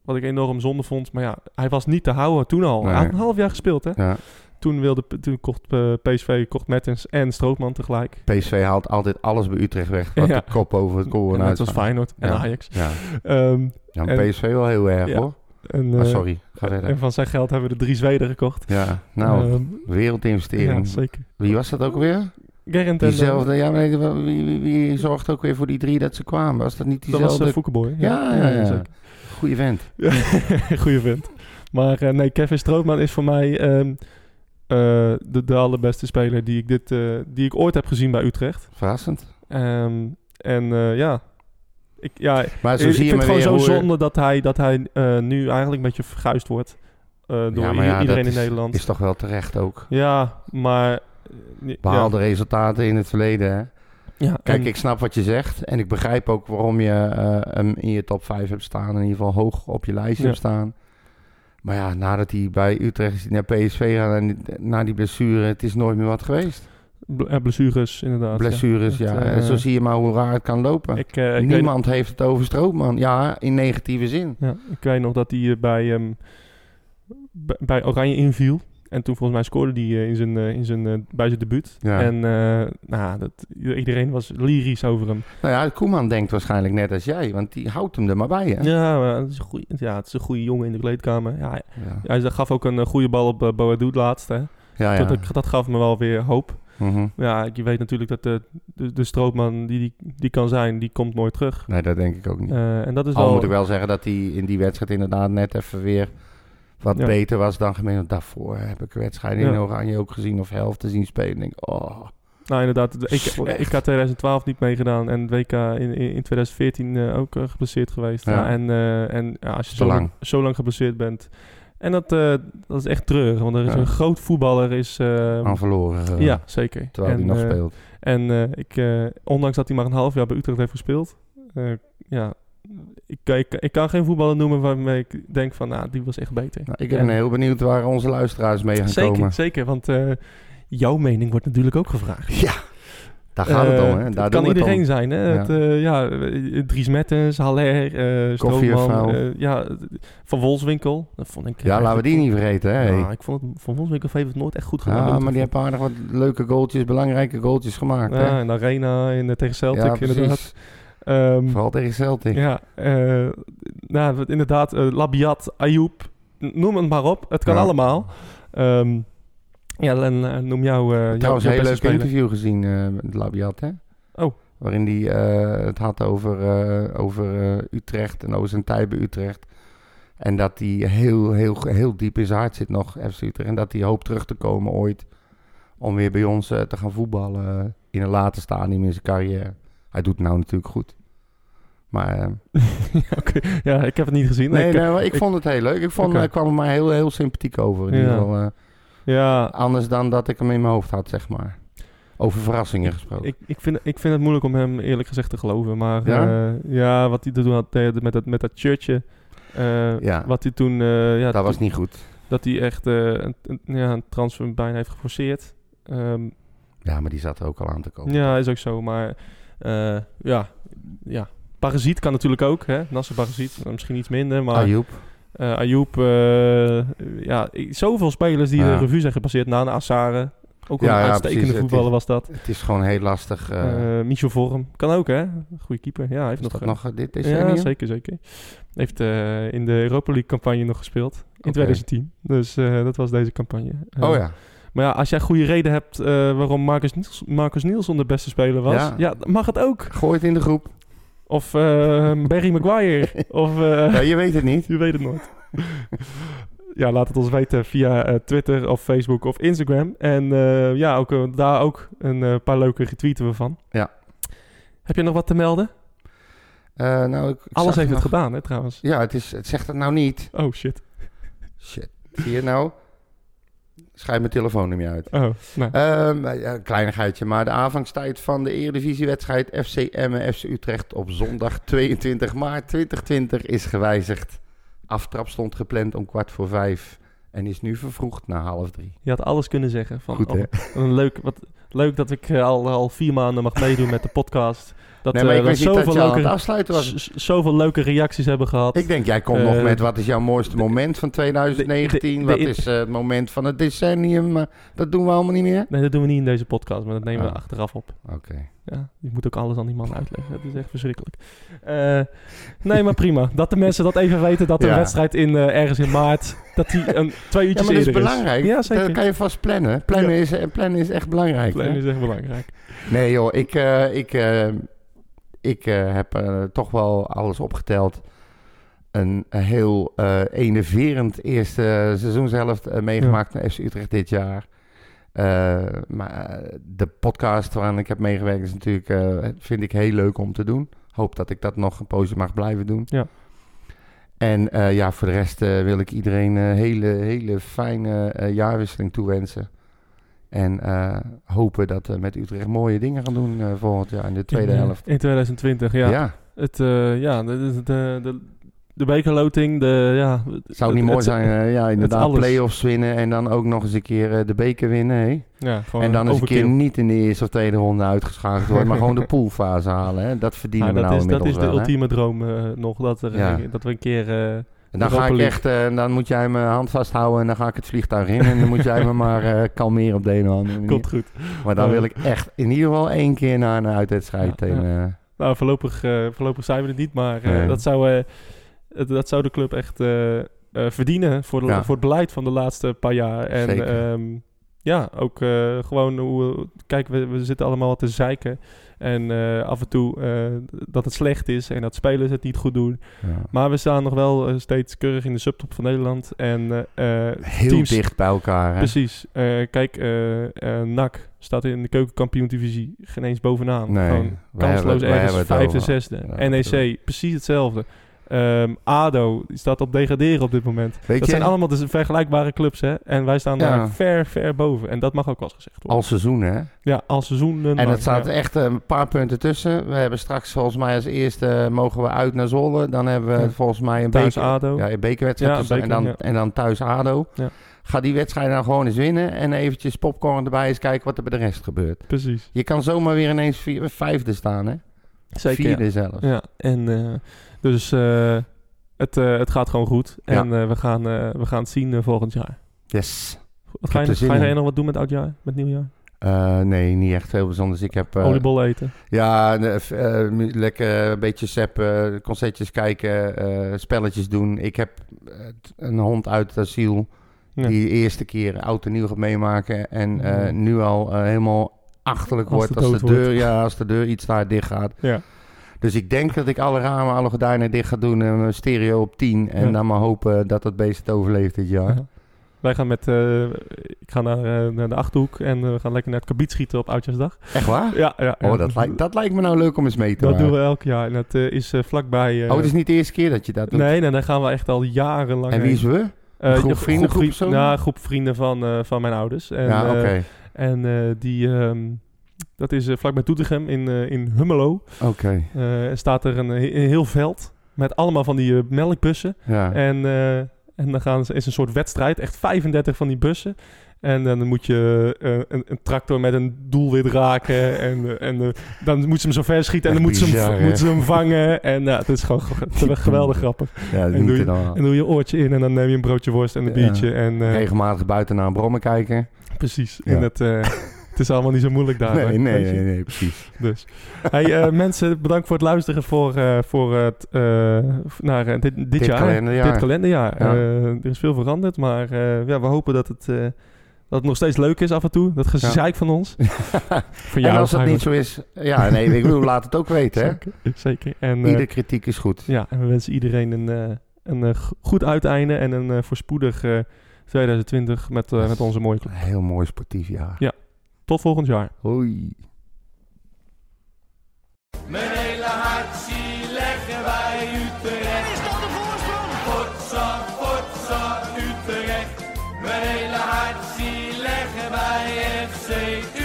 S3: Wat ik enorm zonde vond. Maar ja, hij was niet te houden toen al.
S4: Nee.
S3: Hij had een half jaar gespeeld, hè.
S4: Ja.
S3: Toen, wilde, toen kocht eh, PSV kocht Mertens en Strootman tegelijk.
S4: PSV haalt altijd alles bij Utrecht weg. Wat
S3: Ja.
S4: de kop over het koren
S3: en
S4: uit.
S3: dat was Feyenoord en
S4: Ja.
S3: Ajax.
S4: Ja,
S3: Ehm,
S4: ja maar
S3: En-
S4: PSV wel heel erg
S3: Ja.
S4: hoor.
S3: en,
S4: Ah,
S3: eh,
S4: sorry, ga verder.
S3: En van zijn geld hebben we de drie Zweden gekocht.
S4: Ja, nou,
S3: Ehm, ja,
S4: wereldinvestering.
S3: zeker.
S4: Wie was dat ook weer?
S3: Gerrit en eh,
S4: Diezelfde, ja, maar nee, wie, wie, wie zorgde ook weer voor die drie dat ze kwamen? Was dat niet
S3: Dat was
S4: diezelfde?
S3: uh, Foukeboy.
S4: ja, ja, ja.
S3: zeker.
S4: Goeie vent.
S3: Goeie vent. Maar eh, nee, Kevin Strootman is voor mij ehm, eh, de, de allerbeste speler die ik, dit, eh, die ik ooit heb gezien bij Utrecht.
S4: Verrassend.
S3: Ehm, en eh, ja, ik, ja ik,
S4: Maar zo
S3: ik vind
S4: zie je
S3: het
S4: maar
S3: gewoon
S4: weer
S3: zo
S4: hoe...
S3: zonde dat hij, dat hij eh, nu eigenlijk een beetje verguisd wordt eh, door
S4: maar
S3: i-
S4: ja,
S3: iedereen in
S4: dat
S3: Nederland.
S4: Is toch wel terecht ook.
S3: Ja, maar... eh, ja,
S4: Behaalde resultaten in het verleden, hè?
S3: ja,
S4: Kijk,
S3: en-
S4: ik snap wat je zegt. En ik begrijp ook waarom je eh, hem in je top 5 hebt staan. In ieder geval hoog op je lijst
S3: Ja.
S4: hebt staan. Maar ja, nadat hij bij Utrecht is, naar PSV gaat en die- na die blessure, het is nooit meer wat geweest.
S3: bl- eh, blessures inderdaad. ja.
S4: Blessures,
S3: Het,
S4: ja.
S3: eh,
S4: En zo zie je maar hoe raar het kan lopen.
S3: Ik, eh, ik weet,
S4: Niemand heeft het over Stroopman. Ja, in negatieve zin.
S3: ja, ik weet nog dat hij eh, bij, ehm, b- bij Oranje inviel. En toen volgens mij scoorde hij eh, in zijn, eh, in zijn, eh, bij zijn debuut.
S4: Ja.
S3: En eh, nou, dat, iedereen was lyrisch over hem.
S4: Nou ja, Koeman denkt waarschijnlijk net als jij, want die houdt hem er maar bij, hè?
S3: Ja, maar het, is een goeie, ja het is een goede jongen in de kleedkamer. Ja, hij,
S4: Ja,
S3: hij gaf ook een eh, goede bal op eh, Boadu laatst. Hè.
S4: Ah, ja. ja.
S3: Dat, dat, dat gaf me wel weer hoop.
S4: Mhm.
S3: Maar Ja, je weet natuurlijk dat de, de, de stroopman die, die die kan zijn, die komt nooit terug.
S4: Nee, dat denk ik ook niet.
S3: Eh, en dat is
S4: Al
S3: wel...
S4: moet ik wel zeggen dat hij in die wedstrijd inderdaad net even weer wat
S3: Ja.
S4: beter was dan gemeen. Want daarvoor heb ik wedstrijden in
S3: Ja.
S4: Oranje ook gezien of helft te zien spelen. Ik Denk, oh,
S3: Nou, inderdaad. de- Ik,
S4: Slecht.
S3: ik had 2012 niet meegedaan en het WK in, in, in 2014 eh, ook eh, geblesseerd geweest.
S4: Ja.
S3: Ja. en eh, en ja, als je
S4: Te
S3: zo lang.
S4: lang.
S3: zo lang geblesseerd bent. En dat, eh, dat is echt treurig, want er is
S4: Ja.
S3: een groot voetballer. Is, eh,
S4: aan verloren. eh,
S3: ja, zeker.
S4: Terwijl
S3: en,
S4: hij nog
S3: eh,
S4: speelt.
S3: En eh, ik, eh, ondanks dat hij maar een half jaar bij Utrecht heeft gespeeld, eh, ja, ik, ik, ik kan geen voetballer noemen waarmee ik denk van, nou, die was echt beter.
S4: Nou, ik ben
S3: en-
S4: heel benieuwd waar onze luisteraars mee gaan
S3: zeker,
S4: komen.
S3: zeker, want eh, jouw mening wordt natuurlijk ook gevraagd.
S4: Daar gaat het
S3: Eh,
S4: om, hè? Daar
S3: het kan
S4: doen we het
S3: iedereen
S4: om.
S3: zijn, hè?
S4: Ja.
S3: Het, eh, ja, eh, Dries Mettens, Haller, eh Strootman,
S4: Koffiejuffrouw.
S3: eh, ja, eh, Van Wolfswinkel. Dat vond ik. eh,
S4: Ja, laten we die niet vergeten, hè?
S3: Ja, ik vond het, Van Wolfswinkel heeft het nooit echt goed gedaan.
S4: Ja,
S3: Moet
S4: maar die
S3: ik-
S4: hebben aardig wat leuke goaltjes, belangrijke goaltjes gemaakt. hè?
S3: ja, en de Arena en eh, tegen Celtic
S4: Ja,
S3: inderdaad.
S4: precies.
S3: Ehm,
S4: Vooral tegen Celtic.
S3: ja, eh, nou, wat inderdaad, eh, Labiat, Ayoub, n- noem het maar op. Het kan
S4: Ja.
S3: allemaal. Ehm, ja, en eh, noem jou, eh jou-
S4: Trouwens, een
S3: jouw
S4: heel
S3: beste speler.
S4: leuk interview gezien eh, met Labiat, hè?
S3: Oh.
S4: Waarin hij eh, het had over, eh, over eh, Utrecht en over zijn tijd bij Utrecht. En dat hij heel, heel, heel diep in zijn hart zit nog, FC Utrecht. En dat hij hoopt terug te komen ooit om weer bij ons eh, te gaan voetballen eh, in een later stadium in zijn carrière. Hij doet het nou natuurlijk goed. Maar eh,
S3: Oké, Ja, ik heb het niet gezien.
S4: nee, nou-
S3: Ik-
S4: nee, maar ik,
S3: ik-
S4: vond het heel leuk. Ik vond,
S3: Oké.
S4: hij kwam er maar heel, heel sympathiek over. In
S3: Ja.
S4: ieder geval, eh,
S3: Ja,
S4: Anders dan dat ik hem in mijn hoofd had, zeg maar. Over verrassingen gesproken.
S3: ik, ik, vind, ik vind het moeilijk om hem eerlijk gezegd te geloven. Maar ja,
S4: Ja?
S3: ja wat hij toen had deed met dat, met dat churchje. eh,
S4: Ja.
S3: Wat hij toen... eh, ja,
S4: dat was
S3: toen-
S4: niet goed.
S3: dat hij echt eh, een, een- ja, een transfer bijna heeft geforceerd. Ehm,
S4: Ja, maar die zat er ook al aan te komen.
S3: ja, is ook zo. Maar eh, ja, ja, Parasiet kan natuurlijk ook. Hè? Nasser Parasiet, eh, misschien iets minder. Maar
S4: Ayoub.
S3: eh, Ayoub, eh, ja, ik- zoveel spelers die de
S4: Ja.
S3: revue zijn gepasseerd. Nana Assare, ook
S4: Ja,
S3: een
S4: ja,
S3: uitstekende
S4: precies. Het
S3: voetballer was dat.
S4: Het is gewoon heel lastig. eh,
S3: Eh, Michel Vorm, kan ook hè. Goeie keeper. Ja, hij heeft
S4: is
S3: nog...
S4: dat
S3: eh,
S4: nog eh, dit decennium?
S3: ja, zeker, zeker. Heeft eh, in de Europa League campagne nog gespeeld. In
S4: Oké.
S3: 2010. Dus eh, dat was deze campagne. Eh,
S4: Oh ja.
S3: Maar ja, als jij goede reden hebt eh, waarom Marcus, Niels- Marcus Nielsen de beste speler was, ja,
S4: Ja.
S3: dan mag het ook.
S4: Gooi het in de groep.
S3: Of eh, Barry Maguire. of eh,
S4: Ja, je weet het niet.
S3: je weet het nooit. ja, laat het ons weten via eh, Twitter of Facebook of Instagram. En eh, ja, ook, eh, daar ook een eh, paar leuke retweeten we van.
S4: Ja.
S3: Heb je nog wat te melden?
S4: Eh, nou, ik, ik
S3: Alles
S4: zag
S3: heeft het
S4: nog-
S3: gedaan, hè, trouwens.
S4: Ja, het, is, het zegt het nou niet.
S3: Oh, shit.
S4: Shit. Zie je nou? Schrijf mijn telefoonnummer uit.
S3: Oh, nou.
S4: Ehm, ja, een kleinigheidje, maar de aanvangstijd van de Eredivisiewedstrijd FC Emmen FC Utrecht op zondag 22 maart 2020 is gewijzigd. Aftrap stond gepland om kwart voor vijf en is nu vervroegd naar half drie.
S3: Je had alles kunnen zeggen. Van,
S4: Goed,
S3: oh,
S4: hè?
S3: wat een leuk, wat, leuk dat ik eh, al, al vier maanden mag meedoen met de podcast. Dat,
S4: nee, maar
S3: eh,
S4: ik wist
S3: dat
S4: niet dat je al aan het
S3: leuke,
S4: afsluiten was.
S3: z- zoveel leuke reacties hebben gehad.
S4: Ik denk, jij komt
S3: Eh,
S4: nog met wat is jouw mooiste moment van 2019?
S3: de- de- de-
S4: wat is eh, het moment van het decennium? Maar dat doen we allemaal niet meer.
S3: Nee, dat doen we niet in deze podcast, maar dat nemen we
S4: Ah.
S3: achteraf op.
S4: Oké.
S3: Ja, je moet ook alles aan die man uitleggen. Dat is echt verschrikkelijk. Eh, nee, maar prima. Dat de mensen dat even weten, dat de
S4: Ja.
S3: wedstrijd in, eh, ergens in maart, dat die een, twee
S4: Ja,
S3: uurtjes
S4: maar dat is
S3: eerder
S4: belangrijk.
S3: Ja, zeker.
S4: Dat kan je vast plannen. Plannen, is, eh, plannen is echt belangrijk. hè?
S3: Plan is echt belangrijk.
S4: Nee joh, ik, eh, ik, eh, ik eh, heb eh, toch wel alles opgeteld. Een heel eh enerverend eerste seizoenshelft eh, meegemaakt met FC Utrecht dit jaar. Eh, maar eh, de podcast waaraan ik heb meegewerkt is natuurlijk, eh, vind ik heel leuk om te doen. Hoop dat ik dat nog een poosje mag blijven doen.
S3: Ja.
S4: En eh, ja, voor de rest eh, wil ik iedereen een hele, hele fijne eh, jaarwisseling toewensen. En eh, hopen dat we met Utrecht mooie dingen gaan doen eh, volgend jaar in de tweede
S3: in, eh,
S4: helft.
S3: In 2020, ja.
S4: ja,
S3: Het, eh, ja, de, de, de, de bekerloting, de, ja...
S4: zou het niet mooi zijn? eh, ja, inderdaad,
S3: alles.
S4: play-offs winnen en dan ook nog eens een keer eh, de beker winnen. hè?
S3: Ja, gewoon
S4: En dan eens een
S3: Oh, overkill.
S4: keer niet in de eerste of tweede ronde uitgeschakeld worden, maar gewoon de poolfase halen. Hè? Dat verdienen
S3: Ah,
S4: we
S3: dat,
S4: nou
S3: is, dat
S4: inmiddels
S3: is de
S4: wel, hè?
S3: ultieme droom eh, nog, dat, er,
S4: Ja.
S3: eh, dat we een keer... eh,
S4: En dan ga
S3: Europa
S4: ik
S3: League.
S4: echt, eh, dan moet jij mijn hand vasthouden en dan ga ik het vliegtuig in. En dan moet jij me maar eh, kalmeren op de een of andere manier.
S3: komt goed.
S4: Maar dan
S3: Eh.
S4: wil ik echt in ieder geval één keer naar een uitwedstrijd.
S3: Ja,
S4: tegen, eh,
S3: Nou, voorlopig, eh, voorlopig zijn we het niet, maar eh,
S4: Nee.
S3: dat, zou, eh, het- dat zou de club echt eh, eh, verdienen voor, de-
S4: Ja.
S3: voor het beleid van de laatste paar jaar. En
S4: Zeker.
S3: ehm, ja, ook eh, gewoon hoe... Kijk, we, we zitten allemaal wat te zeiken. En eh, af en toe eh, dat het slecht is en dat spelers het niet goed doen.
S4: ja.
S3: Maar we staan nog wel eh, steeds keurig in de subtop van Nederland. En eh, eh,
S4: Heel
S3: teams-
S4: dicht bij elkaar. Hè?
S3: Precies. Eh, kijk, eh eh, NAC staat in de keukenkampioen-divisie geen eens bovenaan.
S4: Nee,
S3: Gewoon
S4: wij
S3: kansloos
S4: hebben- wij hebben
S3: ergens
S4: het
S3: vijfde,
S4: over.
S3: zesde.
S4: Ja,
S3: NEC, precies hetzelfde. Ehm, ADO die staat op degraderen op dit moment.
S4: Weet
S3: dat
S4: je,
S3: zijn allemaal dus vergelijkbare clubs, hè? En wij staan
S4: Ja.
S3: daar ver, ver boven. En dat mag ook wel eens gezegd worden.
S4: al seizoen hè.
S3: ja, al seizoenen.
S4: En
S3: lang,
S4: het staat
S3: ja.
S4: echt eh, een paar punten tussen. We hebben straks volgens mij als eerste eh, mogen we uit naar Zwolle. Dan hebben we
S3: Ja.
S4: volgens mij een
S3: Thuis
S4: beker-
S3: ADO.
S4: Ja, een bekerwedstrijd.
S3: Ja,
S4: dus-
S3: beker,
S4: en, dan,
S3: ja.
S4: en dan thuis ADO.
S3: Ja.
S4: Ga die wedstrijd nou gewoon eens winnen. En eventjes popcorn erbij eens kijken wat er bij de rest gebeurt.
S3: Precies.
S4: Je kan zomaar weer ineens vier- vijfde staan, hè?
S3: Zeker.
S4: Vierde zelfs.
S3: Ja, en eh, dus eh, het, eh, het gaat gewoon goed.
S4: Ja.
S3: En eh, we, gaan, eh, we gaan het zien eh, volgend jaar.
S4: Yes.
S3: Wat ga
S4: heb
S3: je,
S4: er zin
S3: ga je
S4: in.
S3: nog wat doen met oudjaar, met nieuwjaar?
S4: Eh, nee, niet echt heel bijzonders. Ik heb... eh,
S3: Oliebollen eten.
S4: Ja, en, eh, f- eh, mu- lekker een beetje seppen, concertjes kijken, eh, spelletjes doen. Ik heb eh, t- een hond uit het asiel
S3: Ja.
S4: die de eerste keer oud en nieuw gaat meemaken. En eh,
S3: Ja.
S4: nu al eh, helemaal achterlijk
S3: Als
S4: wordt
S3: het
S4: als de,
S3: dood wordt.
S4: deur, ja, als de deur iets daar dicht gaat.
S3: Ja.
S4: Dus ik denk dat ik alle ramen, alle gordijnen dicht ga doen en mijn stereo op 10. En
S3: Ja.
S4: dan maar hopen dat dat beest het overleeft dit jaar.
S3: Ja. Wij gaan met, eh, ik ga naar, eh, naar de Achterhoek en eh, we gaan lekker naar het kabiet schieten op Oudjaarsdag.
S4: Echt waar?
S3: Ja, ja. ja.
S4: Oh, dat, lijkt, dat lijkt me nou leuk om eens mee te
S3: Dat
S4: maken.
S3: doen we elk jaar. En dat eh, is eh, vlakbij... eh,
S4: Oh, het is niet de eerste keer dat je dat doet.
S3: Nee, nee, daar gaan we echt al jarenlang
S4: en wie
S3: heen.
S4: is we?
S3: Eh,
S4: groep
S3: ja,
S4: vrienden, groep
S3: vri-
S4: personen?
S3: nou, groep vrienden van, eh, van mijn ouders. En,
S4: ja,
S3: eh,
S4: oké.
S3: en eh, die, ehm, dat is eh, vlakbij Doetinchem in, eh, in Hummelo.
S4: Oké.
S3: Eh, er staat er een, he- een heel veld met allemaal van die eh, melkbussen.
S4: Ja.
S3: En, eh, en dan gaan ze, is een soort wedstrijd, echt 35 van die bussen. En dan moet je eh, een, een tractor met een doelwit raken. En, eh, en eh, dan moet ze hem zo ver schieten. En dan
S4: Echt
S3: moeten ze,
S4: bizar,
S3: hem,
S4: hè?
S3: moeten ze hem vangen. En nou, het is gewoon ge-
S4: Die
S3: geweldig
S4: boeren.
S3: grappig.
S4: ja, dat
S3: en doe
S4: moet
S3: je-
S4: je dan.
S3: En doe je oortje in en dan neem je een broodje worst en een
S4: Ja.
S3: biertje. En, eh,
S4: Regelmatig buiten naar een brommen kijken.
S3: Precies.
S4: Ja.
S3: En het, eh, het is allemaal niet zo moeilijk daar.
S4: nee,
S3: hè,
S4: nee,
S3: weet je.
S4: nee, nee, precies.
S3: Dus. Hey, eh, mensen, bedankt voor het luisteren voor, eh, voor het, eh, naar, eh, dit, dit, jaar.
S4: kalenderjaar.
S3: Dit kalenderjaar.
S4: Ja.
S3: Eh, er is veel veranderd, maar eh, ja, we hopen dat het, eh, dat het nog steeds leuk is af en toe. Dat gezeik van ons. Van jou
S4: en als dat niet
S3: eigenlijk.
S4: zo is, ja, nee, ik bedoel, laat het ook weten. Hè?
S3: Zeker. Zeker. En, eh,
S4: Ieder kritiek is goed.
S3: ja, en we wensen iedereen een, eh, een eh, go- goed uiteinde en een eh, voorspoedig eh, 2020 met, eh, met onze mooie
S4: Een
S3: club.
S4: heel mooi sportief jaar.
S3: Ja. Tot volgend jaar.
S4: Hoi.
S7: Mijn hele hart zie leggen wij Utrecht. Is dat de voorsprong? Potsa, potsa, Utrecht. Mijn hele hart zie leggen wij FC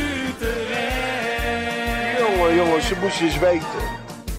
S7: Utrecht.
S8: Jongen, jongen, ze moesten eens weten.